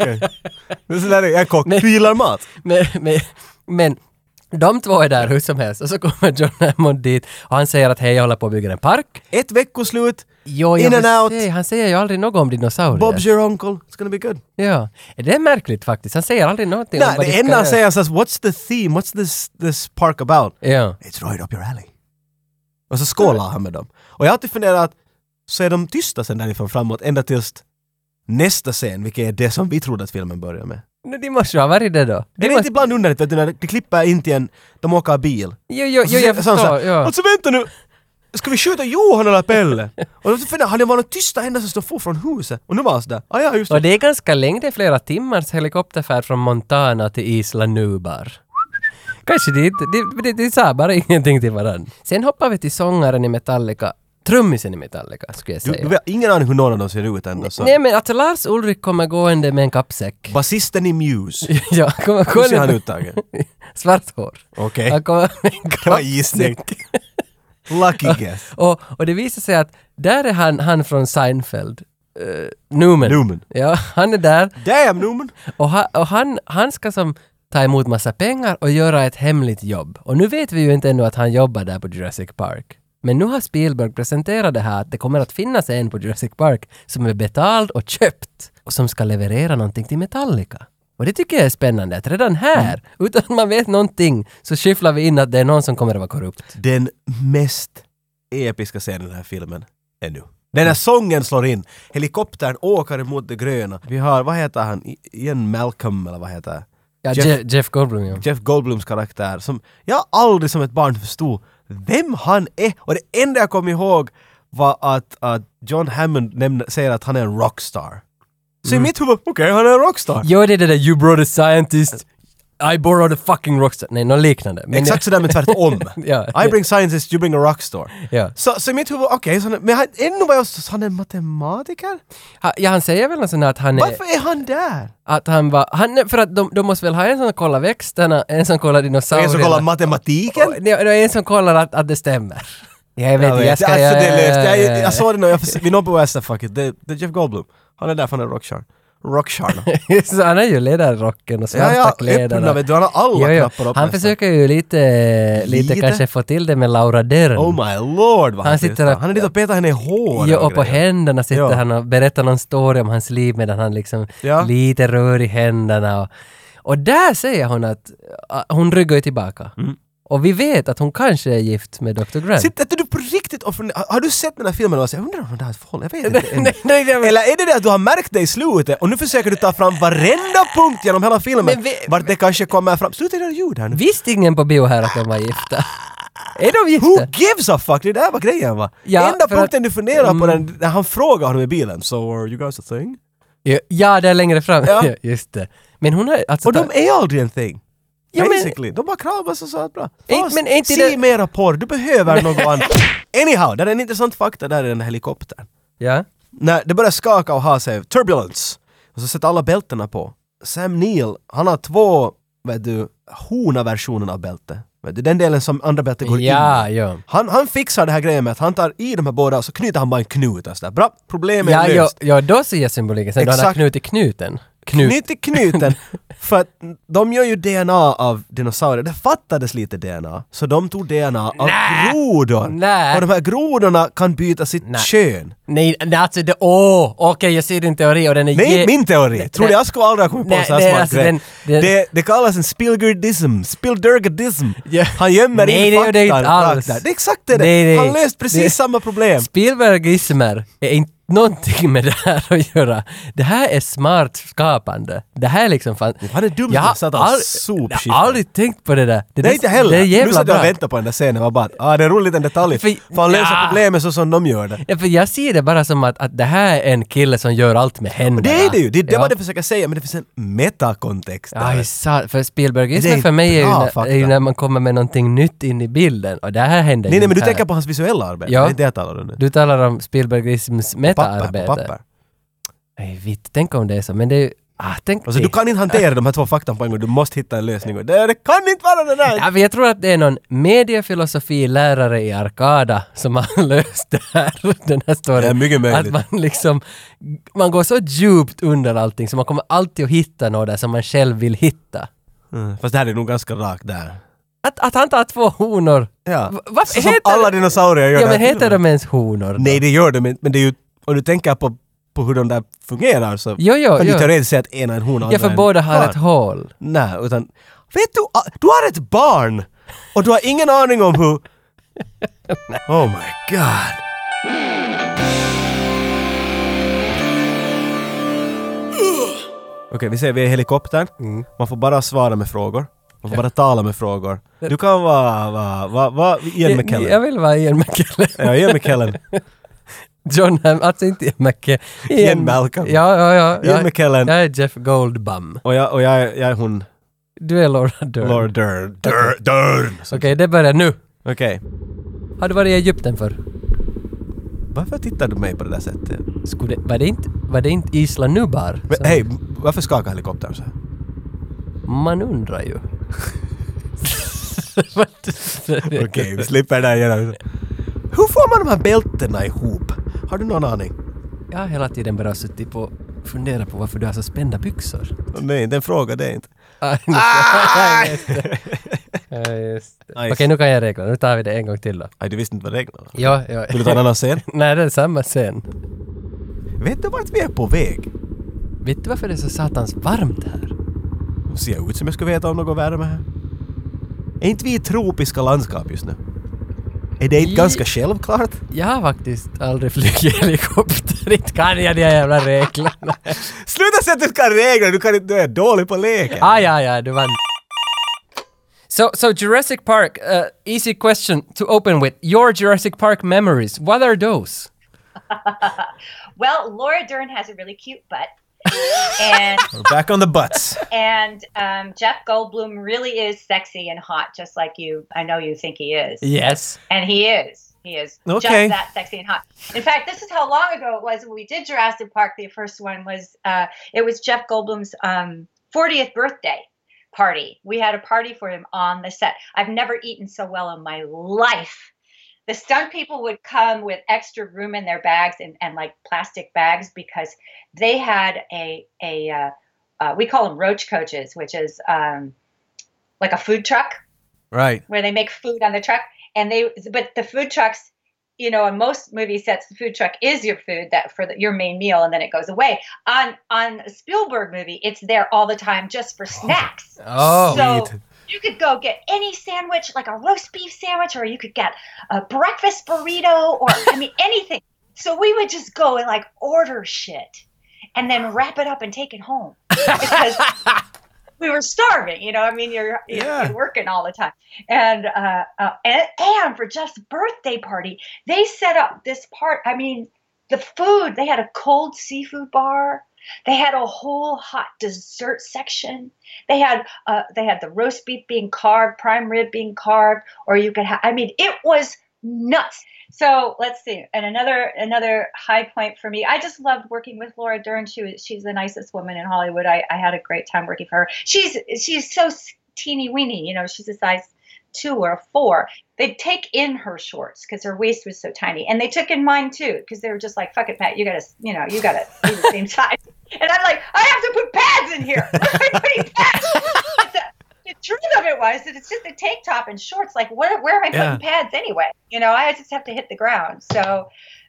Speaker 1: Okay. Sådär är jag är kock. Du gillar mat?
Speaker 2: men, men, men de två är där hur som helst och så kommer John Hammond dit och han säger att hej, jag håller på att bygga en park.
Speaker 1: Ett veckoslut,
Speaker 2: Jo, jag
Speaker 1: In
Speaker 2: vill
Speaker 1: and out.
Speaker 2: säga, han säger ju aldrig något om dinosaurier.
Speaker 1: Bob's your uncle, it's gonna be good.
Speaker 2: Ja. Det är märkligt faktiskt. Han säger aldrig någonting
Speaker 1: Nej,
Speaker 2: vad de
Speaker 1: det
Speaker 2: ska
Speaker 1: enda han
Speaker 2: göra.
Speaker 1: säger är såhär, what's the theme, what's this, this park about?
Speaker 2: Ja.
Speaker 1: It's right up your alley. Och så skålar han med dem. Och jag har alltid funderat, så är de tysta sen därifrån framåt ända tills nästa scen, vilket är det som vi trodde att filmen börjar med.
Speaker 2: Nu, de måste ju ha varit det då.
Speaker 1: Det
Speaker 2: De
Speaker 1: är inte
Speaker 2: måste...
Speaker 1: ibland underligt, vet du, när de klipper in till en, de åker bil.
Speaker 2: Jo, jo,
Speaker 1: Och så
Speaker 2: jo, jag
Speaker 1: säger- sa han
Speaker 2: förstår.
Speaker 1: så här,
Speaker 2: Ja.
Speaker 1: Alltså vänta nu! Ska vi skjuta Johan eller Pelle? och då funderar han, det var den tysta enda som stod få från huset. Och nu var han sådär, ah, ja just
Speaker 2: Och
Speaker 1: det.
Speaker 2: det är ganska länge, det är flera timmars helikopterfärd från Montana till Isla Nubar. Kanske det inte, det, det, det sa bara ingenting till varandra. Sen hoppar vi till sångaren i Metallica, trummisen i Metallica skulle jag
Speaker 1: Du,
Speaker 2: säga.
Speaker 1: du har ingen aning hur någon av dem ser ut ändå. Så.
Speaker 2: Nej men alltså Lars Ulrik kommer gående med en kappsäck.
Speaker 1: Basisten i Muse.
Speaker 2: ja, kommer
Speaker 1: Hur ser han
Speaker 2: gående
Speaker 1: ut Tage?
Speaker 2: med svart hår.
Speaker 1: Okej.
Speaker 2: Han kommer med en
Speaker 1: Det var en gissning.
Speaker 2: kappsäck.
Speaker 1: Lucky guess.
Speaker 2: och, och det visar sig att där är han, han från Seinfeld. eh, Newman.
Speaker 1: Newman.
Speaker 2: Ja, han är där
Speaker 1: Damn Newman!
Speaker 2: och, ha, och han, han ska som ta emot massa pengar och göra ett hemligt jobb. Och nu vet vi ju inte ännu att han jobbar där på Jurassic Park. Men nu har Spielberg presenterat det här att det kommer att finnas en på Jurassic Park som är betald och köpt och som ska leverera någonting till Metallica. Och det tycker jag är spännande att redan här, utan att man vet någonting, så skyfflar vi in att det är någon som kommer att vara korrupt.
Speaker 1: Den mest episka scenen i den här filmen är nu. Den här sången slår in. Helikoptern åker emot det gröna. Vi har, vad heter han, I- Ian Malcolm eller vad heter
Speaker 2: Ja,
Speaker 1: Jeff-
Speaker 2: Jeff, Jeff Goldblum ja.
Speaker 1: Jeff Goldblums karaktär som jag aldrig som ett barn förstod vem han är. Och det enda jag kom ihåg var att, att John Hammond nämnde, säger att han är en rockstar. Så i mitt huvud, okej han är en rockstar.
Speaker 2: Jo, det är det där “You brought a scientist, I borrowed a fucking rockstar”. Nej, något liknande. Men
Speaker 1: Exakt sådär men tvärtom.
Speaker 2: Ja.
Speaker 1: I bring scientist, you bring a rockstar.
Speaker 2: Ja.
Speaker 1: Så, så i mitt huvud, okej, så han är- men han, ännu var jag så, han är matematiker?
Speaker 2: Ha- Ja, han säger väl något sånt här att han är...
Speaker 1: Varför är han där?
Speaker 2: Att han var... Han, för att de, de måste väl ha en som kollar växterna, en som kollar
Speaker 1: Är
Speaker 2: dinosaurierna.
Speaker 1: jag som kollar matematiken?
Speaker 2: Nej, det är en som kollar att, att det stämmer. Jag vet inte,
Speaker 1: vet.
Speaker 2: jag ska...
Speaker 1: alltså, det
Speaker 2: ja,
Speaker 1: är alltså- löst.
Speaker 2: ja, ja,
Speaker 1: Jag,
Speaker 2: ja.
Speaker 1: jag såg det när jag förs- vid någon på West, fuck it. Det, det är Jeff Goldblum. Han är där, för han är rockstar. Rockstar.
Speaker 2: Så han har ju ledarrocken och svarta
Speaker 1: Ja, ja, öppna
Speaker 2: kläderna.
Speaker 1: vet du, han har alla knappar upp
Speaker 2: Han
Speaker 1: nästan.
Speaker 2: försöker ju lite, lite,
Speaker 1: Lite?
Speaker 2: kanske få till det med Laura Dern.
Speaker 1: Oh my lord vad han,
Speaker 2: Han
Speaker 1: sitter
Speaker 2: sitter och-
Speaker 1: Han är lite och petar henne i håret
Speaker 2: Jo, och på
Speaker 1: grejer.
Speaker 2: händerna sitter
Speaker 1: Ja.
Speaker 2: han och berättar någon story om hans liv medan han liksom
Speaker 1: Ja.
Speaker 2: lite rör i händerna. Och, och där säger hon att äh, hon ryggar ju tillbaka.
Speaker 1: Mm.
Speaker 2: Och vi vet att hon kanske är gift med Dr. Grant.
Speaker 1: Sitter inte du på riktigt och funderar? Har du sett den här filmen och säger undrar om hon där har ett förhållande? Jag vet inte. ännu."
Speaker 2: nej, nej, men-
Speaker 1: Eller är det det att du har märkt det i slutet och nu försöker du ta fram varenda punkt genom hela filmen
Speaker 2: Men vi-
Speaker 1: vart det kanske kommer fram? Sluta göra ljud här nu.
Speaker 2: Visste ingen på bio här att de var gifta? är de
Speaker 1: Who
Speaker 2: gifta?
Speaker 1: gives a fuck? Det där var grejen va?
Speaker 2: Ja,
Speaker 1: Enda
Speaker 2: för att- Mm.
Speaker 1: punkten du funderar på den, när han frågar honom i bilen “So are you guys a thing?”
Speaker 2: Ja, där längre fram.
Speaker 1: Ja.
Speaker 2: Ja. Just det. Men hon har alltså...
Speaker 1: Och de är aldrig en thing!
Speaker 2: Ja, men-
Speaker 1: Basically, de bara kramas och sånt bra.
Speaker 2: Ej,
Speaker 1: Fast,
Speaker 2: men är inte
Speaker 1: se
Speaker 2: det-
Speaker 1: mera porr, du behöver något annat. Anyhow, där är en intressant fakta där i den här helikoptern.
Speaker 2: Ja.
Speaker 1: När det börjar skaka och ha sig, turbulence! Och så sätter alla bältena på. Sam Neill, han har två, vet du, hona-versionen av bälte. Vet du, den delen som andra bälten går in i.
Speaker 2: Ja, ja.
Speaker 1: Han, han fixar det här grejen med att han tar i de här båda och så knyter han bara en knut och sådär. Bra, problemet
Speaker 2: Ja,
Speaker 1: är
Speaker 2: ja,
Speaker 1: löst.
Speaker 2: ja, då ser jag symboliken. Sen då han har
Speaker 1: Exakt.
Speaker 2: knutit knuten. Knut.
Speaker 1: Knyt i knuten. För att de gör ju DNA av dinosaurier. Det fattades lite DNA. Så de tog DNA av grodor.
Speaker 2: Nä.
Speaker 1: Och de här grodorna kan byta sitt
Speaker 2: Nä.
Speaker 1: kön.
Speaker 2: Nej, nej, alltså det... Åh! Okej, jag ser din teori och den är...
Speaker 1: Nej,
Speaker 2: ge-
Speaker 1: min teori! Tror du
Speaker 2: nej.
Speaker 1: jag skulle aldrig ha kommit på
Speaker 2: Nej,
Speaker 1: en sån här
Speaker 2: nej,
Speaker 1: smart
Speaker 2: alltså
Speaker 1: grej?
Speaker 2: den- den-
Speaker 1: det, det kallas en spillgurdism, spilldurgadism.
Speaker 2: Ja.
Speaker 1: Han gömmer
Speaker 2: Nej,
Speaker 1: in
Speaker 2: det gör det inte
Speaker 1: faktan rakt
Speaker 2: alls.
Speaker 1: där. Det är exakt det.
Speaker 2: Nej, nej.
Speaker 1: Han löst precis
Speaker 2: Det-
Speaker 1: samma problem.
Speaker 2: Spielbergismer är inte någonting med det här att göra. Det här är smart skapande. Det här är liksom fan...
Speaker 1: Han är dum
Speaker 2: Jag
Speaker 1: som
Speaker 2: har
Speaker 1: satt och
Speaker 2: aldrig-
Speaker 1: sopskiftar.
Speaker 2: jag har aldrig tänkt på det där. Det,
Speaker 1: Nej
Speaker 2: där-
Speaker 1: inte heller!
Speaker 2: Det är
Speaker 1: nu
Speaker 2: jävla
Speaker 1: satt jag
Speaker 2: bra.
Speaker 1: och väntade på den där scenen och bara ah, det är roligt en detalj.
Speaker 2: För-
Speaker 1: För han löser
Speaker 2: Ja.
Speaker 1: problemen så som de gör det.
Speaker 2: Ja, för jag ser det bara som att, att det här är en kille som gör allt med händerna.
Speaker 1: Det är det ju! Det är det
Speaker 2: Ja.
Speaker 1: vad jag försöker säga, men det finns en metakontext där.
Speaker 2: Aj, sa, för
Speaker 1: Det
Speaker 2: Spielbergismen
Speaker 1: är
Speaker 2: för mig är ju,
Speaker 1: bra
Speaker 2: när,
Speaker 1: fakta.
Speaker 2: är ju när man kommer med någonting nytt in i bilden och det här händer
Speaker 1: nej,
Speaker 2: ju
Speaker 1: nej, men du
Speaker 2: inte här.
Speaker 1: tänker på hans visuella arbete.
Speaker 2: Ja.
Speaker 1: Det är det jag talar om nu.
Speaker 2: Du talar om Spielbergisms
Speaker 1: papper, på
Speaker 2: metaarbete.
Speaker 1: papper.
Speaker 2: Nej, vitt. Tänk om det är så, men det är ju... Ah, tänk
Speaker 1: Alltså,
Speaker 2: dig.
Speaker 1: du kan inte hantera de här två faktan på en gång, du måste hitta en lösning. Och Det, det kan inte vara det där!
Speaker 2: Ja, men jag tror att det är någon mediefilosofilärare i Arkada som har löst det här, den här storyn.
Speaker 1: Det är mycket möjligt.
Speaker 2: Att man liksom, man går så djupt under allting så man kommer alltid att hitta något där som man själv vill hitta.
Speaker 1: Mm, fast det här är nog ganska rakt där.
Speaker 2: Att, att han tar två honor.
Speaker 1: Ja.
Speaker 2: Va- varför
Speaker 1: Så som
Speaker 2: heter-
Speaker 1: alla dinosaurier gör
Speaker 2: Ja,
Speaker 1: det
Speaker 2: men
Speaker 1: här
Speaker 2: heter
Speaker 1: filmen.
Speaker 2: de ens honor? då?
Speaker 1: Nej, det gör de inte, men det är ju... Om du tänker på, på hur de där fungerar så
Speaker 2: Jo, jo,
Speaker 1: kan
Speaker 2: jo.
Speaker 1: du teoretiskt säga att ena är en hona och
Speaker 2: Ja, för
Speaker 1: andra är en
Speaker 2: båda har
Speaker 1: karl.
Speaker 2: ett hål.
Speaker 1: Nej, utan... Vet du, ah, du har ett barn! Och du har ingen aning om hur... Oh my god! Okej, vi säger vi är i helikoptern. Man får bara svara med frågor. Man får bara tala med frågor. Du kan vara... vara vara vara Ian
Speaker 2: Jag, Eh, jag
Speaker 1: McKellen.
Speaker 2: vill vara Ian McKellen.
Speaker 1: Ja, Ian McKellen.
Speaker 2: John Ham, alltså inte Ian McKellen.
Speaker 1: Ian Malcolm.
Speaker 2: Ja, ja, ja.
Speaker 1: Ian
Speaker 2: Jag-
Speaker 1: McKellen.
Speaker 2: Jag är Jeff Goldblum.
Speaker 1: Och jag, och jag, är- jag är hon...
Speaker 2: Du är Laura Dern.
Speaker 1: Laura Dern. Dern. Dern.
Speaker 2: Okej, det börjar nu.
Speaker 1: Okej.
Speaker 2: Har du varit i Egypten för?
Speaker 1: Varför tittar du på mig på det där sättet?
Speaker 2: Skulle, var, det inte, var det inte Isla Nubar?
Speaker 1: Men
Speaker 2: som-
Speaker 1: hej, varför skakar helikoptern så här?
Speaker 2: Man undrar ju.
Speaker 1: Okej, vi slipper där igen. Hur får man de här bältena ihop? Har du någon aning?
Speaker 2: Jag har hela tiden bara suttit på funderat på varför du har så spända byxor.
Speaker 1: Nej, den frågan det är inte.
Speaker 2: Ah, ah! just det. Ja, just det. Okej,
Speaker 1: Nice.
Speaker 2: nu kan jag räkna. Nu tar vi det en gång till då.
Speaker 1: Aj, du visste inte vad det regnade.
Speaker 2: Ja, ja.
Speaker 1: Vill du ta en annan scen?
Speaker 2: Nej, det är samma scen.
Speaker 1: Vet du vart vi är på väg?
Speaker 2: Vet du varför det är så satans varmt här?
Speaker 1: Det ser jag ut som jag skulle veta om något värme här? Är inte vi i tropiska landskap just nu? Är det inte
Speaker 2: I-
Speaker 1: ganska självklart?
Speaker 2: Jag har faktiskt aldrig flugit helikopter. Inte kan jag de här jävla reglerna.
Speaker 1: Sluta säga att du kan regler, du, kan, inte- du är dålig på leken!
Speaker 2: Ah, ja, ja, du vann. So, so Jurassic Park, uh, easy question to open with. Your Jurassic Park memories, what are those?
Speaker 3: Well, Laura Dern has a really cute butt. and
Speaker 1: We're Back on the butts.
Speaker 3: and um, Jeff Goldblum really is sexy and hot, just like you. I know you think he is.
Speaker 2: Yes.
Speaker 3: And he is. He is
Speaker 1: Okay.
Speaker 3: just that sexy and hot. In fact, this is how long ago it was when we did Jurassic Park. The first one was uh, it was Jeff Goldblum's um, 40th birthday party. We had a party for him on the set. I've never eaten so well in my life. The stunt people would come with extra room in their bags and, and like plastic bags because they had a a uh, uh, we call them roach coaches, which is um, like a food truck
Speaker 1: Right.
Speaker 3: where they make food on the truck and they but the food trucks you know in most movie sets the food truck is your food that for the, your main meal and then it goes away on on a spielberg movie it's there all the time just for snacks
Speaker 2: Oh.
Speaker 3: so
Speaker 1: Sweet.
Speaker 3: you could go get any sandwich like a roast beef sandwich or you could get a breakfast burrito or i mean anything so we would just go and like order shit and then wrap it up and take it home because we were starving. You know, I mean, you're you're,
Speaker 1: Yeah.
Speaker 3: you're working all the time, and, uh, uh, and and for Jeff's birthday party, they set up this part. I mean, the food they had a cold seafood bar. They had a whole hot dessert section. They had uh, they had the roast beef being carved, prime rib being carved, or you could have. I mean, it was nuts. So let's see. And another another high point for me. I just loved working with Laura Dern. She was she's the nicest woman in Hollywood. I, I had a great time working for her. She's she's so teeny weeny. You know, she's a size two or a four. They'd take in her shorts because her waist was so tiny, and they took in mine too because they were just like, "Fuck it, Pat. You gotta you know you gotta be the same size." And I'm like, I have to put pads in here. I'm putting pads. But the, the truth of it was that it's just a tank top and shorts. Like, where, where am I
Speaker 1: Yeah.
Speaker 3: putting pads anyway? You know, I just have to hit the ground. So,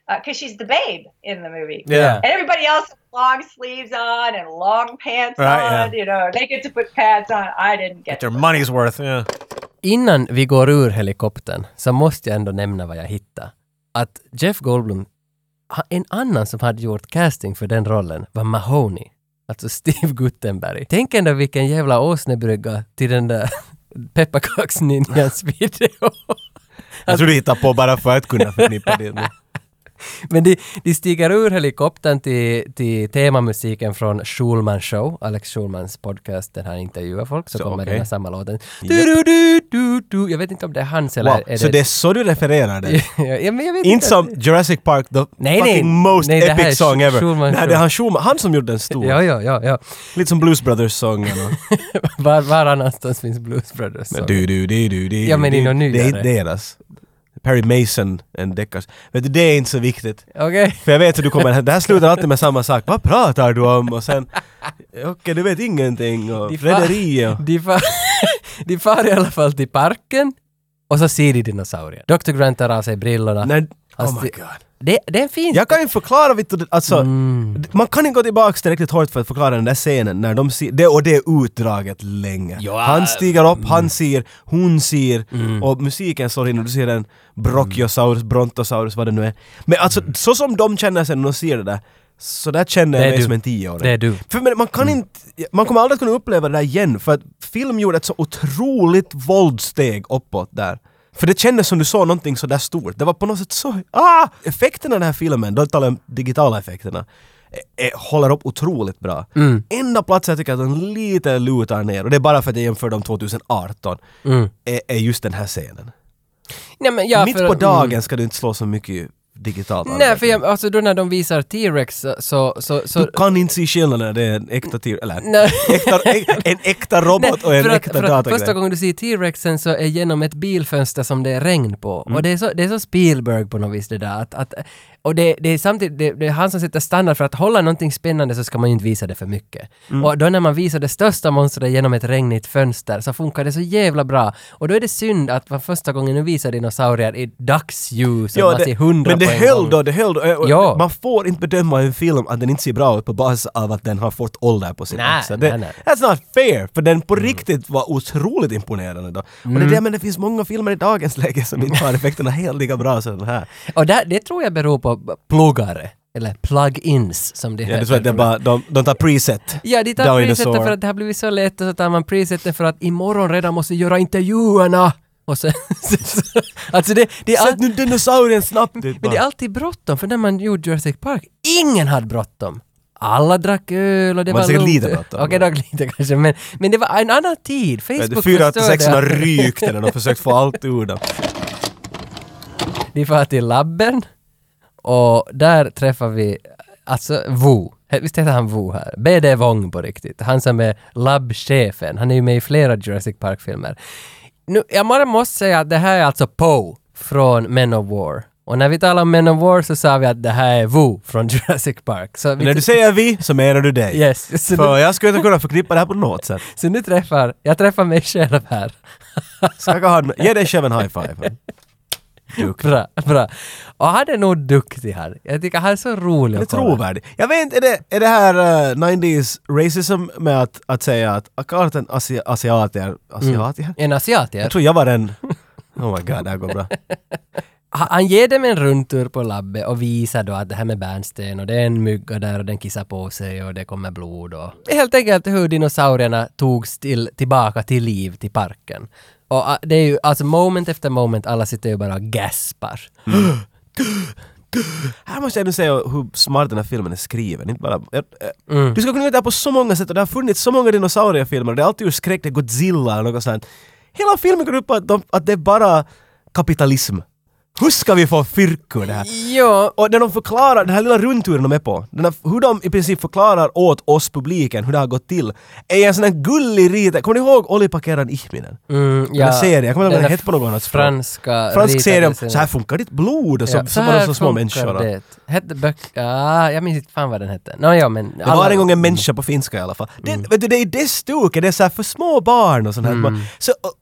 Speaker 3: because she's the babe in the movie.
Speaker 1: Yeah.
Speaker 3: And everybody else has long sleeves on and long pants
Speaker 1: Right, yeah.
Speaker 3: on, you know, they get to put pads on. I didn't get
Speaker 1: Get your money's worth. Yeah.
Speaker 2: Innan vi går ur helikoptern så måste jag ändå nämna vad jag hittade. Att Jeff Goldblum, ha- en annan som hade gjort casting för den rollen var Mahoney. Alltså Steve Guttenberg. Tänk ändå vilken jävla åsnebrygga till den där pepparkaksninjans video.
Speaker 1: Jag tror du hittar på bara för att kunna förknippa det. med-
Speaker 2: Men de, de stiger ur helikoptern till, till temamusiken från Schulman Show, Alex Schulmans podcast där han intervjuar folk, så,
Speaker 1: Så,
Speaker 2: kommer
Speaker 1: okej.
Speaker 2: den här samma låten. Du, du, du, du, du. Jag vet inte om det är hans eller
Speaker 1: Wow.
Speaker 2: är
Speaker 1: Så det är så du refererar det?
Speaker 2: ja, men jag vet
Speaker 1: Inte som Jurassic Park, the
Speaker 2: Nej,
Speaker 1: fucking
Speaker 2: nej.
Speaker 1: most
Speaker 2: Nej, det här är
Speaker 1: epic song
Speaker 2: Sch-
Speaker 1: ever.
Speaker 2: Schulman
Speaker 1: nej,
Speaker 2: Show.
Speaker 1: det är han Schulman. Han som gjorde den stor.
Speaker 2: Ja, ja, ja. ja.
Speaker 1: Lite som Blues Brothers-sången. och-
Speaker 2: Var, var annanstans finns Blues Brothers? Så.
Speaker 1: Du, du, du, du, du,
Speaker 2: Ja, men
Speaker 1: du,
Speaker 2: i någon
Speaker 1: du. Det är inte
Speaker 2: nyare.
Speaker 1: deras. Perry Mason, en deckars. Vet du, det är inte så viktigt.
Speaker 2: Okej.
Speaker 1: För jag vet hur du kommer, det här slutar alltid med samma sak. Vad pratar du om? Och sen, okej du vet ingenting och
Speaker 2: De fa-
Speaker 1: rederier.
Speaker 2: De, far, de far i alla fall till parken och så ser de dinosaurier. Dr. Grant tar av sig brillorna.
Speaker 1: Nej,
Speaker 2: Alltså,
Speaker 1: oh my god.
Speaker 2: Det, det är en fin...
Speaker 1: Jag kan ju förklara, vet du, alltså,
Speaker 2: Mm.
Speaker 1: man kan inte gå tillbaka tillräckligt hårt för att förklara den där scenen när de ser, det, och det är utdraget länge.
Speaker 2: Ja. mm.
Speaker 1: Han stiger upp, han ser, hon ser och musiken slår in och du ser en
Speaker 2: Mm.
Speaker 1: Brachiosaurus, Brontosaurus, vad det nu är. Men alltså så som de känner sig när de ser det där, så där känner
Speaker 2: Det
Speaker 1: jag
Speaker 2: är
Speaker 1: mig
Speaker 2: du.
Speaker 1: som en tioåring.
Speaker 2: Det är du.
Speaker 1: För men, man kan inte, man kommer aldrig att kunna uppleva det där igen för att film gjorde ett så otroligt våldsteg uppåt där. För det kändes som du såg någonting så där stort. Det var på något sätt så... Ah! Effekterna i den här filmen, då talar jag om digitala effekterna, eh, eh, håller upp otroligt bra. Enda platsen jag tycker att den lite lutar ner, och det är bara för att jag jämför dem 2018, är, är just den här scenen.
Speaker 2: Nej, men ja,
Speaker 1: Mitt
Speaker 2: för-
Speaker 1: på dagen ska du inte slå så mycket digitalt.
Speaker 2: Mm. Nej, för jag, alltså då när de visar T-Rex så... så, så, så
Speaker 1: Du kan inte se skillnaden, det är en äkta tir... Eller
Speaker 2: Nej.
Speaker 1: äkta, äk- en äkta
Speaker 2: Nej,
Speaker 1: robot och en
Speaker 2: för att,
Speaker 1: äkta
Speaker 2: för att första
Speaker 1: datagrej.
Speaker 2: gången du ser T-Rexen så
Speaker 1: Mm.
Speaker 2: är genom ett bilfönster som det är regn på. Och det är, så, det är så Spielberg på något vis det där att, att Och det, det är samtidigt, det, det är han som sätter standard för att hålla någonting spännande så ska man ju inte visa det för mycket.
Speaker 1: Mm.
Speaker 2: Och då när man visar det största monstret genom ett regnigt fönster så funkar det så jävla bra. Och då är det synd att man första gången nu visar dinosaurier i dagsljus och
Speaker 1: Ja,
Speaker 2: man
Speaker 1: det-
Speaker 2: ser hundra
Speaker 1: men det
Speaker 2: på en
Speaker 1: höll
Speaker 2: gång.
Speaker 1: då, det höll då. Eh, och
Speaker 2: Ja.
Speaker 1: Man får inte bedöma en film att den inte ser bra ut på basis av att den har fått ålder på sin
Speaker 2: Nej,
Speaker 1: axel. Det,
Speaker 2: nej, nej. Mm.
Speaker 1: That's not fair, för den på riktigt var otroligt imponerande då. Och det är det, men det finns många filmer i dagens läge som inte
Speaker 2: Mm.
Speaker 1: har effekterna helt lika bra som den här.
Speaker 2: Och där, det tror jag beror på pluggare. Eller plug-ins som det
Speaker 1: Ja, du tror att det är bara, de, de tar preset.
Speaker 2: Ja, de tar
Speaker 1: Dinosaur.
Speaker 2: preseten för att det har blivit så lätt och så tar man preseten för att imorgon redan måste göra intervjuerna. Och så, alltså det, det är
Speaker 1: Sätt
Speaker 2: all,
Speaker 1: nu dinosaurien snabbt ut
Speaker 2: men det är
Speaker 1: bara.
Speaker 2: alltid bråttom, för när man gjorde Jurassic Park, ingen hade bråttom. Alla drack öl och det
Speaker 1: Man
Speaker 2: var
Speaker 1: säkert
Speaker 2: lugnt.
Speaker 1: lite bråttom.
Speaker 2: Okej, dock lite kanske, men, men det var en annan tid.
Speaker 1: Ja,
Speaker 2: Facebook
Speaker 1: Fyra till
Speaker 2: förstörde
Speaker 1: sexorna
Speaker 2: allt.
Speaker 1: rykt eller de har försökt få allt ur dem.
Speaker 2: Vi far till labben och där träffar vi alltså Wu. Visst heter han Wu här? BD Wong på riktigt. Han som är labbchefen. Han är ju med i flera Jurassic Park-filmer. Nu, jag bara måste säga att det här är alltså Poe från Men of War. Och när vi talar om Men of War så sa vi att det här är Wu från Jurassic Park. Så vi
Speaker 1: Men när du säger vi så menar du dig.
Speaker 2: Yes. Så
Speaker 1: För
Speaker 2: nu,
Speaker 1: jag skulle inte kunna förknippa det här på något sätt.
Speaker 2: så nu träffar... Jag träffar mig själv här.
Speaker 1: Skaka hand, ge dig själv en high five. Duk.
Speaker 2: Bra, bra. Och han är nog duktig här. Jag tycker han är så rolig
Speaker 1: Det är
Speaker 2: att kolla.
Speaker 1: trovärdigt. Jag vet inte, är det, är det här eh, 90s racism med att, att säga att Akarten asi, asiater, asiatier?
Speaker 2: En asiat, ja.
Speaker 1: Jag tror jag var den... Oh my god, det här går bra.
Speaker 2: Ha- han ger dem en rundtur på labbet och visar då att det här med bärnsten och det är en mygga där och den kissar på sig och det kommer blod och... Helt enkelt hur dinosaurierna togs till, tillbaka till liv till parken. Och ah, det är ju alltså moment efter moment, alla sitter ju bara och gaspar.
Speaker 1: Mm. Här måste jag nu säga hur smart den här filmen är skriven. Inte bara, jag, eh,
Speaker 2: Mm.
Speaker 1: Du ska kunna göra det här på så många sätt och det har funnits så många dinosauriefilmer. Det är alltid ur skräck, det är Godzilla eller något sånt. Hela filmen går ut på att, de, att det är bara kapitalism. Hur ska vi få fyrk ur det här?
Speaker 2: Ja,
Speaker 1: Och när de förklarar, den här lilla rundturen de är på, den här, hur de i princip förklarar åt oss publiken hur det har gått till, är en sån här gullig rita. Kommer ni ihåg Olli Pakeran Ihminen?
Speaker 2: mm, ja.
Speaker 1: Den här serien, jag kommer inte ihåg vad den hette på något annat språk.
Speaker 2: Franska...
Speaker 1: Fransk
Speaker 2: ritade
Speaker 1: serie om
Speaker 2: serien.
Speaker 1: så här funkar ditt blod och så,
Speaker 2: Ja,
Speaker 1: så var de
Speaker 2: här
Speaker 1: så små
Speaker 2: funkar
Speaker 1: människor. Det.
Speaker 2: det. Hette böcker... Ah, jag minns inte fan vad den hette. Nå, ja, men...
Speaker 1: det var en gång en människa på finska i alla fall. Det,
Speaker 2: Mm.
Speaker 1: vet du, det är det stuket, det är så här för små barn och sånt här. Så, och,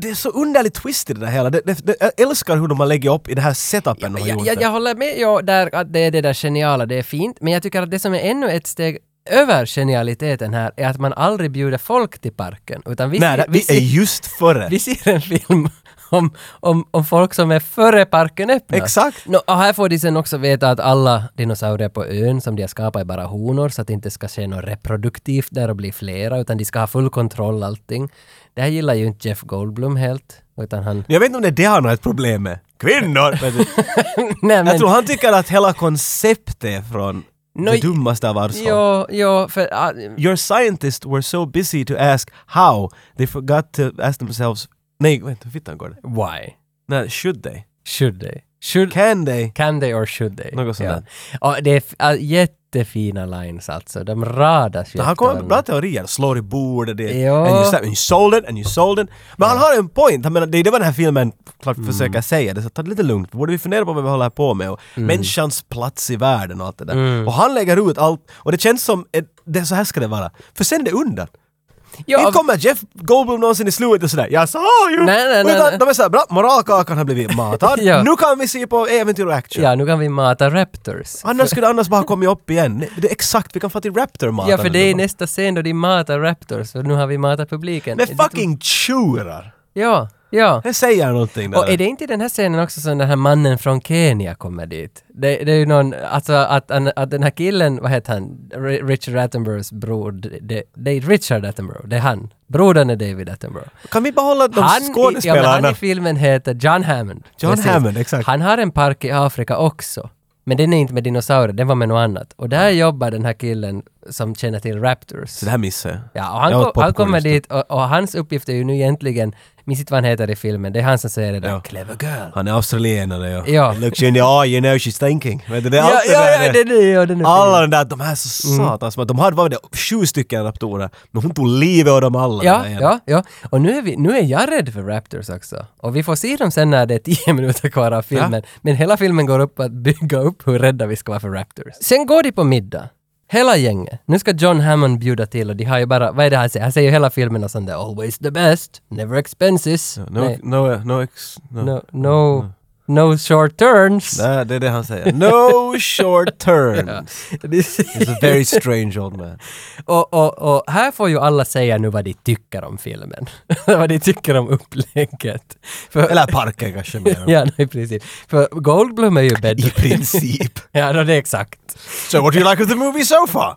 Speaker 1: det är så underligt twist i det där hela. Det, det, det, jag älskar hur de har lagt upp i den här setupen de har gjort.
Speaker 2: jag, jag,
Speaker 1: det.
Speaker 2: jag håller med ja, där, att det är det där geniala, det är fint, men jag tycker att det som är ännu ett steg över genialiteten här är att man aldrig bjuder folk till parken. Utan vi,
Speaker 1: Nej,
Speaker 2: ser,
Speaker 1: det,
Speaker 2: vi,
Speaker 1: vi är
Speaker 2: ser,
Speaker 1: just före.
Speaker 2: vi ser en film om, om, om folk som är före parken öppnas.
Speaker 1: Exakt.
Speaker 2: Nå, och här får de sen också veta att alla dinosaurier på ön som de har skapat är bara honor så att det inte ska ske något reproduktivt där och bli flera utan de ska ha full kontroll allting. Det här gillar ju inte Jeff Goldblum helt utan han...
Speaker 1: Jag vet inte om det är det han har ett problem med. Kvinnor! Vet du.
Speaker 2: Nej, men-
Speaker 1: Jag tror han tycker att hela konceptet är från
Speaker 2: Nå,
Speaker 1: det dummaste av arvsfall.
Speaker 2: Ja, ja, för... ah,
Speaker 1: Your scientists were so busy to ask how they forgot to ask themselves Nej, vänta, hur fittan går det?
Speaker 2: why?
Speaker 1: Nej, should they?
Speaker 2: Should they? Should,
Speaker 1: Can they?
Speaker 2: can they or should they?
Speaker 1: Något sånt där.
Speaker 2: Och det är f- ah, jättefina lines alltså. De radas ju
Speaker 1: Han
Speaker 2: efter
Speaker 1: kommer med
Speaker 2: varandra.
Speaker 1: bra teorier. Slår i bordet, det är...
Speaker 2: Ja.
Speaker 1: And you, sa- and you sold it, and you sold it. Men han har en point. Han menar, det är det vad den här filmen klart
Speaker 2: Mm.
Speaker 1: försöker säga. Det är så, ta det lite lugnt. Borde vi fundera på vad vi håller på med? Och
Speaker 2: Mm.
Speaker 1: människans plats i världen och allt det där. Och han lägger ut allt. Och det känns som... Ett, det, så här ska det vara. För sen är det undan.
Speaker 2: Ja,
Speaker 1: Inte kommer Jeff Goldblum någonsin i slutet och sådär ”Jag sa ju!”
Speaker 2: Nej, nej, nej,
Speaker 1: Utan
Speaker 2: nej.
Speaker 1: de är såhär ”Bra, moralkakan har blivit matad.
Speaker 2: Ja.
Speaker 1: Nu kan vi se på äventyr och action.”
Speaker 2: ja, nu kan vi mata Raptors.
Speaker 1: Annars skulle det annars bara kommit upp igen. Nej, Det är exakt, vi kan få till Raptor-matan.
Speaker 2: Ja, för det är nästa scen då de matar Raptors, för nu har vi matat publiken.
Speaker 1: Med fucking tjurar!
Speaker 2: Ja, ja.
Speaker 1: Det säger någonting där.
Speaker 2: Och är det inte i den här scenen också som den här mannen från Kenya kommer dit? Det, det är ju någon, alltså att, att, att den här killen, vad heter han, Ri- Richard Attenboroughs bror, det, det, det är Richard Attenborough, det är han. Brodern är David Attenborough.
Speaker 1: Kan vi behålla de
Speaker 2: han, i- ja, men
Speaker 1: skådespelarna?
Speaker 2: han i filmen heter John Hammond.
Speaker 1: John Hammond, exakt.
Speaker 2: Han har en park i Afrika också. Men den är inte med dinosaurier, den var med något annat. Och där jobbar den här killen som känner till Raptors.
Speaker 1: Mm. Så det här missar jag.
Speaker 2: Ja, och han,
Speaker 1: Jag åt
Speaker 2: kom, han
Speaker 1: popcorn
Speaker 2: kommer
Speaker 1: just nu.
Speaker 2: dit och, och hans uppgift är ju nu egentligen, minns inte vad han heter i filmen, det är han som säger det där
Speaker 1: Ja.
Speaker 2: ”Clever girl”.
Speaker 1: Han är australienare ja.
Speaker 2: Ja.
Speaker 1: Looks you in the eye, you know she's thinking. Men det är
Speaker 2: Ja,
Speaker 1: allt det
Speaker 2: ja,
Speaker 1: där
Speaker 2: ja,
Speaker 1: är-
Speaker 2: den är ju... den är
Speaker 1: Alla
Speaker 2: fin.
Speaker 1: de där, de här är så satans mm. De hade, vad var det, sju stycken raptorer. Men hon tog livet av dem alla.
Speaker 2: Ja,
Speaker 1: där igen.
Speaker 2: ja, ja. Och nu är, vi, nu är jag rädd för Raptors också. Och vi får se dem sen när det är tio minuter kvar av filmen. Men hela filmen går upp att bygga upp hur rädda vi ska vara för Raptors. Sen går de på middag. Hela gänget. Nu ska John Hammond bjuda till och de har ju bara, vad är det han säger? Han säger ju hela filmen och sånt där “Always the best, never expenses”.
Speaker 1: No,
Speaker 2: Nej.
Speaker 1: no, no, ex, no.
Speaker 2: no, no, no short turns.
Speaker 1: Nej, det är det han säger. No short turns. He's a very strange old man.
Speaker 2: och, och, och här får ju alla säga nu vad de tycker om filmen. vad de tycker om upplägget. För,
Speaker 1: Eller parken kanske mer.
Speaker 2: ja, i princip. För Goldblum är ju
Speaker 1: I
Speaker 2: bedrövlig.
Speaker 1: princip.
Speaker 2: ja, no, det är exakt.
Speaker 1: So what do you like of the movie so far?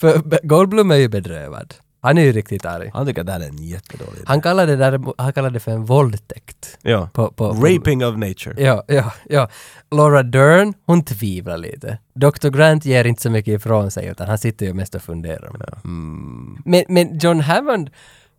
Speaker 2: För B- Goldblum är ju bedrövad. Han är ju riktigt arg.
Speaker 1: Han tycker att det här är en jättedålig idé.
Speaker 2: Han kallar det, där, han kallar det för en våldtäkt.
Speaker 1: Ja.
Speaker 2: På- på-
Speaker 1: Raping of nature.
Speaker 2: Ja, ja, ja. Laura Dern, hon tvivlar lite. Dr. Grant ger inte så mycket ifrån sig utan han sitter ju mest och funderar. Mm. Men, men John Hammond,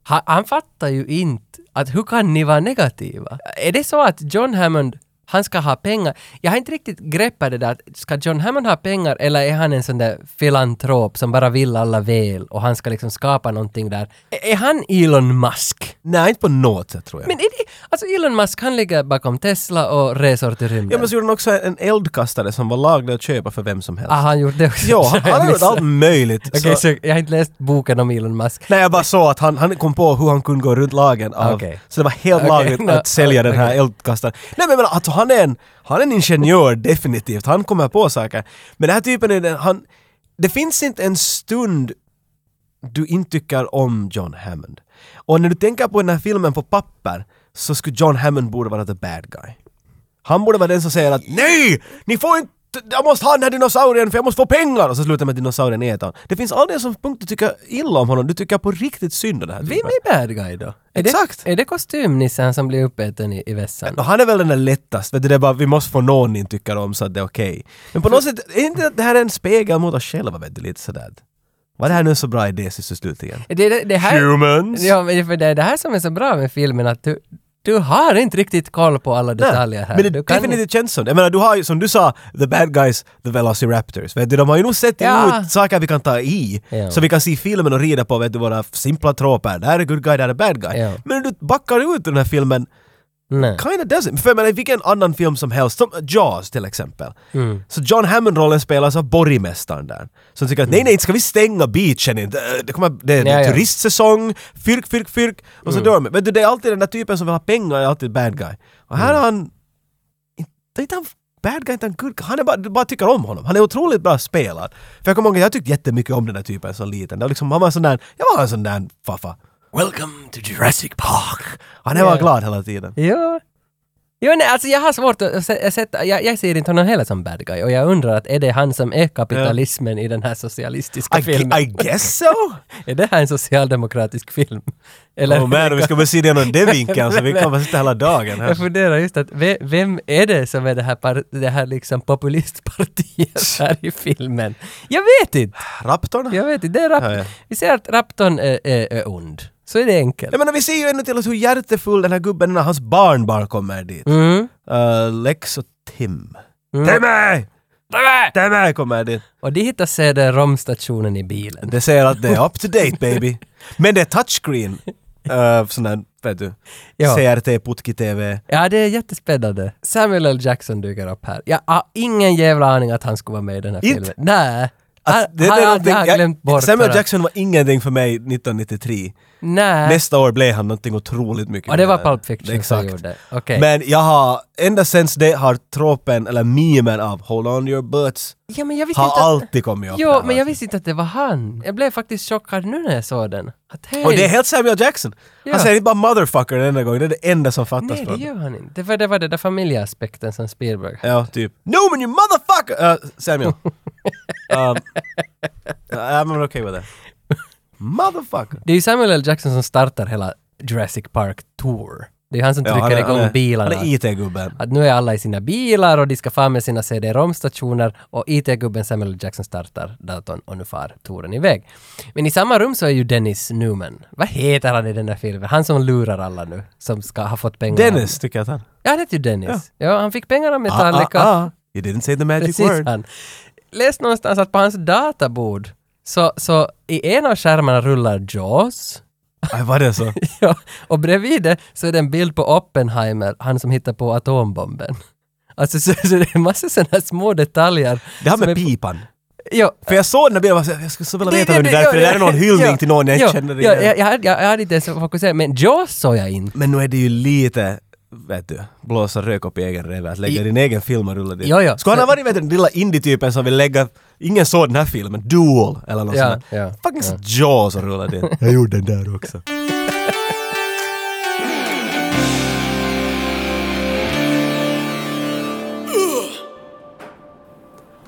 Speaker 2: han, han fattar ju inte att hur kan ni vara negativa? Är det så att John Hammond, han ska ha pengar? Jag har inte riktigt greppat det där. Ska John Hammond ha pengar eller är han en sån där filantrop som bara vill alla väl och han ska liksom skapa någonting där? Är, är han Elon Musk?
Speaker 1: Nej, inte på något sätt tror jag.
Speaker 2: Men är det, alltså Elon Musk han ligger bakom Tesla och resor till rymden.
Speaker 1: Ja, men så gjorde han också en eldkastare som var laglig att köpa för vem som helst.
Speaker 2: Ah, han gjorde det också.
Speaker 1: Ja, han
Speaker 2: Jag
Speaker 1: har gjort
Speaker 2: missade.
Speaker 1: allt möjligt.
Speaker 2: Okej,
Speaker 1: så-
Speaker 2: så jag har inte läst boken om Elon Musk.
Speaker 1: Nej, jag bara såg att han, han kom på hur han kunde gå runt lagen av...
Speaker 2: Okej.
Speaker 1: Så det var helt
Speaker 2: Okej,
Speaker 1: lagligt
Speaker 2: no,
Speaker 1: att sälja den här eldkastaren. Nej men jag menar, alltså han är en, han är en ingenjör definitivt. Han kommer på saker. Men den här typen är den, han... Det finns inte en stund du inte tycker om John Hammond. Och när du tänker på den här filmen på papper så skulle John Hammond borde vara the bad guy. Han borde vara den som säger att NEJ! Ni får inte... Jag måste ha den här dinosaurien för jag måste få pengar! Och så slutar med att dinosaurien äter honom. Det finns aldrig en sån punkt du tycker illa om honom. Du tycker på riktigt synd om den här
Speaker 2: Vem
Speaker 1: typen.
Speaker 2: är bad guy då? Är
Speaker 1: Exakt.
Speaker 2: Det, är det kostymnissen som blir uppäten i, i vässan?
Speaker 1: Och han är väl den där lättast. Vet du, det är bara vi måste få någon ni tycker om så att det är okej. Men på något sätt, är inte det här en spegel mot oss själva vet du? Lite sådär. Var det här nu en så bra idé sist och slutligen?
Speaker 2: Det, det, det här,
Speaker 1: Humans!
Speaker 2: ja, men för det är det här som är så bra med filmen att du, du har inte riktigt koll på alla
Speaker 1: Nej,
Speaker 2: detaljer här.
Speaker 1: Men det
Speaker 2: du kan
Speaker 1: definitivt känns som det. Jag menar, du har ju, som du sa, the bad guys, the velociraptors. Vet du, de har ju nog sett
Speaker 2: Ja.
Speaker 1: ut saker vi kan ta i.
Speaker 2: Ja.
Speaker 1: Så vi kan se filmen och rida på, vet du, våra simpla troper. Det här är good guy, det här är bad guy.
Speaker 2: Ja.
Speaker 1: Men du backar ut ur den här filmen,
Speaker 2: Nej.
Speaker 1: kinda doesn't. För jag menar, vilken annan film som helst, som Jaws till exempel.
Speaker 2: Mm.
Speaker 1: Så John Hammond-rollen spelas av borgmästaren där. Som tycker att nej, nej, ska vi stänga beachen? inte? Det, det, kommer, det är
Speaker 2: Ja, ja.
Speaker 1: turistsäsong, fyrk, fyrk, fyrk. Och så dör de. Men du, det är alltid den där typen som vill ha pengar, är alltid bad guy. Och här är han... Det är inte han bad guy, inte han good guy. Han är bara, du bara tycker om honom. Han är otroligt bra spelad. För jag kommer ihåg att jag tyckte jättemycket om den där typen som liten. Det var liksom, han var en sån där, jag var en sån där faffa. Welcome to Jurassic Park! Han är
Speaker 2: Ja.
Speaker 1: bara glad hela tiden.
Speaker 2: Ja. Jo, nej, alltså jag har svårt att se- att sätta, jag, jag ser inte honom heller som bad guy och jag undrar att är det han som är kapitalismen i den här socialistiska
Speaker 1: I,
Speaker 2: filmen?
Speaker 1: gue- I guess so!
Speaker 2: Är det här en socialdemokratisk film? Eller,
Speaker 1: Åh Oh, man, om vi ska börja se det genom den vinkeln så vi kommer sitta hela dagen här.
Speaker 2: Jag funderar just att ve- vem är det som är det här, par, det här liksom populistpartiet här i filmen? Jag vet inte!
Speaker 1: Raptorn?
Speaker 2: Jag vet inte. Det är
Speaker 1: Ja, ja.
Speaker 2: rap- vi ser att Raptorn är, är, är ond. Så är det enkelt.
Speaker 1: Jag menar, vi ser ju ännu till oss hur hjärtefull den här gubben är när hans barnbarn kommer dit.
Speaker 2: Mm.
Speaker 1: Eh, Lex och Tim. Timmy! Timmy kommer dit.
Speaker 2: Mm. Och de hittar CD-ROM-stationen i bilen.
Speaker 1: Det säger att det är up to date baby. Men det är touchscreen. Uh, sån där, vet du.
Speaker 2: Ja.
Speaker 1: CRT, putki-tv.
Speaker 2: Ja, det är jättespännande. Samuel L. Jackson dyker upp här. Jag har ingen jävla aning att han skulle vara med i den här
Speaker 1: Inte?
Speaker 2: filmen. Nej.
Speaker 1: Alltså,
Speaker 2: Han- han-
Speaker 1: någonting-
Speaker 2: jag har glömt bort
Speaker 1: Samuel
Speaker 2: det.
Speaker 1: Jackson var ingenting för mig 1993.
Speaker 2: Nej.
Speaker 1: Nästa år blev han någonting otroligt mycket.
Speaker 2: Och det var
Speaker 1: mer.
Speaker 2: Pulp Fiction
Speaker 1: Exakt.
Speaker 2: som gjorde. Okej.
Speaker 1: Men jag har, ända sen det har tropen, eller memen av “Hold on your butts”
Speaker 2: Ja, men jag visste
Speaker 1: har
Speaker 2: inte att-
Speaker 1: alltid kommit upp.
Speaker 2: Jo,
Speaker 1: där. alltså.
Speaker 2: men jag visste inte att det var han. Jag blev faktiskt chockad nu när jag såg den. Att hej!
Speaker 1: Och det är helt Samuel Jackson!
Speaker 2: Ja.
Speaker 1: Han säger inte bara “motherfucker” den enda gången, det är det enda som fattas
Speaker 2: Nej,
Speaker 1: från
Speaker 2: det gör han inte. Det var, det var den där familjeaspekten som Spielberg hade.
Speaker 1: Ja, typ. “No, men you motherfucker!” uh, Samuel. um, I'm not okay with that. Motherfucker!
Speaker 2: Det är ju Samuel L. Jackson som startar hela Jurassic Park Tour. Det är han som trycker
Speaker 1: är-
Speaker 2: igång
Speaker 1: är-
Speaker 2: bilarna.
Speaker 1: Han är IT-gubben.
Speaker 2: att nu är alla i sina bilar och de ska fara med sina CD-ROM-stationer och IT-gubben Samuel L. Jackson startar datorn och nu far touren iväg. Men i samma rum så är ju Dennis Newman. Vad heter han i den där filmen? Han som lurar alla nu, som ska ha fått pengar.
Speaker 1: Dennis tycker jag att han...
Speaker 2: Ja, han heter ju Dennis. Ja, han fick pengar av
Speaker 1: Ah,
Speaker 2: Metallica.
Speaker 1: ah, ah. You didn't say the magic
Speaker 2: Precis
Speaker 1: word.
Speaker 2: han. Läs någonstans att på hans databord så, så i en av skärmarna rullar Jaws.
Speaker 1: Aj, var det så?
Speaker 2: Ja, och bredvid det så är det en bild på Oppenheimer, han som hittar på atombomben. Alltså så, så det är massor sådana här små detaljer.
Speaker 1: Det här
Speaker 2: som
Speaker 1: med
Speaker 2: är-
Speaker 1: pipan.
Speaker 2: Ja.
Speaker 1: För jag såg den där bilden och bara, jag skulle så vilja veta vem det
Speaker 2: ja,
Speaker 1: där för det där är någon
Speaker 2: ja,
Speaker 1: hyllning
Speaker 2: ja,
Speaker 1: till någon jag
Speaker 2: ja,
Speaker 1: inte känner
Speaker 2: ja,
Speaker 1: igen.
Speaker 2: jag, jag, hade- jag, jag hade inte ens fokuserat, men Jaws såg jag inte.
Speaker 1: Men nu är det ju lite, vet du, blåsa rök upp i egen revä. Att lägga
Speaker 2: I-
Speaker 1: din egen film och rulla dit.
Speaker 2: Ja, ja.
Speaker 1: Skulle han ha varit vet du, den lilla indie-typen som vill lägga, ingen såg den här filmen, Duel eller något
Speaker 2: Ja,
Speaker 1: sånt där.
Speaker 2: ja,
Speaker 1: Fucking ja. Jaws och rulla dit. jag gjorde den där också.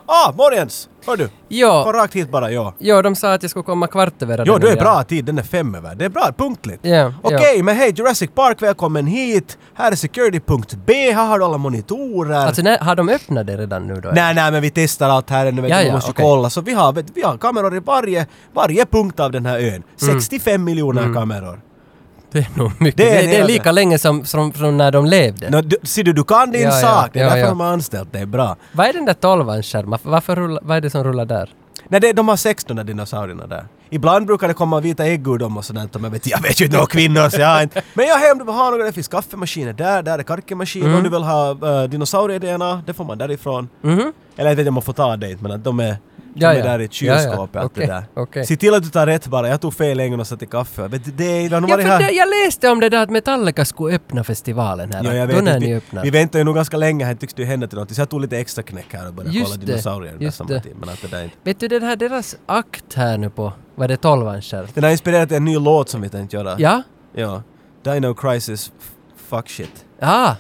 Speaker 1: Ah, morgens! Hör du? Kom
Speaker 2: Ja,
Speaker 1: rakt hit bara, ja.
Speaker 2: ja, de sa att jag skulle komma kvart över.
Speaker 1: Jo,
Speaker 2: den
Speaker 1: du är
Speaker 2: här.
Speaker 1: bra tid. Den är fem över. Det är bra, punktligt.
Speaker 2: Ja, ja.
Speaker 1: Okej, men hej Jurassic Park, välkommen hit. Här är security.b, här har du alla monitorer.
Speaker 2: Alltså när, har de öppnat det redan nu då?
Speaker 1: nej, nej, men vi testar allt här ännu.
Speaker 2: Ja,
Speaker 1: Ja, vi
Speaker 2: ja,
Speaker 1: måste
Speaker 2: okej.
Speaker 1: kolla. Så vi har, vet- vi har kameror i varje, varje punkt av den här
Speaker 2: Mm.
Speaker 1: ön. 65 miljoner kameror.
Speaker 2: Det är nog mycket.
Speaker 1: Det
Speaker 2: Det
Speaker 1: är
Speaker 2: är,
Speaker 1: en
Speaker 2: det är
Speaker 1: hel-
Speaker 2: lika länge som, som från när de levde.
Speaker 1: Nå, du, ser du, du kan din
Speaker 2: Ja, ja,
Speaker 1: sak. Det är
Speaker 2: ja,
Speaker 1: därför
Speaker 2: ja.
Speaker 1: de har anställt dig bra.
Speaker 2: Vad är den där tolvans skärm? Varför rullar, vad är det som rullar där?
Speaker 1: Nej, det, de har sex de där dinosaurierna där. Ibland brukar det komma vita ägg ur dem och sådant. Men vet, jag vet ju inte några kvinnor så jag har inte... Men jag hej om du vill ha några, det finns kaffemaskiner där, där är karkemaskiner.
Speaker 2: Mm.
Speaker 1: Om du vill ha uh, dinosaurier-DNA, det får man därifrån. Eller jag vet inte om man får ta det men att de är... De
Speaker 2: Mm-hmm. Ja,
Speaker 1: är
Speaker 2: ja.
Speaker 1: där i
Speaker 2: Ja, ja.
Speaker 1: kylskåpet. allt
Speaker 2: Okej,
Speaker 1: det där.
Speaker 2: okej.
Speaker 1: Se till att du tar rätt bara. Jag tog fel äggen och satte i kaffe. Vet du, det, de har
Speaker 2: Ja,
Speaker 1: varit
Speaker 2: för
Speaker 1: här.
Speaker 2: det, jag läste om det där att Metallica skulle öppna festivalen här.
Speaker 1: Ja, jag
Speaker 2: då
Speaker 1: vet
Speaker 2: när
Speaker 1: inte.
Speaker 2: ni
Speaker 1: Vi,
Speaker 2: öppnar.
Speaker 1: vi väntade ju nog ganska länge här. Tycks det ju hända till något. Så jag tog lite extra knäck här och började
Speaker 2: Just
Speaker 1: kolla
Speaker 2: det,
Speaker 1: dinosaurier där
Speaker 2: just
Speaker 1: samma
Speaker 2: det.
Speaker 1: tid. Men att det där är inte...
Speaker 2: Vet du den här deras akt här nu på, vad är det, tolvan skärm?
Speaker 1: Den har inspirerat en ny låt som vi tänkte göra.
Speaker 2: Ja?
Speaker 1: Ja. Dino Crisis f- Fuck Shit.
Speaker 2: Ja!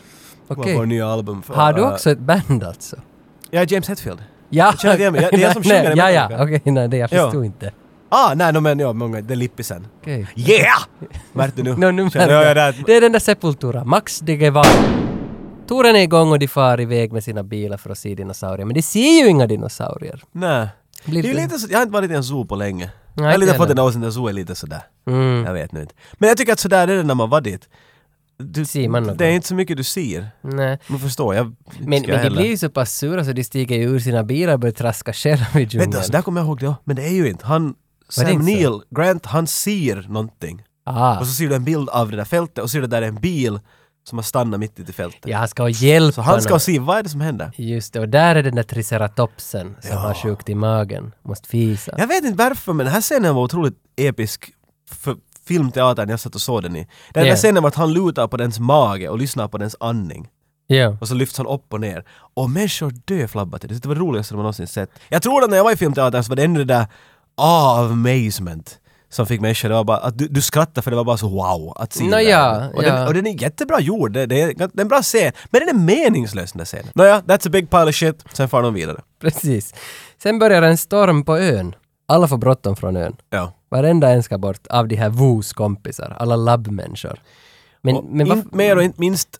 Speaker 1: Okay.
Speaker 2: Okej.
Speaker 1: Vår nya album. För,
Speaker 2: Har du
Speaker 1: eh,
Speaker 2: också ett band alltså?
Speaker 1: Ja, James Hetfield.
Speaker 2: Ja!
Speaker 1: känner igen mig. Ja, det är jag som
Speaker 2: Nej,
Speaker 1: sjunger i
Speaker 2: Ja, ja,
Speaker 1: Metallica.
Speaker 2: okej, nej, det jag
Speaker 1: Ja.
Speaker 2: förstod inte.
Speaker 1: Ah, nej, no, men ja, många. Det är lippisen.
Speaker 2: Okej.
Speaker 1: Yeah! Märkte du nu?
Speaker 2: Nå, nu
Speaker 1: Känner jag
Speaker 2: märker
Speaker 1: det?
Speaker 2: jag.
Speaker 1: att-
Speaker 2: Det är den där Sepultura, Max de Guevara. Touren är igång och de far iväg med sina bilar för att se dinosaurier, men de ser ju inga dinosaurier.
Speaker 1: Nej. Det
Speaker 2: Blir
Speaker 1: är ju
Speaker 2: det-
Speaker 1: lite så, jag har inte varit i en zoo på länge. jag har
Speaker 2: inte
Speaker 1: lite fått
Speaker 2: heller.
Speaker 1: den åsen att zoo är lite sådär.
Speaker 2: Mm.
Speaker 1: Jag vet nu inte. Men jag tycker att sådär är det när man var dit. Du,
Speaker 2: Ser man något?
Speaker 1: det är inte så mycket du ser.
Speaker 2: Nej.
Speaker 1: Man förstår, jag...
Speaker 2: Men,
Speaker 1: ska jag
Speaker 2: men de
Speaker 1: heller-
Speaker 2: blir ju så pass sura så de stiger ju ur sina bilar och börjar traska själva i
Speaker 1: Vänta,
Speaker 2: djungeln.
Speaker 1: så alltså, där kommer jag ihåg det. ja. Men det är ju inte. Han...
Speaker 2: Var
Speaker 1: Sam
Speaker 2: det inte så?
Speaker 1: Neill, Grant, han ser någonting.
Speaker 2: Ah,
Speaker 1: Och så ser du en bild av det där fältet och ser du där är en bil som har stannat mitt ute i fältet.
Speaker 2: ja, han ska ha hjälp.
Speaker 1: Så han ska se, vad är det som händer?
Speaker 2: Just det, och där är den där triceratopsen som har sjukt i magen. Måste fisa.
Speaker 1: Jag vet inte varför men den här scenen var otroligt episk för filmteatern jag satt och såg den i. Den där
Speaker 2: Ja.
Speaker 1: scenen var att han lutar på dens mage och lyssnar på dens andning.
Speaker 2: Ja.
Speaker 1: Och så lyfts han upp och ner. Och människor dö flabbar till. Det var det roligaste man någonsin sett. Jag tror att när jag var i filmteatern så var det ändå det där ah, amazement som fick människor, det var bara, att du, du skrattade för det var bara så wow att se
Speaker 2: Nå
Speaker 1: det där.
Speaker 2: ja,
Speaker 1: och,
Speaker 2: ja.
Speaker 1: Den, och den är jättebra gjord, det, det, är, det är en bra scen. Men den är meningslös den där scenen. Nåja, that's a big pile of shit. Sen far de vidare.
Speaker 2: Precis. Sen börjar en storm på ön. Alla får bråttom från ön.
Speaker 1: Ja.
Speaker 2: Varenda en ska bort av de här Woos kompisar, alla labbmänniskor. Men,
Speaker 1: Och
Speaker 2: men
Speaker 1: inte mer och inte minst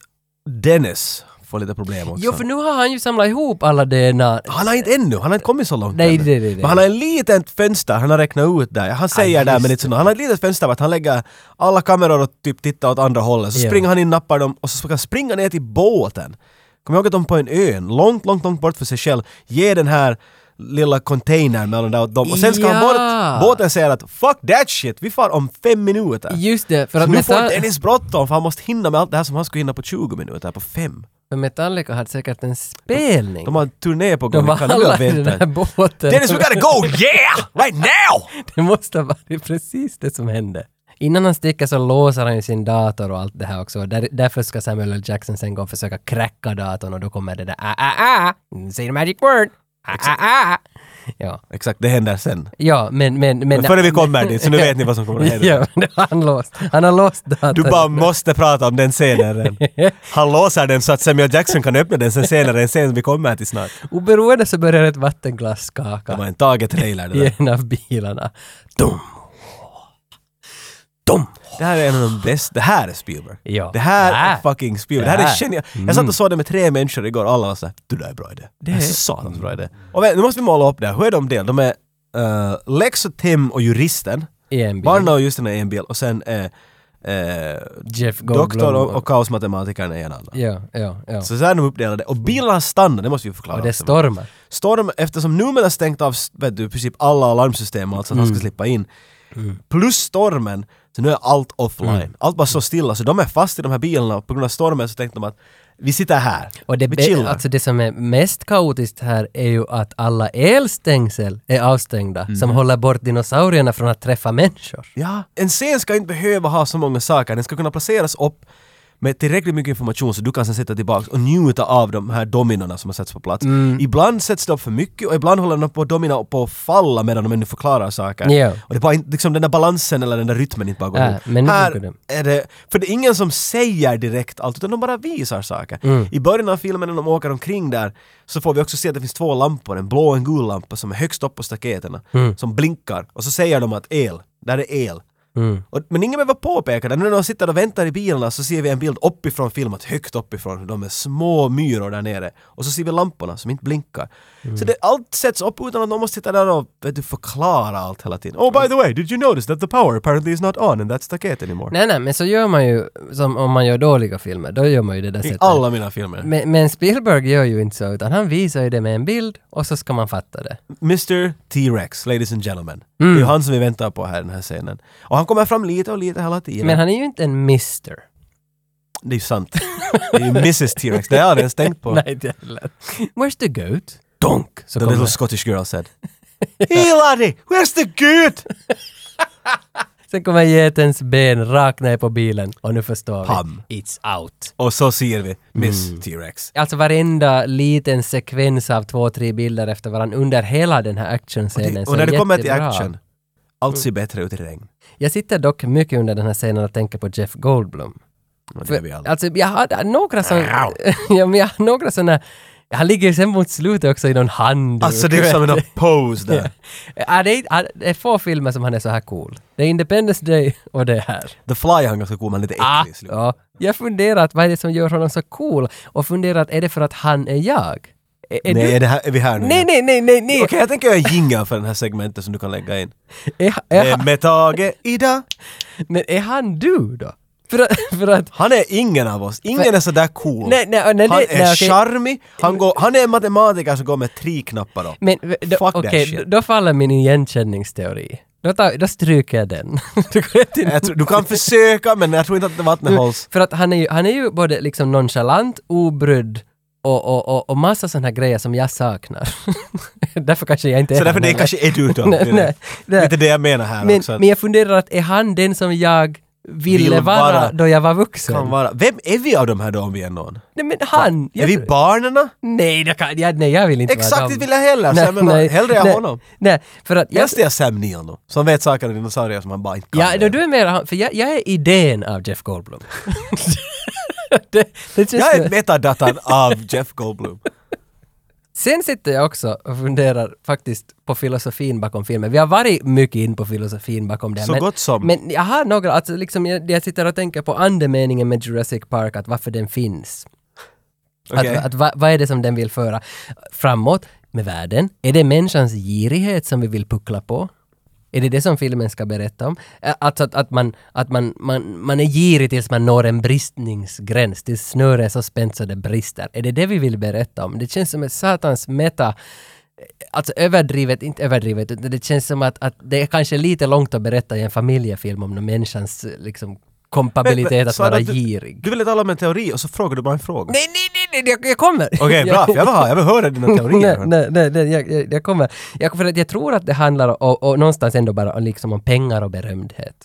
Speaker 1: Dennis får lite problem också.
Speaker 2: Jo, för nu har han ju samlat ihop alla DNA.
Speaker 1: Han har inte ännu, han har inte kommit så långt
Speaker 2: Nej,
Speaker 1: ännu.
Speaker 2: det- det- det-
Speaker 1: Men han har en litet fönster, han har räknat ut där. Han säger
Speaker 2: just
Speaker 1: där men inte så noga. Han har ett litet fönster vart han lägger alla kameror och typ tittar åt andra hållet. Så
Speaker 2: Ja.
Speaker 1: springer han in, nappar dem och så ska han springa ner till båten. Kommer ihåg att de på en ö, långt, långt, långt bort för sig själv, ger den här lilla containern mellan där åt dem. Och sen ska han
Speaker 2: Ja.
Speaker 1: bort. Båten säger att “fuck that shit, vi far om fem minuter”.
Speaker 2: Just det, för
Speaker 1: Så
Speaker 2: att
Speaker 1: nu får
Speaker 2: Metal-
Speaker 1: Dennis bråttom för han måste hinna med allt det här som han skulle hinna på 20 minuter, på fem.
Speaker 2: för Metallica hade säkert en spelning.
Speaker 1: De har en turné på gång,
Speaker 2: De
Speaker 1: vi
Speaker 2: var
Speaker 1: kan du
Speaker 2: alla i den
Speaker 1: vänta.
Speaker 2: här båten.
Speaker 1: Dennis, we gotta go! Yeah! Right now!
Speaker 2: Det måste ha varit precis det som hände. Innan han sticker så låser han ju sin dator och allt det här också. Där, därför ska Samuel L. Jackson sen gå och försöka kräcka datorn och då kommer det där ah, ah, ah, say the magic word, ah, ah, ah. Ja,
Speaker 1: Exakt, det händer sen.
Speaker 2: ja men, men, men...
Speaker 1: Men före vi kommer dit, så nu vet ni vad som kommer att hända.
Speaker 2: Ja, men det har han låst. Han har låst datorn.
Speaker 1: Du bara måste prata om den scenen. redan. Han låser den så att Samuel Jackson kan öppna den sen senare, en scen vi kommer till snart.
Speaker 2: Oberoende så börjar ett vattenglas
Speaker 1: Det
Speaker 2: skaka
Speaker 1: var en taget trailer det
Speaker 2: i
Speaker 1: där.
Speaker 2: en av bilarna. Dum. dum.
Speaker 1: Det här är en av de bästa. Det här är Spielberg.
Speaker 2: Ja.
Speaker 1: Det här
Speaker 2: Det här.
Speaker 1: är fucking Spielberg.
Speaker 2: Det
Speaker 1: Det här är
Speaker 2: här. Mm.
Speaker 1: genialt. Jag satt och såg det med tre människor igår alla var såhär, du det där är bra idé. Det
Speaker 2: är-
Speaker 1: är satans bra idé. Och vä- nu måste vi måla upp det här. Hur är de del? De är uh, Lex och Tim och juristen.
Speaker 2: I en bil.
Speaker 1: Barna och juristen är en bil och sen är eh,
Speaker 2: Jeff Goldblum.
Speaker 1: doktor och, och kaosmatematikern är en annan.
Speaker 2: Ja, ja, ja.
Speaker 1: Så så här är de uppdelade. Och bilarna stannar, det måste vi förklara.
Speaker 2: och det
Speaker 1: också.
Speaker 2: stormar.
Speaker 1: Storm, eftersom Newman har stängt av vet du, i princip alla alarmsystem och allt så att
Speaker 2: Mm.
Speaker 1: han ska slippa in. Plus stormen, så nu är allt offline.
Speaker 2: Mm.
Speaker 1: Allt bara står stilla, så de är fast i de här bilarna och på grund av stormen så tänkte de att vi sitter här,
Speaker 2: Och det,
Speaker 1: vi
Speaker 2: be-
Speaker 1: chillar.
Speaker 2: alltså det som är mest kaotiskt här är ju att alla elstängsel är avstängda
Speaker 1: Mm.
Speaker 2: som håller bort dinosaurierna från att träffa människor.
Speaker 1: ja, en scen ska inte behöva ha så många saker, den ska kunna placeras upp med tillräckligt mycket information så du kan sen sitta tillbaka och njuta av de här dominorna som har satts på plats. Ibland sätts det upp för mycket och ibland håller de på domina på att falla medan de ännu förklarar saker.
Speaker 2: Ja.
Speaker 1: Och det är bara inte- liksom den där balansen eller den där rytmen inte bara går
Speaker 2: Ja,
Speaker 1: ihop.
Speaker 2: men nu funkar
Speaker 1: Här
Speaker 2: det.
Speaker 1: är det, för det är ingen som säger direkt allt utan de bara visar saker.
Speaker 2: Mm.
Speaker 1: I början av filmen när de åker omkring där så får vi också se att det finns två lampor, en blå och en gul lampa som är högst upp på staketerna
Speaker 2: Mm.
Speaker 1: som blinkar och så säger de att el, där är el. Och, men ingen behöver påpeka det. Nu när de sitter och väntar i bilarna så ser vi en bild uppifrån filmat, högt uppifrån, hur de är små myror där nere. Och så ser vi lamporna som inte blinkar.
Speaker 2: Mm.
Speaker 1: Så det, allt sätts upp utan att någon måste sitta där och vet du, förklara allt hela tiden. Oh by the way, did you notice that the power apparently is not on in that stacket anymore?
Speaker 2: Nej, nej, men så gör man ju, som om man gör dåliga filmer, då gör man ju det där
Speaker 1: I
Speaker 2: sättet.
Speaker 1: alla mina filmer.
Speaker 2: Men, men Spielberg gör ju inte så, utan han visar ju det med en bild och så ska man fatta det.
Speaker 1: Mr T-Rex, ladies and gentlemen.
Speaker 2: Mm.
Speaker 1: Det är ju han som vi väntar på här i den här scenen. Och han kommer fram lite och lite hela tiden.
Speaker 2: Men han är ju inte en mister.
Speaker 1: Det är ju sant. det är ju Mrs T-Rex, det har jag aldrig ens tänkt på.
Speaker 2: Nej, inte heller. Where's the goat? Donk!
Speaker 1: The
Speaker 2: Så kommer
Speaker 1: little
Speaker 2: han.
Speaker 1: Scottish girl said. Hey laddie, where's the goat?
Speaker 2: Sen kommer getens ben rakt ner på bilen och nu förstår
Speaker 1: Pam.
Speaker 2: vi. It's out.
Speaker 1: Och så ser vi Miss T-Rex.
Speaker 2: Alltså varenda liten sekvens av två, tre bilder efter varandra under hela den här
Speaker 1: Det-
Speaker 2: actionscenen. så
Speaker 1: och när
Speaker 2: är
Speaker 1: det kommer till
Speaker 2: jättebra.
Speaker 1: action, allt ser bättre ut i regn.
Speaker 2: Jag sitter dock mycket under den här scenen och tänker på Jeff Goldblum.
Speaker 1: Och det är vi
Speaker 2: För,
Speaker 1: alla.
Speaker 2: alltså jag hade några sådana...
Speaker 1: Wow.
Speaker 2: ja, men jag hade några sådana... Han ligger ju sen mot slutet också i någon handduk.
Speaker 1: Alltså det är som en pose där.
Speaker 2: Ja, det, är, ja, det är få filmer som han är så här cool. Det är Independence Day och det här.
Speaker 1: The Fly han ganska cool, men lite liksom. äcklig
Speaker 2: Ah,
Speaker 1: i slutet.
Speaker 2: ja. Jag funderat, vad är det som gör honom så cool? Och funderat, är det för att han är jag? Är, är
Speaker 1: Nej,
Speaker 2: du-
Speaker 1: är, det här, är vi här nu?
Speaker 2: nej, nej, nej, nej, nej.
Speaker 1: Okej, jag tänker göra en jingle för den här segmentet som du kan lägga in.
Speaker 2: Är, är,
Speaker 1: Eh, Med Tage, Ida.
Speaker 2: Men är han du då? För att... För att
Speaker 1: Han är ingen av oss. Ingen är sådär cool.
Speaker 2: nej, nej, nej,
Speaker 1: han
Speaker 2: nej,
Speaker 1: är
Speaker 2: nej, okej.
Speaker 1: charmig, han, går, han är en matematiker som går med tre knappar upp.
Speaker 2: Men v- då,
Speaker 1: Fuck that
Speaker 2: okej,
Speaker 1: shit.
Speaker 2: då- då faller min igenkänningsteori. Då, tar, då stryker jag den. Du går rätt in.
Speaker 1: Jag tror, du kan försöka men jag tror inte att det vattnet hålls.
Speaker 2: För att han är ju, han är ju både liksom nonchalant, obrydd och, och, och, och massa sådana här grejer som jag saknar. därför kanske jag inte är
Speaker 1: Så därför
Speaker 2: han
Speaker 1: det
Speaker 2: heller.
Speaker 1: kanske är du då.
Speaker 2: Nej, nej, nej.
Speaker 1: Lite det jag menar här
Speaker 2: men,
Speaker 1: också. att-
Speaker 2: men jag funderar att är han den som jag ville
Speaker 1: Vill
Speaker 2: vara,
Speaker 1: vara.
Speaker 2: då jag var vuxen?
Speaker 1: kan vara. Vem är vi av de här då om vi är någon?
Speaker 2: Nej men han!
Speaker 1: är
Speaker 2: Jag,
Speaker 1: vi barnen?
Speaker 2: nej, det kan, jag, nej, jag vill inte vara
Speaker 1: Exakt
Speaker 2: dem.
Speaker 1: det vill jag heller. Så jag menar, hellre jag
Speaker 2: nej,
Speaker 1: honom.
Speaker 2: Nej, för att... Jag,
Speaker 1: Helst är jag Sam Neill då, som vet saker om dinosaurier som han bara inte kan.
Speaker 2: ja, då, du är mer han, för jag, jag är idén av Jeff Goldblum. det, det känns
Speaker 1: jag
Speaker 2: som-
Speaker 1: är metadatan av Jeff Goldblum.
Speaker 2: Sen sitter jag också och funderar faktiskt på filosofin bakom filmen. Vi har varit mycket in på filosofin bakom det. här,
Speaker 1: Så
Speaker 2: men,
Speaker 1: gott som.
Speaker 2: Men jag har några, alltså liksom jag, jag sitter och tänker på andemeningen med Jurassic Park, att varför den finns.
Speaker 1: Okej.
Speaker 2: Att, att, va, vad är det som den vill föra framåt med världen? Är det människans girighet som vi vill puckla på? Är det det som filmen ska berätta om? Ä- Alltså att, att, man, att man, man, man är girig tills man når en bristningsgräns, tills snöret är så spänt så det brister. Är det det vi vill berätta om? Det känns som ett satans meta, alltså överdrivet, inte överdrivet, utan det känns som att, att det är kanske lite långt att berätta i en familjefilm om människans liksom, kompabilitet
Speaker 1: Men- men,
Speaker 2: att
Speaker 1: så är det
Speaker 2: vara
Speaker 1: att du-
Speaker 2: girig.
Speaker 1: Du ville tala om en teori och så frågar du bara en fråga.
Speaker 2: Nej, nej, nej, nej, jag, jag kommer!
Speaker 1: Okej, bra. för Jag vill, ha, jag vill höra dina teorier.
Speaker 2: Nej, nej, nej, nej jag, jag, jag kommer. Jag, för att jag tror att det handlar om, och någonstans ändå bara om liksom om pengar och berömdhet.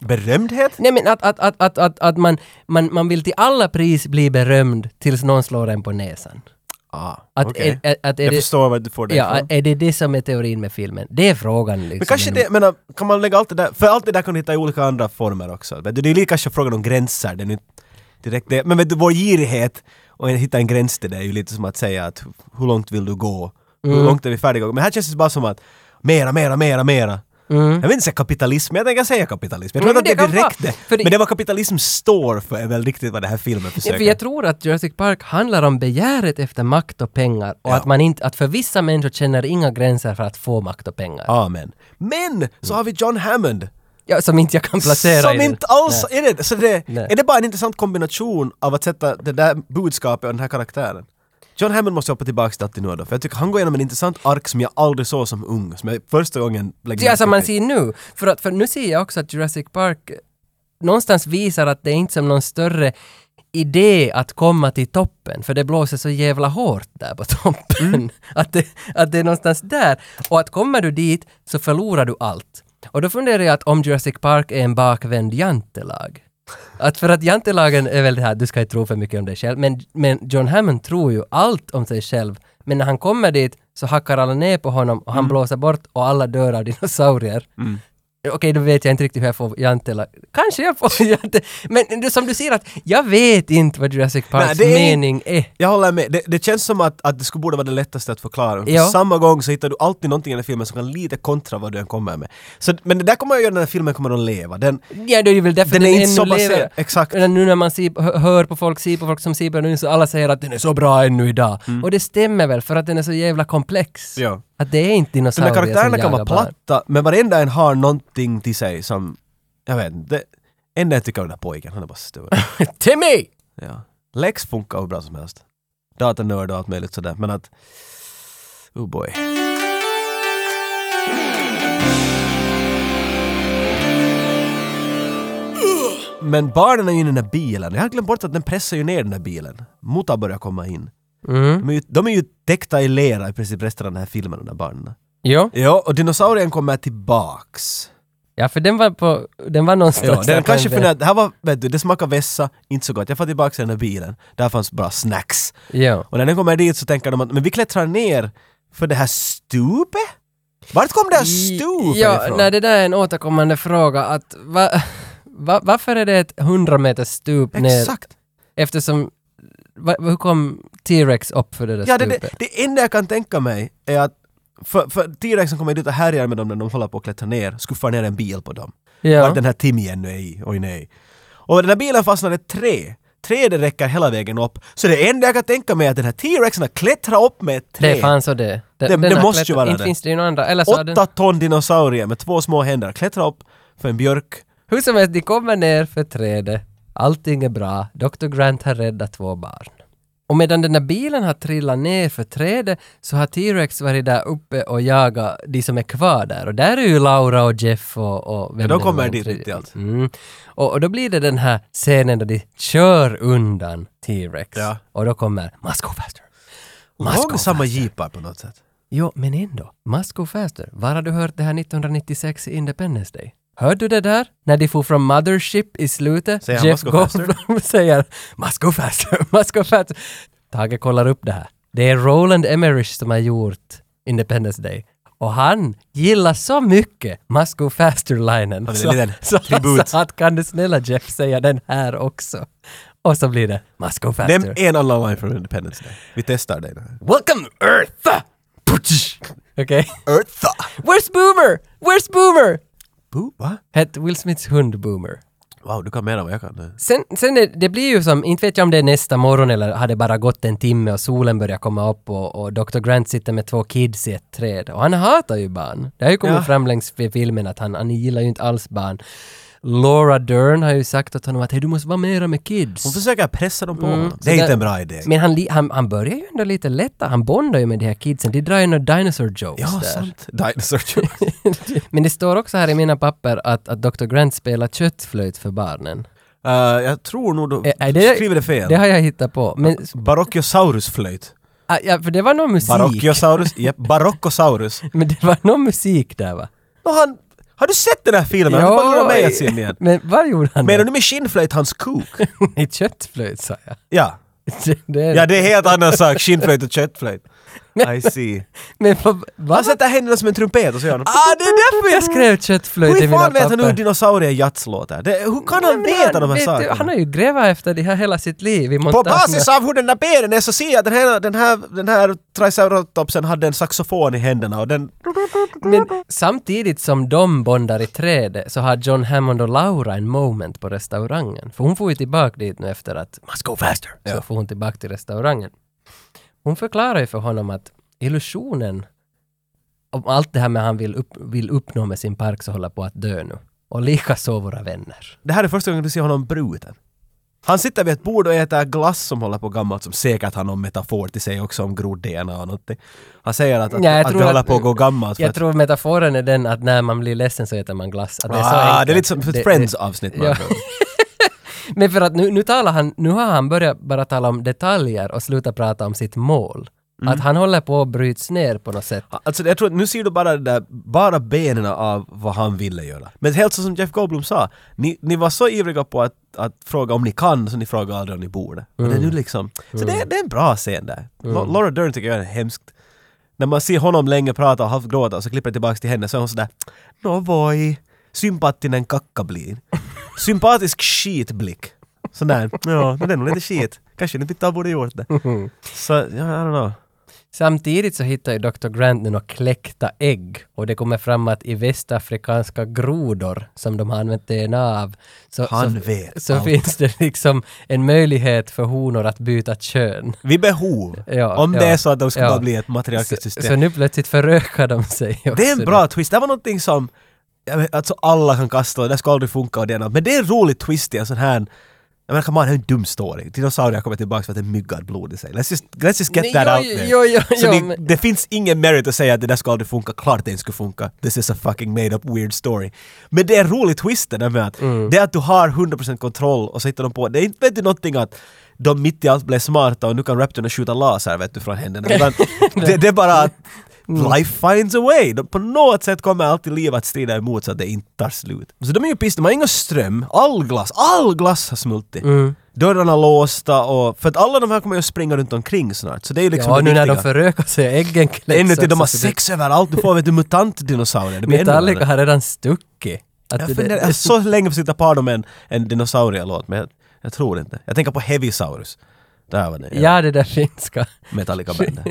Speaker 1: Berömdhet?
Speaker 2: Nej men att, att, att, att, att, att man, man, man vill till alla pris bli berömd tills någon slår en på näsan.
Speaker 1: Ah,
Speaker 2: Att,
Speaker 1: okej.
Speaker 2: är, är, att är
Speaker 1: Jag
Speaker 2: det,
Speaker 1: förstår var du får det
Speaker 2: ja,
Speaker 1: ifrån.
Speaker 2: är det det som är teorin med filmen? Det är frågan liksom.
Speaker 1: Men kanske det, menar, kan man lägga allt det där, för allt det där kan du hitta i olika andra former också. Vet du, Det är lika kanske frågan om gränser, det är nu direkt det. Men vet du, vår girighet och att hitta en gräns till det är ju lite som att säga att
Speaker 2: Mm.
Speaker 1: hur långt vill du gå? Hur långt är vi färdiga? Men här känns det bara som att mera, mera, mera, mera. Jag vill inte säga kapitalism, jag tänker säga kapitalism. Jag tror
Speaker 2: Mm. men
Speaker 1: inte
Speaker 2: det
Speaker 1: att det
Speaker 2: kan
Speaker 1: direkt
Speaker 2: vara-
Speaker 1: det.
Speaker 2: för det-
Speaker 1: Men det var kapitalism står för är väl riktigt vad den här filmen
Speaker 2: Ja,
Speaker 1: försöker.
Speaker 2: för jag tror att Jurassic Park handlar om begäret efter makt och pengar och
Speaker 1: Ja.
Speaker 2: att, man inte, att för vissa människor känner inga gränser för att få makt och pengar.
Speaker 1: Amen. Men så har vi John Hammond.
Speaker 2: Ja, som inte jag kan placera i
Speaker 1: Som
Speaker 2: den.
Speaker 1: inte alls är det. Så det
Speaker 2: Nej.
Speaker 1: är det bara en intressant kombination av att sätta det där budskapet och den här karaktären. John Hammond måste jag hoppa tillbaka till att till nu då, för jag tycker han går igenom en intressant ark som jag aldrig såg som ung, som jag första gången lägger
Speaker 2: Ja,
Speaker 1: märke
Speaker 2: som man
Speaker 1: till.
Speaker 2: ser nu. För, att, för nu ser jag också att Jurassic Park någonstans visar att det är inte som någon större idé att komma till toppen, för det blåser så jävla hårt där på toppen. Att, det, att det är någonstans där. Och att kommer du dit så förlorar du allt. Och då funderar jag att om Jurassic Park är en bakvänd jantelag. Att för att jantelagen är väl det här, du ska inte tro för mycket om dig själv, men, men John Hammond tror ju allt om sig själv. Men när han kommer dit så hackar alla ner på honom och han blåser bort och alla dör av dinosaurier. Okej, då vet jag inte riktigt hur jag får jantelag. Kanske jag får jante... Men det- som du ser att jag vet inte vad Jurassic Parks
Speaker 1: det är-
Speaker 2: mening är.
Speaker 1: Jag håller med. Det, det känns som att, att det skulle borde vara det lättaste att förklara. Men På
Speaker 2: Ja.
Speaker 1: samma gång så hittar du alltid någonting i den här filmen som kan lite kontra vad du än kommer med. Så, men det där kommer jag göra när den här filmen kommer att leva. Den,
Speaker 2: Ja, det är ju väl därför
Speaker 1: Den är inte
Speaker 2: ännu
Speaker 1: så baserad.
Speaker 2: lever.
Speaker 1: Exakt.
Speaker 2: Men Nu när man ser, hö- hör på folk, ser på folk som ser på den nu så alla säger att den är så bra ännu idag. Och det stämmer väl för att den är så jävla komplex.
Speaker 1: Mm. Ja.
Speaker 2: Att det är inte
Speaker 1: de där
Speaker 2: dinosaurier
Speaker 1: karaktärerna
Speaker 2: som
Speaker 1: kan vara
Speaker 2: jagar barn.
Speaker 1: platta, men varenda en har någonting till sig som... Jag vet inte. Det Enda jag tycker om den där pojken, han är bara stor.
Speaker 2: Timmy!
Speaker 1: ja. Lex funkar hur bra som helst. Datanörd och allt möjligt sådär, men att... Oh boy. Men barnen är ju i den där bilen. Jag hade glömt bort att den pressar ju ner den där bilen. Muta börjar komma in.
Speaker 2: Mm.
Speaker 1: De är ju, de är ju täckta i lera i princip resten av den här filmen, de där barnen.
Speaker 2: Jo.
Speaker 1: Ja, och dinosaurien kommer tillbaks.
Speaker 2: Ja, för den var på... Den var någonstans...
Speaker 1: Ja,
Speaker 2: där
Speaker 1: den
Speaker 2: på
Speaker 1: kanske
Speaker 2: en väg.
Speaker 1: för det här var, vet du, det smakar vässa, inte så gott. Jag får tillbaks den där bilen, där fanns bra snacks.
Speaker 2: Ja.
Speaker 1: Och när den kommer dit så tänker de att, men vi klättrar ner för det här stupet? Vart kom det här stupet
Speaker 2: Ja,
Speaker 1: ifrån?
Speaker 2: nej, det där är en återkommande fråga att va, va, varför är det ett 100 meters stup ner?
Speaker 1: Exakt!
Speaker 2: Eftersom... Va, hur kom T-Rex upp för det där
Speaker 1: Ja, det,
Speaker 2: stupet?
Speaker 1: det, det enda jag kan tänka mig är att för, för T-rexen kommer dit och härjar med dem när de håller på att klättra ner, skuffar ner en bil på dem.
Speaker 2: Ja.
Speaker 1: Vart den här timjen nu är i, oj nej. Och den här bilen fastnade tre. Tre det räcker hela vägen upp. Så det enda jag kan tänka mig är att den här T-rexen har klättrat upp med ett
Speaker 2: Det
Speaker 1: träd.
Speaker 2: är fan så det. Den,
Speaker 1: Det-
Speaker 2: den
Speaker 1: det
Speaker 2: har
Speaker 1: måste ju
Speaker 2: klättrat-
Speaker 1: vara
Speaker 2: Inte
Speaker 1: det.
Speaker 2: finns det ju någon annan. Eller så har den,
Speaker 1: Åtta ton dinosaurier med två små händer klättrar upp för en björk.
Speaker 2: hur som helst, de kommer ner för trädet. Allting är bra. Dr. Grant har räddat två barn. Och medan den där bilen har trillat ner för trädet så har T-Rex varit där uppe och jagat de som är kvar där. Och där är ju Laura och Jeff och... och vem
Speaker 1: Ja, de
Speaker 2: det nu
Speaker 1: kommer
Speaker 2: var,
Speaker 1: dit
Speaker 2: tre-
Speaker 1: mitt i allt.
Speaker 2: Mm. Och, och då blir det den här scenen där de kör undan T-Rex.
Speaker 1: Ja.
Speaker 2: Och då kommer “Must go faster”. Must go
Speaker 1: Långsamma jeepar på något sätt.
Speaker 2: Jo, men ändå. Must go faster. Var har du hört det här 1996 i Independence Day? Hörde du det där? När de for från Mothership i slutet.
Speaker 1: Säger han, "Must go faster?"
Speaker 2: Goldblum säger “Must go faster, must go faster”. Tage kollar upp det här. Det är Roland Emmerich som har gjort Independence Day. Och han gillar så mycket “Must go faster”-linen.
Speaker 1: Ja, det är
Speaker 2: Så,
Speaker 1: en liten
Speaker 2: så han
Speaker 1: tribut.
Speaker 2: sa att “Kan du snälla Jeff säga den här också?” Och så blir det “Must go faster”.
Speaker 1: Nämn en annan line från Independence Day. Vi testar dig nu.
Speaker 2: Welcome to Earth! Okej.
Speaker 1: Eartha!
Speaker 2: Where's Boomer? Where's Boomer?
Speaker 1: Bo, va?
Speaker 2: Hette Will Smiths hund Boomer.
Speaker 1: Wow, du kan mer än vad jag kan.
Speaker 2: Sen, sen det, det blir ju som, inte vet jag om det är nästa morgon eller hade bara gått en timme och solen börjar komma upp och, och Dr. Grant sitter med två kids i ett träd. Och han hatar ju barn. Det har ju kommit
Speaker 1: Ja.
Speaker 2: fram längs med filmen att han, han gillar ju inte alls barn. Laura Dern har ju sagt åt honom att hej du måste vara mera med kids.
Speaker 1: Hon försöker pressa dem på honom.
Speaker 2: Mm. Så
Speaker 1: Det är inte
Speaker 2: där-
Speaker 1: en bra idé.
Speaker 2: Men han, li- han, han börjar ju ändå lite lätta, han bondar ju med de här kidsen. De drar ju några dinosaur jokes
Speaker 1: Ja,
Speaker 2: där.
Speaker 1: sant. Dinosaur Jones.
Speaker 2: Men det står också här i mina papper att, att Dr. Grant spelar köttflöjt för barnen.
Speaker 1: Eh, jag tror nog du
Speaker 2: Ä- Eh, är det-
Speaker 1: skriver det fel.
Speaker 2: Det har jag hittat på. Men,
Speaker 1: Barocchiosaurusflöjt.
Speaker 2: ah, ja, för det var någon musik.
Speaker 1: Barocchiosaurus? Japp, baroccosaurus.
Speaker 2: Men det var någon musik där va?
Speaker 1: Och han, har du sett den här filmen? Han bara lurar mig att se den igen.
Speaker 2: men vad gjorde han
Speaker 1: Menar du med skinnflöjt hans kuk?
Speaker 2: då? I köttflöjt sa jag.
Speaker 1: Ja.
Speaker 2: Det, det är,
Speaker 1: Ja, det är helt annan sak. Skinnflöjt och köttflöjt. I see.
Speaker 2: Men vad... vad-
Speaker 1: Han sätter händerna som en trumpet och så gör han...
Speaker 2: Ah, det är därför jag skrev köttflöjt i
Speaker 1: Hur
Speaker 2: mina
Speaker 1: fan vet han hur
Speaker 2: papper.
Speaker 1: dinosaurier jazz låter? Det, hur kan han
Speaker 2: Men
Speaker 1: veta de här
Speaker 2: vet du,
Speaker 1: sakerna?
Speaker 2: Han har ju grävat efter det här hela sitt liv i
Speaker 1: På
Speaker 2: montagen.
Speaker 1: basis av hur den där benen är så ser jag att den här, den här, den här triceratopsen hade en saxofon i händerna och den...
Speaker 2: Men samtidigt som de bondar i trädet så har John Hammond och Laura en moment på restaurangen. För hon får ju tillbaka dit nu efter att “Must go faster” så får hon tillbaka till restaurangen. Hon förklarar ju för honom att illusionen om allt det här med han vill, upp, vill uppnå med sin park så håller på att dö nu. Och likaså våra vänner.
Speaker 1: Det här är första gången du ser honom bruten. Han sitter vid ett bord och äter glass som håller på gammalt som säkert har någon metafor till sig också om grod-DNA och någonting. Han säger att, att,
Speaker 2: Nej, jag
Speaker 1: att
Speaker 2: tror
Speaker 1: det håller
Speaker 2: att-
Speaker 1: på att gå gammalt för
Speaker 2: Jag
Speaker 1: att...
Speaker 2: tror metaforen är den att när man blir ledsen så äter man glass. Att det, är så
Speaker 1: Ah,
Speaker 2: enkelt.
Speaker 1: det är lite som ett
Speaker 2: Det-
Speaker 1: Friends-avsnitt. med
Speaker 2: Ja.
Speaker 1: andra ord.
Speaker 2: Men för att nu, nu talar han, nu har han börjat bara tala om detaljer och sluta prata om sitt mål.
Speaker 1: Mm.
Speaker 2: Att han håller på att bryts ner på något sätt.
Speaker 1: Alltså jag tror att nu ser du bara det där, bara benen av vad han ville göra. Men helt så som Jeff Goldblum sa, ni, ni var så ivriga på att, att fråga om ni kan, så ni frågade aldrig om ni borde. Och det är nu liksom, så det, är- det är en bra scen där. Lo- Laura Dern tycker jag är hemskt. När man ser honom länge prata och halvt gråta och så klipper det tillbaks till henne så är hon sådär Novoi, sympatinen kakkablin. Sympatisk skitblick. Sån där, ja, men det är nog lite skit. Kanske ni inte borde gjort det. Så, ja, I don't know.
Speaker 2: Samtidigt så hittar ju Dr. Grant nu några kläckta ägg och det kommer fram att i västafrikanska grodor som de har använt DNA av så,
Speaker 1: Han
Speaker 2: så,
Speaker 1: vet
Speaker 2: så
Speaker 1: allt.
Speaker 2: finns det liksom en möjlighet för honor att byta kön.
Speaker 1: Vid behov.
Speaker 2: Ja,
Speaker 1: Om det
Speaker 2: ja,
Speaker 1: är så att de ska
Speaker 2: ja.
Speaker 1: bara bli ett
Speaker 2: Så,
Speaker 1: matriarkiskt system.
Speaker 2: så nu plötsligt förökar de sig också.
Speaker 1: det är en bra twist. Det var någonting som jag vet, alltså alla kan kasta och det ska aldrig funka och det ena. Men det är en rolig twist i en sån här jag menar, come on, det är en dum story. Dinosaurier kommer tillbaka för att det är myggad blod i sig. Let's just, let's just get
Speaker 2: Nej,
Speaker 1: that
Speaker 2: jo,
Speaker 1: out
Speaker 2: jo,
Speaker 1: there.
Speaker 2: jo, jo,
Speaker 1: så
Speaker 2: jo,
Speaker 1: det,
Speaker 2: men-
Speaker 1: det finns ingen merit att säga att det där ska aldrig funka. Klart det inte skulle funka. This is a fucking made up weird story. Men det är en rolig twist det där med att det att du har 100% kontroll och så hittar de på. Det är inte vet du, någonting att de mitt i allt blev smarta och nu kan raptorna skjuta laser vet du från händerna. Utan det, det är bara att life finds a way. De, på något sätt kommer alltid livet att strida emot så att det inte tar slut. Så de är ju pissade, de har ingen ström, Mm. all glass, all glass har smultit. Dörrarna låsta och... För att alla de här kommer ju att springa runt omkring snart. Så det är ju liksom
Speaker 2: ja,
Speaker 1: det
Speaker 2: nu när de
Speaker 1: viktiga.
Speaker 2: förökar sig, äggen kläcks
Speaker 1: Ännu till de
Speaker 2: också,
Speaker 1: har
Speaker 2: så det-
Speaker 1: sex överallt, du får vet du mutantdinosaurier. Det blir ännu
Speaker 2: Metallica
Speaker 1: värre.
Speaker 2: har redan stuckit. Att
Speaker 1: Jag
Speaker 2: det-
Speaker 1: funderar- jag har så länge försökt ta par dem en, en dinosaurielåt men jag, jag tror inte. Jag tänker på Heavisaurus. Där var det.
Speaker 2: Ja, det där finska.
Speaker 1: Metallica-bandet.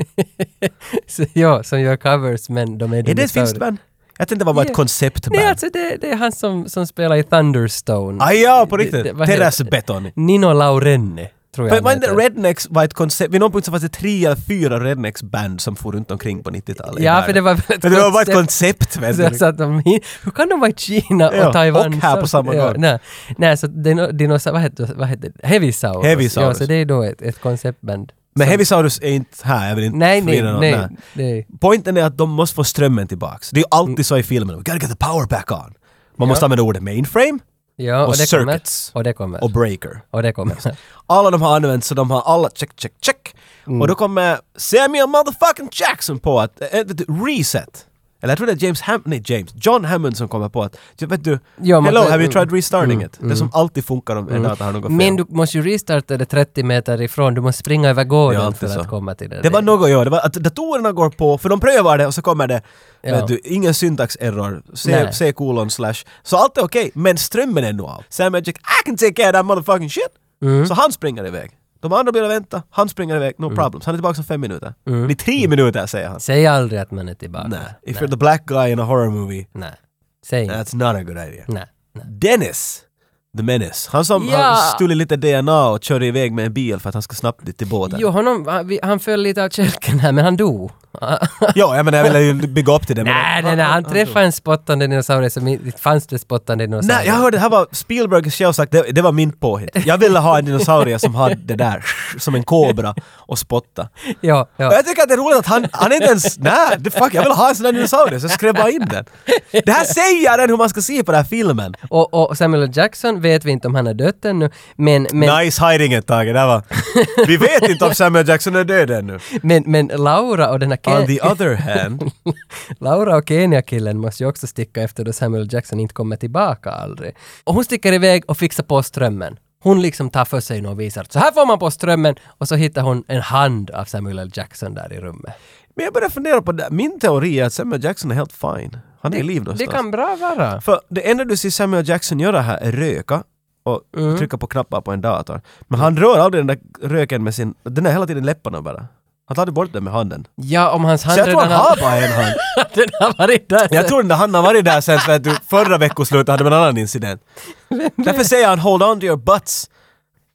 Speaker 2: Så, ja, som gör covers men de är
Speaker 1: Är det ett finskt band? Jag tänkte det var bara ett
Speaker 2: Ja.
Speaker 1: konceptband.
Speaker 2: Nej, alltså det, det är han som, som spelar i Thunderstone.
Speaker 1: Ah, ja, på
Speaker 2: Det- det-
Speaker 1: riktigt!
Speaker 2: vad heter-
Speaker 1: Terrassbeton.
Speaker 2: Nino Laurenne, tror jag
Speaker 1: Men
Speaker 2: han
Speaker 1: men
Speaker 2: heter.
Speaker 1: Rednecks var ett koncept, vid någon punkt så fanns det tre eller fyra Rednecks-band som for runt omkring på 90-talet. i
Speaker 2: Ja,
Speaker 1: världen.
Speaker 2: för det var väl ett
Speaker 1: Men det var bara ett
Speaker 2: koncept.
Speaker 1: koncept vet
Speaker 2: Så,
Speaker 1: du.
Speaker 2: så att de, hur kan de vara i Kina och
Speaker 1: Ja,
Speaker 2: Taiwan?
Speaker 1: och här på samma
Speaker 2: ja,
Speaker 1: gång.
Speaker 2: nej, nej, så dino, dinosaur, vad heter vad heter det? Heavisaurus.
Speaker 1: Heavisaurus.
Speaker 2: Ja, så det är då ett, ett konceptband.
Speaker 1: Men
Speaker 2: Som-
Speaker 1: Heavisaurus är inte här, jag vill inte
Speaker 2: Nej, nej,
Speaker 1: förvirra någon.
Speaker 2: nej. nej.
Speaker 1: Poängen är att de måste få strömmen tillbaks. Det är ju alltid så i filmen. We gotta get the power back on. Man måste använda ordet mainframe
Speaker 2: Ja, och,
Speaker 1: Och
Speaker 2: det kommer.
Speaker 1: circuits.
Speaker 2: Och det kommer.
Speaker 1: och breaker.
Speaker 2: och det kommer.
Speaker 1: Alla de har använt så de har alla check, check, check.
Speaker 2: Mm.
Speaker 1: Och då kommer Samuel motherfucking Jackson på att äh, vet du, reset. Eller jag tror det är James Ham... Nej, James. John Hammond som kommer på att... "Ja, Vet du?
Speaker 2: Ja, man-
Speaker 1: hello, have
Speaker 2: mm,
Speaker 1: you tried restarting it? Det som alltid funkar om en dator har något fel.
Speaker 2: Men du måste ju restarta det 30 meter ifrån, du måste springa över
Speaker 1: Ja,
Speaker 2: gården
Speaker 1: alltid
Speaker 2: för att
Speaker 1: så.
Speaker 2: komma till det.
Speaker 1: Det var något, ja. Det var att datorerna går på, för de prövar det och så kommer det,
Speaker 2: Ja.
Speaker 1: vet du, ingen syntaxerror, C,
Speaker 2: Nej.
Speaker 1: C kolon slash. Så allt är okej, men strömmen är nu av. Sam Magic, I can take care of that motherfucking shit!
Speaker 2: Mm.
Speaker 1: Så han springer iväg. De andra blir och vänta, han springer iväg, no problems. Han är tillbaka om fem minuter.
Speaker 2: Mm.
Speaker 1: Det är tre minuter säger han.
Speaker 2: Säg aldrig att man är tillbaka.
Speaker 1: Nej. If you're the black guy in a horror movie,
Speaker 2: Nej. Säg inte.
Speaker 1: that's not a good idea.
Speaker 2: Nej.
Speaker 1: Dennis! The Menace. Han som
Speaker 2: Ja.
Speaker 1: har stulit lite DNA och körde iväg med en bil för att han ska snabbt dit till båten.
Speaker 2: Jo, honom, han, vi- han föll lite av kälken här, men han dog.
Speaker 1: Ja, jag menar jag ville ju bygga upp till det. men-
Speaker 2: nej, nej, nej, han träffade en spottande dinosaurie som inte fanns det spottande dinosaurier.
Speaker 1: Nej, jag hörde, det här var Spielberg själv sagt, det, det var min påhitt. Jag ville ha en dinosaurie som hade det där, som en kobra, och spotta.
Speaker 2: Ja, ja.
Speaker 1: Och jag tycker att det är roligt att han, han är inte ens, nej, det- fuck, jag vill ha en sån där dinosaurie, så jag skrev bara in den. Det här säger den hur man ska se på den här filmen.
Speaker 2: Och, och Samuel L. Jackson vet vi inte om han är dött ännu, men, men,
Speaker 1: Nice hiding it, Tage, det här var... Vi vet inte om Samuel Jackson är död ännu.
Speaker 2: men, men Laura och den här
Speaker 1: On
Speaker 2: Ke-
Speaker 1: the other hand,
Speaker 2: Laura och Kenya-killen måste ju också sticka efter då Samuel Jackson inte kommer tillbaka aldrig. Och hon sticker iväg och fixar på strömmen. Hon liksom tar för sig och visar att så här får man på strömmen och så hittar hon en hand av Samuel L. Jackson där i rummet.
Speaker 1: Men jag börjar fundera på det. Min teori är att Samuel Jackson är helt fine. Han är i liv
Speaker 2: Det
Speaker 1: någonstans.
Speaker 2: kan bra vara.
Speaker 1: För det enda du ser Samuel Jackson göra här är röka och
Speaker 2: Mm.
Speaker 1: trycka på knappar på en dator. Men han rör aldrig den där röken med sin... Den är hela tiden i läpparna bara. Han tar aldrig bort den med handen.
Speaker 2: Ja, om hans hand
Speaker 1: Så jag tror
Speaker 2: redan
Speaker 1: han har bara en hand.
Speaker 2: den har varit där.
Speaker 1: Jag tror den där handen har varit där sen för att du förra veckoslutet hade vi en annan incident. Därför säger han “Hold on to your butts”.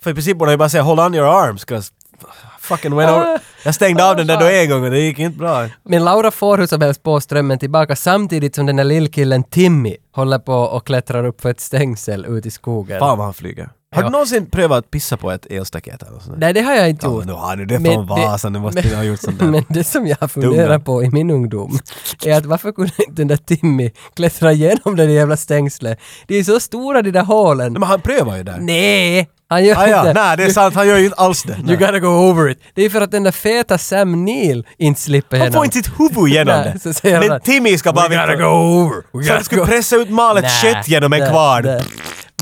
Speaker 1: För i princip borde han ju bara säga “Hold on your arms” 'cause fucking went over. Jag stängde av den där då en gång och det gick inte bra.
Speaker 2: Men Laura får hur som helst på strömmen tillbaka samtidigt som den där lillkillen Timmy håller på och klättrar upp för ett stängsel ut i skogen.
Speaker 1: Fan vad han flyger. Har du
Speaker 2: Ja.
Speaker 1: någonsin prövat att pissa på ett elstaket eller något sånt där?
Speaker 2: Nej, det har jag inte
Speaker 1: Ja,
Speaker 2: gjort.
Speaker 1: men nu har du det från
Speaker 2: Men det-
Speaker 1: Vasan, du måste ju ha gjort sånt där.
Speaker 2: Men det som jag har funderat på i min ungdom är att varför kunde inte den där Timmy klättra igenom det där jävla stängslet? Det är så stora de där hålen.
Speaker 1: Nej, men han prövar ju där.
Speaker 2: Nej! Han gör
Speaker 1: Ah, ja,
Speaker 2: inte...
Speaker 1: nej det är sant, han gör ju inte alls det.
Speaker 2: You
Speaker 1: Nej.
Speaker 2: gotta go over it. Det är för att den där feta Sam Neill inte slipper
Speaker 1: Han får inte sitt huvud igenom
Speaker 2: Nej, så säger
Speaker 1: det. Men
Speaker 2: han,
Speaker 1: Timmy ska bara...
Speaker 2: We gotta go over. We
Speaker 1: Så
Speaker 2: gotta
Speaker 1: han skulle
Speaker 2: go-
Speaker 1: pressa ut malet
Speaker 2: Nej,
Speaker 1: kött genom en
Speaker 2: nej,
Speaker 1: kvarn.
Speaker 2: nej.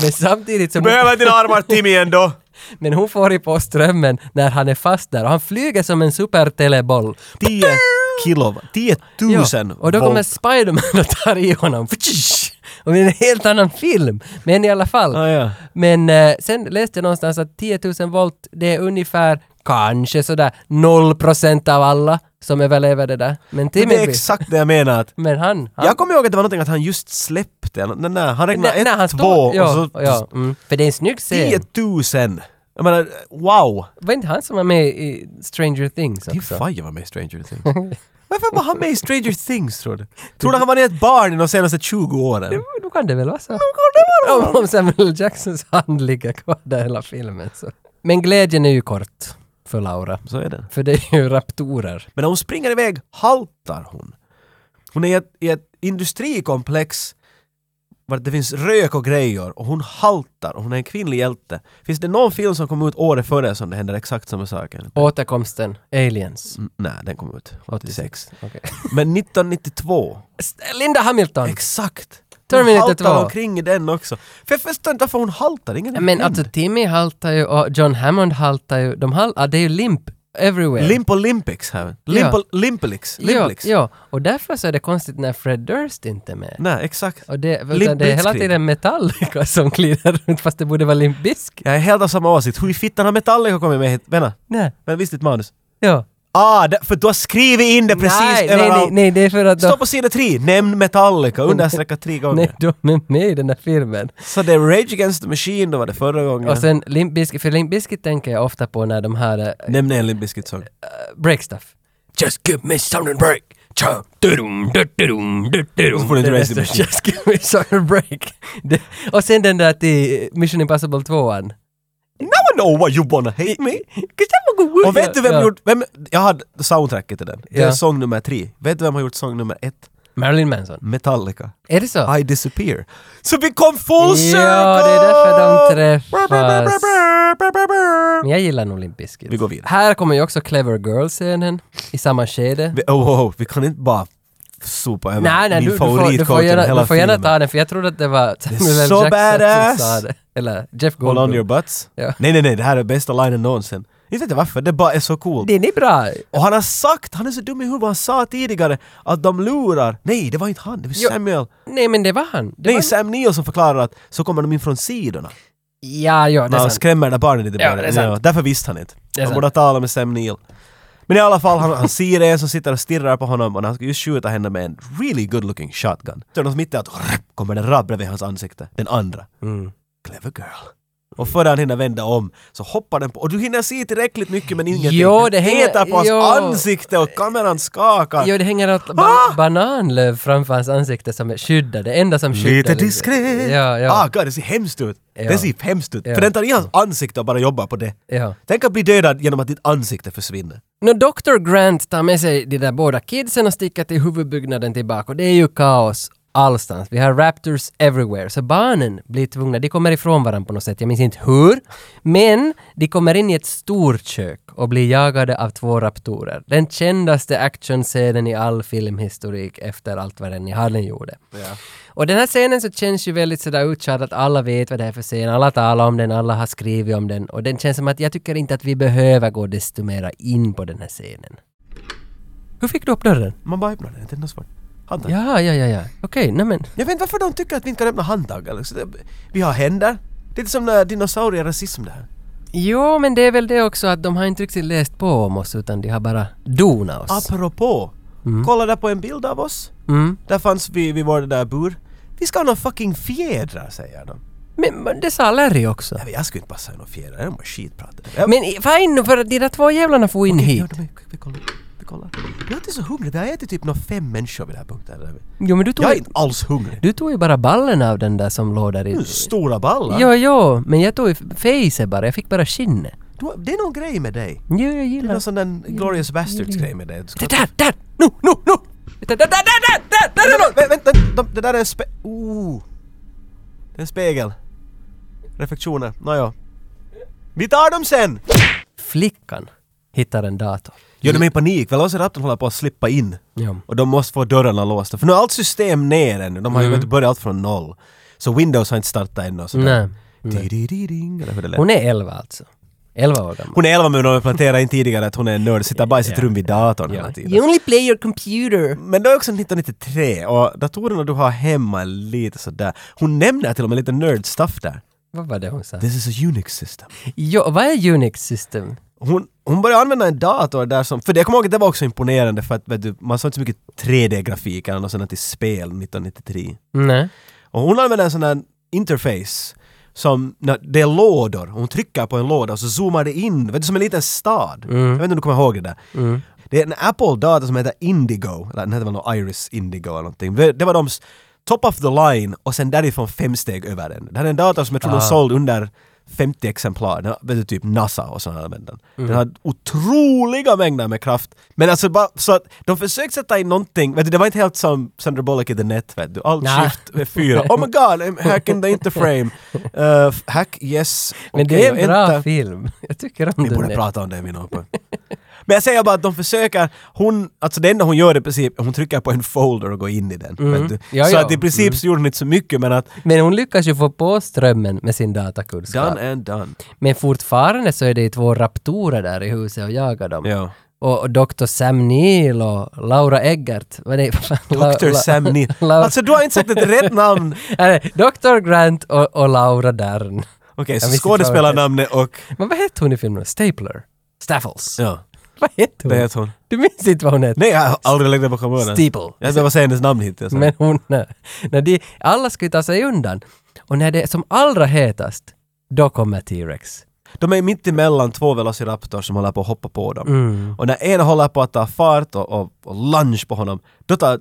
Speaker 2: Men samtidigt som...
Speaker 1: Behöver dina armar Timmy ändå?
Speaker 2: Men hon får i på strömmen när han är fast där och han flyger som en superteleboll.
Speaker 1: 10 kilo, 10
Speaker 2: Ja,
Speaker 1: 000
Speaker 2: Och då kommer
Speaker 1: volt.
Speaker 2: Spiderman och tar i honom. Ftsch! Och det är en helt annan film. Men i alla fall.
Speaker 1: Ah, ja.
Speaker 2: Men eh, sen läste jag någonstans att 10 000 volt, det är ungefär kanske sådär 0% av alla som överlever det där. Men Timmy...
Speaker 1: Det är exakt det jag menar. Att
Speaker 2: Men han... han
Speaker 1: jag kommer ihåg att det var någonting att han just släppte. eller- Nej, nej, han räknade
Speaker 2: Nej, nej, han
Speaker 1: ett,
Speaker 2: står-
Speaker 1: två
Speaker 2: ja,
Speaker 1: och så...
Speaker 2: ja, mm. För det är en snygg scen.
Speaker 1: 10 000! Jag menar, wow!
Speaker 2: Var inte han som var med i Stranger Things
Speaker 1: Din
Speaker 2: också?
Speaker 1: fajer var med i Stranger Things. Varför var han med i Stranger Things tror du? Tror du han var ett barn i de senaste 20 åren?
Speaker 2: Då kan det väl vara så. Om, om Samuel Jacksons hand ligger kvar där hela filmen så. Men glädjen är ju kort för Laura.
Speaker 1: Så är det.
Speaker 2: För det är ju raptorer.
Speaker 1: Men när hon springer iväg haltar hon. Hon är i ett, i ett industrikomplex vart det finns rök och grejer och hon haltar och hon är en kvinnlig hjälte. Finns det någon film som kom ut året före som det händer exakt samma saker?
Speaker 2: Återkomsten, aliens.
Speaker 1: Mm, nej, den kom ut 86.
Speaker 2: Okej.
Speaker 1: Men 1992,
Speaker 2: S- Linda Hamilton!
Speaker 1: exakt! Hon
Speaker 2: Terminator 2.
Speaker 1: haltar omkring i den också. För jag förstår inte varför hon haltar, ingen är
Speaker 2: Men
Speaker 1: blind.
Speaker 2: alltså Timmy haltar ju och John Hammond haltar ju. De hal- ah, det är ju limp everywhere.
Speaker 1: Limp Olympics här. Limp, liksom.
Speaker 2: Ja.
Speaker 1: Limpelix.
Speaker 2: ja,
Speaker 1: Limpelix.
Speaker 2: ja, och därför så är det konstigt när Fred Durst inte är med.
Speaker 1: Nej, exakt.
Speaker 2: Och det,
Speaker 1: Limp
Speaker 2: utan det är hela
Speaker 1: Bizkit.
Speaker 2: tiden Metallica som glider runt fast det borde vara Limp Bizkit.
Speaker 1: Jag är helt av samma åsikt. Hur i fittan har Metallica kommit med hit? Vänta,
Speaker 2: Nej,
Speaker 1: men visst ditt manus?
Speaker 2: ja.
Speaker 1: Ah, där- för du har skrivit in det precis
Speaker 2: nej, nej, nej,
Speaker 1: överallt.
Speaker 2: nej, det är för att de,
Speaker 1: Stå på sida 3, nämn Metallica, understreckat tre gånger.
Speaker 2: nej, de är med i den där filmen.
Speaker 1: Så det är Rage Against the Machine, då var det förra gången.
Speaker 2: Och sen Limp Bizkit, för Limp Bizkit tänker jag ofta på när de här eh,
Speaker 1: Nämn en Limp Bizkit-sång.
Speaker 2: break stuff. Just give me something to break. Cha, dudum, dudum, dudum.
Speaker 1: Så får du inte Raise the Machine.
Speaker 2: Just give me something to break. Det, och sen den där till Mission Impossible 2an.
Speaker 1: Now I know why you wanna hate me! Och vet du vem
Speaker 2: ja.
Speaker 1: gjort... Vem, jag hade soundtracket till den. Det är
Speaker 2: Ja.
Speaker 1: sång nummer tre. Vet du vem har gjort sång nummer ett?
Speaker 2: Marilyn Manson.
Speaker 1: Metallica.
Speaker 2: Är det så?
Speaker 1: I disappear. Så vi kom full circle!
Speaker 2: Ja, det är därför de träffas. Men jag gillar nog Limp Bizkit.
Speaker 1: Vi går vidare.
Speaker 2: Här kommer ju också Clever Girl-scenen i samma skede.
Speaker 1: Vi, oh, oh, oh, vi kan inte bara sopa över
Speaker 2: Nej, nej,
Speaker 1: min
Speaker 2: du, du, får, du,
Speaker 1: favoritcoach
Speaker 2: får
Speaker 1: genom
Speaker 2: gärna,
Speaker 1: hela
Speaker 2: du får gärna
Speaker 1: filmen.
Speaker 2: ta den, för jag trodde att det var Samuel L.
Speaker 1: so
Speaker 2: Jackson
Speaker 1: badass.
Speaker 2: som sa det. Eller Jeff
Speaker 1: Hold on your
Speaker 2: Goldblum.
Speaker 1: butts.
Speaker 2: Ja.
Speaker 1: Nej, nej, nej, det här är bästa linen någonsin. Inte vet jag varför, det bara är så cool.
Speaker 2: Den är bra!
Speaker 1: Och han har sagt, han är så dum i huvudet, han sa tidigare att de lurar. Nej, det var inte han, det var
Speaker 2: Jo,
Speaker 1: Samuel.
Speaker 2: Nej men det var han. Det
Speaker 1: Nej,
Speaker 2: var...
Speaker 1: Sam Neill som förklarar att så kommer de in från sidorna.
Speaker 2: Ja, ja, det
Speaker 1: När
Speaker 2: är
Speaker 1: han
Speaker 2: sant.
Speaker 1: skrämmer det där barnet lite
Speaker 2: Ja,
Speaker 1: bara.
Speaker 2: det är sant.
Speaker 1: därför visste han inte.
Speaker 2: Det är
Speaker 1: Han
Speaker 2: sant.
Speaker 1: borde ha talat med Sam Neill. Men i alla fall, han, han ser en som sitter och stirrar på honom och när han ska just skjuta henne med en really good looking shotgun. Så är det något mitt i att rrrp, kommer den rakt bredvid hans ansikte. Den andra.
Speaker 2: Mm.
Speaker 1: Clever girl. Och före han hinner vända om så hoppar den på. Och du hinner se tillräckligt mycket men ingenting.
Speaker 2: Jo,
Speaker 1: Den
Speaker 2: det hänger-
Speaker 1: petar på hans
Speaker 2: jo.
Speaker 1: ansikte och kameran skakar.
Speaker 2: Jo, det hänger ett ba-
Speaker 1: Ah!
Speaker 2: bananlöv framför hans ansikte som är skyddad. Det enda som skyddar
Speaker 1: Lite
Speaker 2: lite.
Speaker 1: diskret.
Speaker 2: Ja, ja,
Speaker 1: Ah, God, det ser hemskt ut.
Speaker 2: Ja.
Speaker 1: Det ser hemskt ut.
Speaker 2: Ja.
Speaker 1: För den tar i hans ansikte och bara jobbar på det.
Speaker 2: ja.
Speaker 1: Tänk att bli dödad genom att ditt ansikte försvinner.
Speaker 2: När Dr. Grant tar med sig de där båda kidsen och sticker till huvudbyggnaden tillbaka och det är ju kaos. allstans. Vi har raptors everywhere. Så barnen blir tvungna, de kommer ifrån varandra på något sätt, jag minns inte hur. Men de kommer in i ett storkök och blir jagade av två raptorer. Den kändaste actionscenen i all filmhistorik efter allt vad Rennie Harlin gjorde. Och den här scenen så känns ju väldigt sådär uttjatad att alla vet vad det är för scen, alla talar om den, alla har skrivit om den och den känns som att jag tycker inte att vi behöver gå desto mera in på den här scenen. Hur fick du upp dörren?
Speaker 1: Man bara öppnar den, det är något svårt. Handtag.
Speaker 2: Ja, ja, ja, ja. Okej, nej men.
Speaker 1: Jag vet inte varför de tycker att vi inte kan öppna handtag. Alex. Det- Vi har händer. Det är lite som när dinosaurier rasism det här.
Speaker 2: Jo, men det är väl det också att de har inte riktigt läst på om oss utan de har bara donat oss.
Speaker 1: Apropå. Kolla där på en bild av oss.
Speaker 2: Mm.
Speaker 1: Där fanns vi vid vår där bur. Vi ska ha någon fucking fjädrar säger de.
Speaker 2: Men men det sa Larry också.
Speaker 1: Nej, men jag skulle inte passa i någon fjädrar, de var skitpratade. Jag-
Speaker 2: Men i- fine nu, för att de där två jävlarna får in
Speaker 1: Ja,
Speaker 2: hit.
Speaker 1: de är, vi kollar. Vi kollar. Jag är inte så hungrig, vi har ätit typ någon fem människor vid den här punkten. Eller?
Speaker 2: Jo, men du tog,
Speaker 1: Jag är inte alls hungrig.
Speaker 2: du tog ju bara ballen av den där som låg där i...
Speaker 1: Stora ballar.
Speaker 2: Jo, jo, men jag tog ju face bara, jag fick bara skinnet.
Speaker 1: Du, det är någon grej med dig.
Speaker 2: Jo, jag
Speaker 1: Det är
Speaker 2: gillar...
Speaker 1: någon sån där Glorious Bastards grej med dig. Du ska-
Speaker 2: Mm. Det där, där! Nu, nu, nu! Det Där, där, där, där, där, där, är någon!
Speaker 1: Vä- Vänta, de- det där är en spe... Ooh. Det är en spegel. Reflektioner, nåja. Vi tar dem sen!
Speaker 2: Flickan hittar en dator.
Speaker 1: Gör de är i panik? Velociraptorn håller på att slippa in.
Speaker 2: Ja.
Speaker 1: Och de måste få dörrarna låsta. För nu är allt system ner ännu. De har
Speaker 2: Mm.
Speaker 1: ju inte börjat allt från noll. Så Windows har inte startat ännu och sådär.
Speaker 2: Nej,
Speaker 1: Di-di-di-ding, Eller hur det lät.
Speaker 2: Hon är 11 alltså. 11 år gammal.
Speaker 1: Hon är 11 men de planterade in tidigare att hon är en nörd. Sitter bara i sitt rum vid datorn hela tiden.
Speaker 2: You only play your computer.
Speaker 1: Men det är också 1993 och datorerna du har hemma är lite sådär. Hon nämner till och med lite nerd stuff där.
Speaker 2: Vad var det hon sa?
Speaker 1: This is a Unix system.
Speaker 2: Jo, vad är Unix system?
Speaker 1: Hon, hon började använda en dator där som, för det jag kommer ihåg att det var också imponerande för att vet du, man såg inte så mycket 3D-grafik eller något sånt i spel 1993.
Speaker 2: Nej.
Speaker 1: Och hon använder en sån här interface som, när det är lådor, hon trycker på en låda och så zoomar det in, vet du, som en liten stad. Jag vet inte om du kommer ihåg det där. Det är en Apple-dator som heter Indigo, eller den heter väl någon Iris Indigo eller någonting. Det, det var de s- top of the line och sen därifrån fem steg över den. Det här är en dator som jag tror de sålde under 50 exemplar, den, har- vet du, typ NASA och sådana använder den. Den har otroliga mängder med kraft. Men alltså bara så att de försökte sätta in någonting, vet du, det var inte helt som Sandra Bullock i The Net vet du. Allt
Speaker 2: Nej.
Speaker 1: skift med fyra. Oh my god, I'm hacking the interframe. Uh, hack, yes.
Speaker 2: Men
Speaker 1: Okej,
Speaker 2: det är en
Speaker 1: och
Speaker 2: bra
Speaker 1: enter.
Speaker 2: film. Jag tycker om
Speaker 1: Vi borde
Speaker 2: den.
Speaker 1: prata om det vid någon punkt. Men jag säger bara att de försöker, hon, alltså det enda hon gör i princip, hon trycker på en folder och går in i den. Vet du?
Speaker 2: Mm. Ja,
Speaker 1: så
Speaker 2: ja. Mm.
Speaker 1: att i princip så gjorde hon inte så mycket men att
Speaker 2: Men hon lyckas ju få på strömmen med sin
Speaker 1: done
Speaker 2: datakunskap.
Speaker 1: and done.
Speaker 2: Men fortfarande så är det ju två raptorer där i huset och jagar dem.
Speaker 1: Ja.
Speaker 2: Och, och Dr. Sam Neill och Laura Eggert. Vad är det? La-
Speaker 1: Dr.
Speaker 2: La-
Speaker 1: Sam Neill.
Speaker 2: Laura-
Speaker 1: Alltså du har inte sagt ett rätt namn.
Speaker 2: Nej, nej, Dr. Grant och, och Laura Dern.
Speaker 1: Okej,
Speaker 2: visste
Speaker 1: så
Speaker 2: inte vad det
Speaker 1: skådespelarnamnet och...
Speaker 2: Men vad hette hon i filmen? Stapler? Staffles?
Speaker 1: Ja,
Speaker 2: Vad hette hon?
Speaker 1: det heter hon.
Speaker 2: Du minns inte vad hon hette?
Speaker 1: Nej, jag har aldrig lagt det bakom öronen.
Speaker 2: Steeple.
Speaker 1: Jag behöver säga hennes namn hittills.
Speaker 2: Men hon... eh, När de, alla ska ju ta sig undan. Och när det är som allra hetast, då kommer T-Rex.
Speaker 1: De är mitt emellan två velociraptors som håller på att hoppa på dem. Och när en håller på att ta fart och, och, och lunge på honom, då tar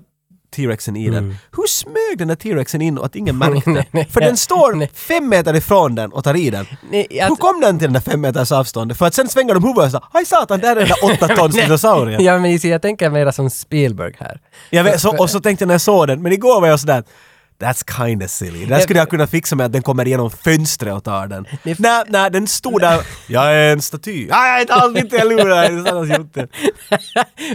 Speaker 1: T-rexen i den. Hur smög den där T-rexen in och att ingen märkte? För den står fem meter ifrån den och tar i den.
Speaker 2: Nej,
Speaker 1: Hur
Speaker 2: att-
Speaker 1: kom den till den där fem meters avstånd? För att sen svänger de huvudet och sa ”Aj satan, där är den där åtta tons dinosaurien”.
Speaker 2: Ja, men jag tänker mera som Spielberg här.
Speaker 1: Jag vet, så, och så tänkte jag när jag såg den, men igår var jag sådär That's kinda silly. Det här skulle jag kunna fixa med att den kommer igenom fönstret och tar den. Nej, nej, den stod där. Jag är en staty. Nej, jag är inte alls inte, jag lurar. Det är så annars gjort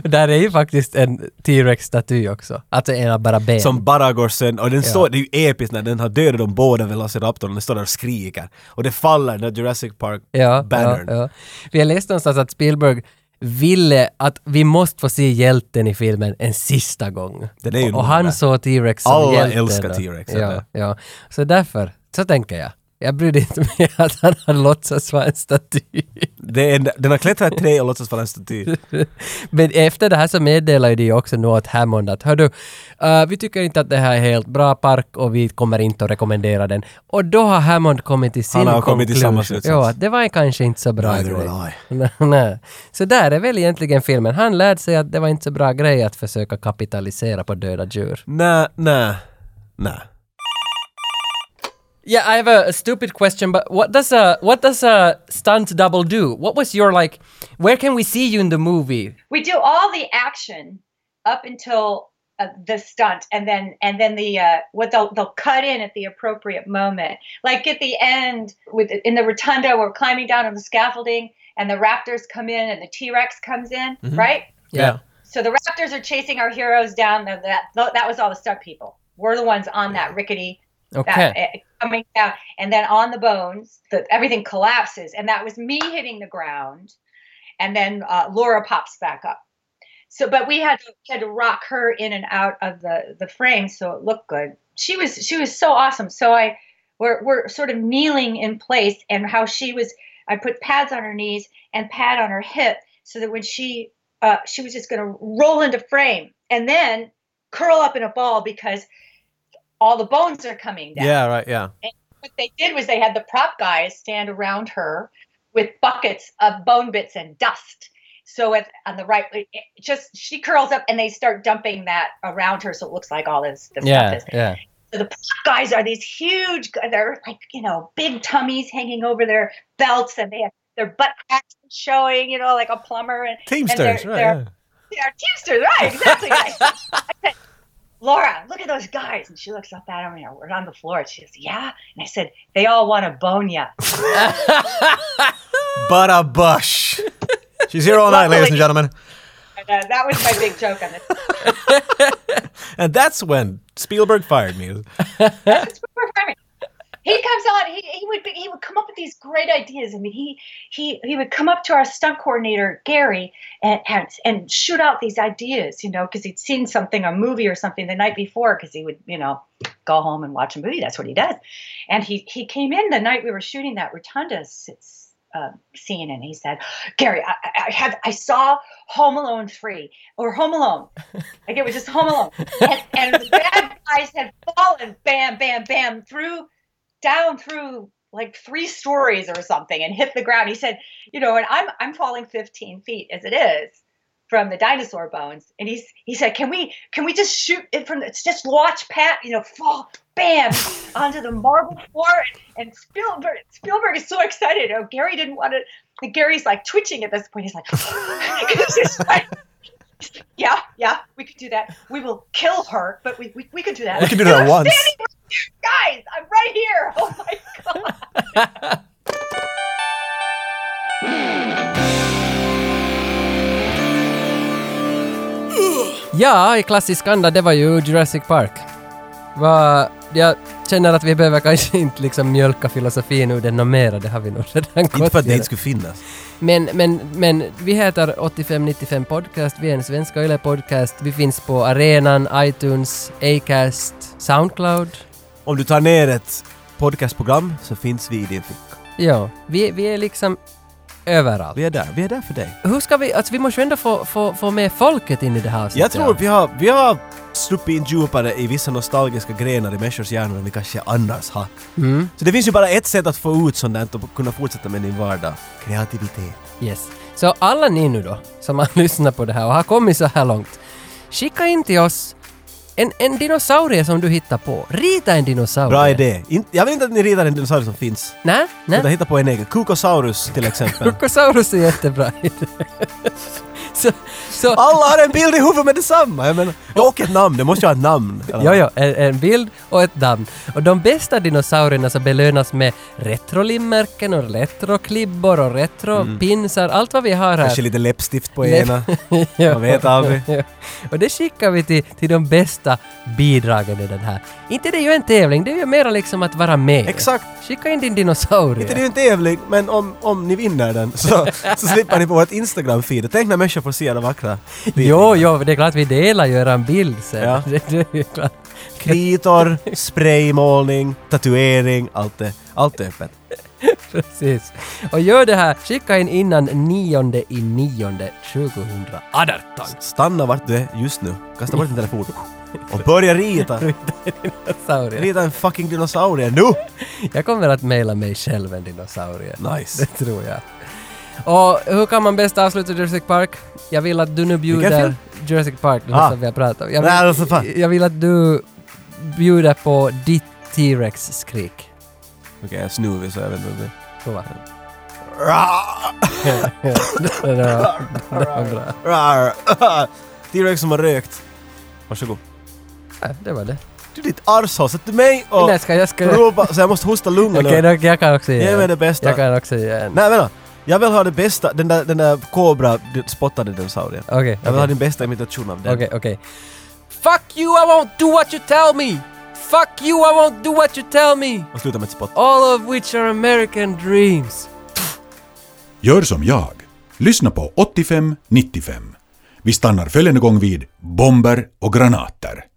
Speaker 1: det.
Speaker 2: Där är ju faktiskt en T-Rex-staty också. Alltså en av bara ben.
Speaker 1: Som bara går sönder. Och den står, det är ju episkt när den har dödat de båda Velociraptorn. Den står där och skriker. Och det faller, den där Jurassic Park
Speaker 2: ja, ja,
Speaker 1: bannern.
Speaker 2: ja. Vi har läst någonstans att Spielberg ville att vi måste få se hjälten i filmen en sista gång.
Speaker 1: Den är ju
Speaker 2: och, och
Speaker 1: nog
Speaker 2: han
Speaker 1: där.
Speaker 2: såg T-Rex som
Speaker 1: Alla
Speaker 2: hjälten.
Speaker 1: älskar
Speaker 2: då.
Speaker 1: T-Rex,
Speaker 2: Ja,
Speaker 1: eller?
Speaker 2: ja. Så därför, så tänker jag. Jag brydde inte mig att han hade låtsats vara en staty.
Speaker 1: Det är en, den har klättrat ett träd och låtsas vara en staty.
Speaker 2: Men efter det här så meddelar ju de ju också nu åt Hammond att hördu, eh, vi tycker inte att det här är helt bra park och vi kommer inte att rekommendera den. Och då har Hammond kommit till sin
Speaker 1: Han har kommit till
Speaker 2: conclusion.
Speaker 1: samma slutsats.
Speaker 2: Ja, det var kanske inte så bra
Speaker 1: Neither
Speaker 2: grej.
Speaker 1: will
Speaker 2: Nej. Så där är väl egentligen filmen. Han lärde sig att det var inte så bra grej att försöka kapitalisera på döda djur.
Speaker 1: Nä, nä, nä.
Speaker 2: Yeah, I have a, a stupid question, but what does a what does a stunt double do? What was your like? Where can we see you in the movie?
Speaker 3: We do all the action up until uh, uh, the stunt and then and then the uh, what they'll they'll cut in at the appropriate moment like at the end with in the rotunda we're climbing down on the scaffolding and the raptors come in and the t-rex comes in
Speaker 1: Mm-hmm.
Speaker 3: right
Speaker 2: Yeah.
Speaker 3: so the raptors are chasing our heroes down the, that that was all the stunt people we're the ones on that rickety that,
Speaker 2: Okay.
Speaker 3: uh, coming down and then on the bones the, everything collapses and that was me hitting the ground and then uh, laura pops back up so but we had to, had to rock her in and out of the the frame so it looked good she was she was so awesome so i we're, we're sort of kneeling in place and how she was i put pads on her knees and pad on her hip so that when she uh, she was just going to roll into frame and then curl up in a ball because all the bones are coming down
Speaker 4: Yeah, right, yeah.
Speaker 3: what they did was they had the prop guys stand around her with buckets of bone bits and dust. So if on the right, it just she curls up and they start dumping that around her, so it looks like all this. this
Speaker 2: Yeah.
Speaker 3: stuff is.
Speaker 2: Yeah.
Speaker 3: So the prop guys are these huge. They're like you know big tummies hanging over their belts, and they have their butt cracks showing. You know, like a plumber and
Speaker 4: Teamsters, right.
Speaker 3: they're-
Speaker 4: yeah.
Speaker 3: yeah, Teamsters, right? Exactly. Right. I said, Laura, look at those guys. And she looks up at him and we're on the floor. And she goes, Yeah. And I said, They all want to bone ya.
Speaker 4: But a bush. She's here all night, ladies and gentlemen.
Speaker 3: And, uh, that was my big joke on this.
Speaker 4: And that's when Spielberg fired me.
Speaker 3: performing. He comes on. He, he would be, he would come up with these great ideas. I mean, he he he would come up to our stunt coordinator Gary and and, and shoot out these ideas, you know, because he'd seen something, a movie or something the night before. Because he would, you know, go home and watch a movie. That's what he does. And he he came in the night we were shooting that rotunda s- s- uh, scene, and he said, "Gary, I, I I have I saw Home Alone three or Home Alone, like it was just Home Alone, and, and the bad guys had fallen, bam, bam, bam, through, down through like three stories or something, and hit the ground. He said, you know, and I'm I'm falling 15 feet as it is from the dinosaur bones, and he's he said, can we can we just shoot it from? It's just watch Pat, you know, fall, bam, onto the marble floor, and, and Spielberg Spielberg is so excited. Oh, Gary didn't want to. And Gary's like twitching at this point. He's like, he's just like yeah, yeah, we could do that. We will kill her, but we we, we could do that.
Speaker 4: We could do that
Speaker 3: And I'm
Speaker 4: once.
Speaker 3: standing right here, Guys, I'm right here. Oh my god.
Speaker 2: Ja, i klassisk anda, det var ju Jurassic Park. Va, jag känner att vi behöver kanske inte liksom mjölka filosofin ur den något mera, det har vi nog redan gått
Speaker 1: Inte för att det
Speaker 2: igenom.
Speaker 1: inte skulle finnas.
Speaker 2: Men, men, men vi heter 8595 Podcast, vi är en svenska yle podcast. Vi finns på arenan, iTunes, Acast, Soundcloud.
Speaker 1: Om du tar ner ett podcastprogram så finns vi i din ficka.
Speaker 2: Ja, vi, vi är liksom överallt.
Speaker 1: Vi är där, vi är där för dig.
Speaker 2: Hur ska vi, alltså vi måste ju ändå få, få, få med folket in i det här
Speaker 1: Jag
Speaker 2: avsnittet.
Speaker 1: tror vi har, vi har sluppit in djupare i vissa nostalgiska grenar i människors hjärnor än vi kanske annars har. Så det finns ju bara ett sätt att få ut sånt där och kunna fortsätta med din vardag. Kreativitet.
Speaker 2: Yes. Så alla ni nu då, som har lyssnat på det här och har kommit så här långt, skicka in till oss en, en dinosaurie som du hittar på. Rita en dinosaurie.
Speaker 1: Bra idé. In, jag vill inte att ni ritar en dinosaurie som finns.
Speaker 2: Nej,
Speaker 1: Utan
Speaker 2: nej.
Speaker 1: hitta på en egen. Kukosaurus till exempel.
Speaker 2: Krokosaurus är jättebra idé. så, så,
Speaker 1: Alla har en bild i huvudet med detsamma! Jag menar, och ett namn, det måste ju ha ett namn. Eller-
Speaker 2: Ja, ja, en, en bild och ett namn. Och de bästa dinosaurierna så belönas med retrolimmärken och retroklibbor och retropinsar, allt vad vi har här.
Speaker 1: Kanske lite läppstift på
Speaker 2: Läpp-
Speaker 1: ena.
Speaker 2: Ja.
Speaker 1: Man vet aldrig.
Speaker 2: Ja. Och det skickar vi till, till de bästa bidragen i den här. Inte det är ju en tävling, det är ju mera liksom att vara med.
Speaker 1: Exakt.
Speaker 2: Skicka in din dinosaurie.
Speaker 1: Inte det är ju en tävling, men om, om ni vinner den så, så slipper ni på vårt Instagram-feed. Tänk när människor får se alla vackra
Speaker 2: Jo, jo, det är klart vi delar ju eran bild sen.
Speaker 1: Ja.
Speaker 2: Det, det är ju klart.
Speaker 1: Kritor, spraymålning, tatuering, allt det. Allt är öppet.
Speaker 2: Precis. Och gör det här, skicka in innan 9 i 9 2018.
Speaker 1: Stanna vart du är just nu. Kasta bort din telefon. Och börja rita!
Speaker 2: Dinosaurie.
Speaker 1: Rita en fucking dinosaurie nu!
Speaker 2: Jag kommer att mejla mig själv en dinosaurie.
Speaker 1: Nice.
Speaker 2: Det tror jag. Och hur kan man bäst avsluta Jurassic Park? Jag vill att du nu bjuder...
Speaker 1: film?
Speaker 2: Jurassic Park, det
Speaker 1: Ah.
Speaker 2: ah. som vi har pratat om. Jag
Speaker 1: Nej, alltså fan.
Speaker 2: vill, jag vill att du bjuder på ditt T-Rex-skrik.
Speaker 1: Okej, jag är snuvig så jag vet inte. om det-
Speaker 2: Prova.
Speaker 1: Rar,
Speaker 2: Det var- det var bra.
Speaker 1: rar. T-Rex som har rökt. Varsågod.
Speaker 2: Nej, det var det.
Speaker 1: Du ditt arshål, sätt du mig och
Speaker 2: Nej, ska jag- ska jag-
Speaker 1: ropa så jag måste hosta lugna
Speaker 2: Okej,
Speaker 1: nu.
Speaker 2: då- jag kan också ge
Speaker 1: Ge
Speaker 2: en.
Speaker 1: mig det bästa.
Speaker 2: Jag kan också ge en.
Speaker 1: Nej vänta, jag vill ha det bästa, den där, den där kobra du spottade dinosaurien.
Speaker 2: Okej,
Speaker 1: jag vill
Speaker 2: okej.
Speaker 1: ha din bästa imitation av den.
Speaker 2: Okej, okej. Fuck you, I won't do what you tell me! Fuck you, I won't do what you tell me!
Speaker 1: Och sluta med ett spott.
Speaker 2: All of which are American dreams.
Speaker 5: Gör som jag. Lyssna på 85-95. Vi stannar följande gång vid bomber och granater.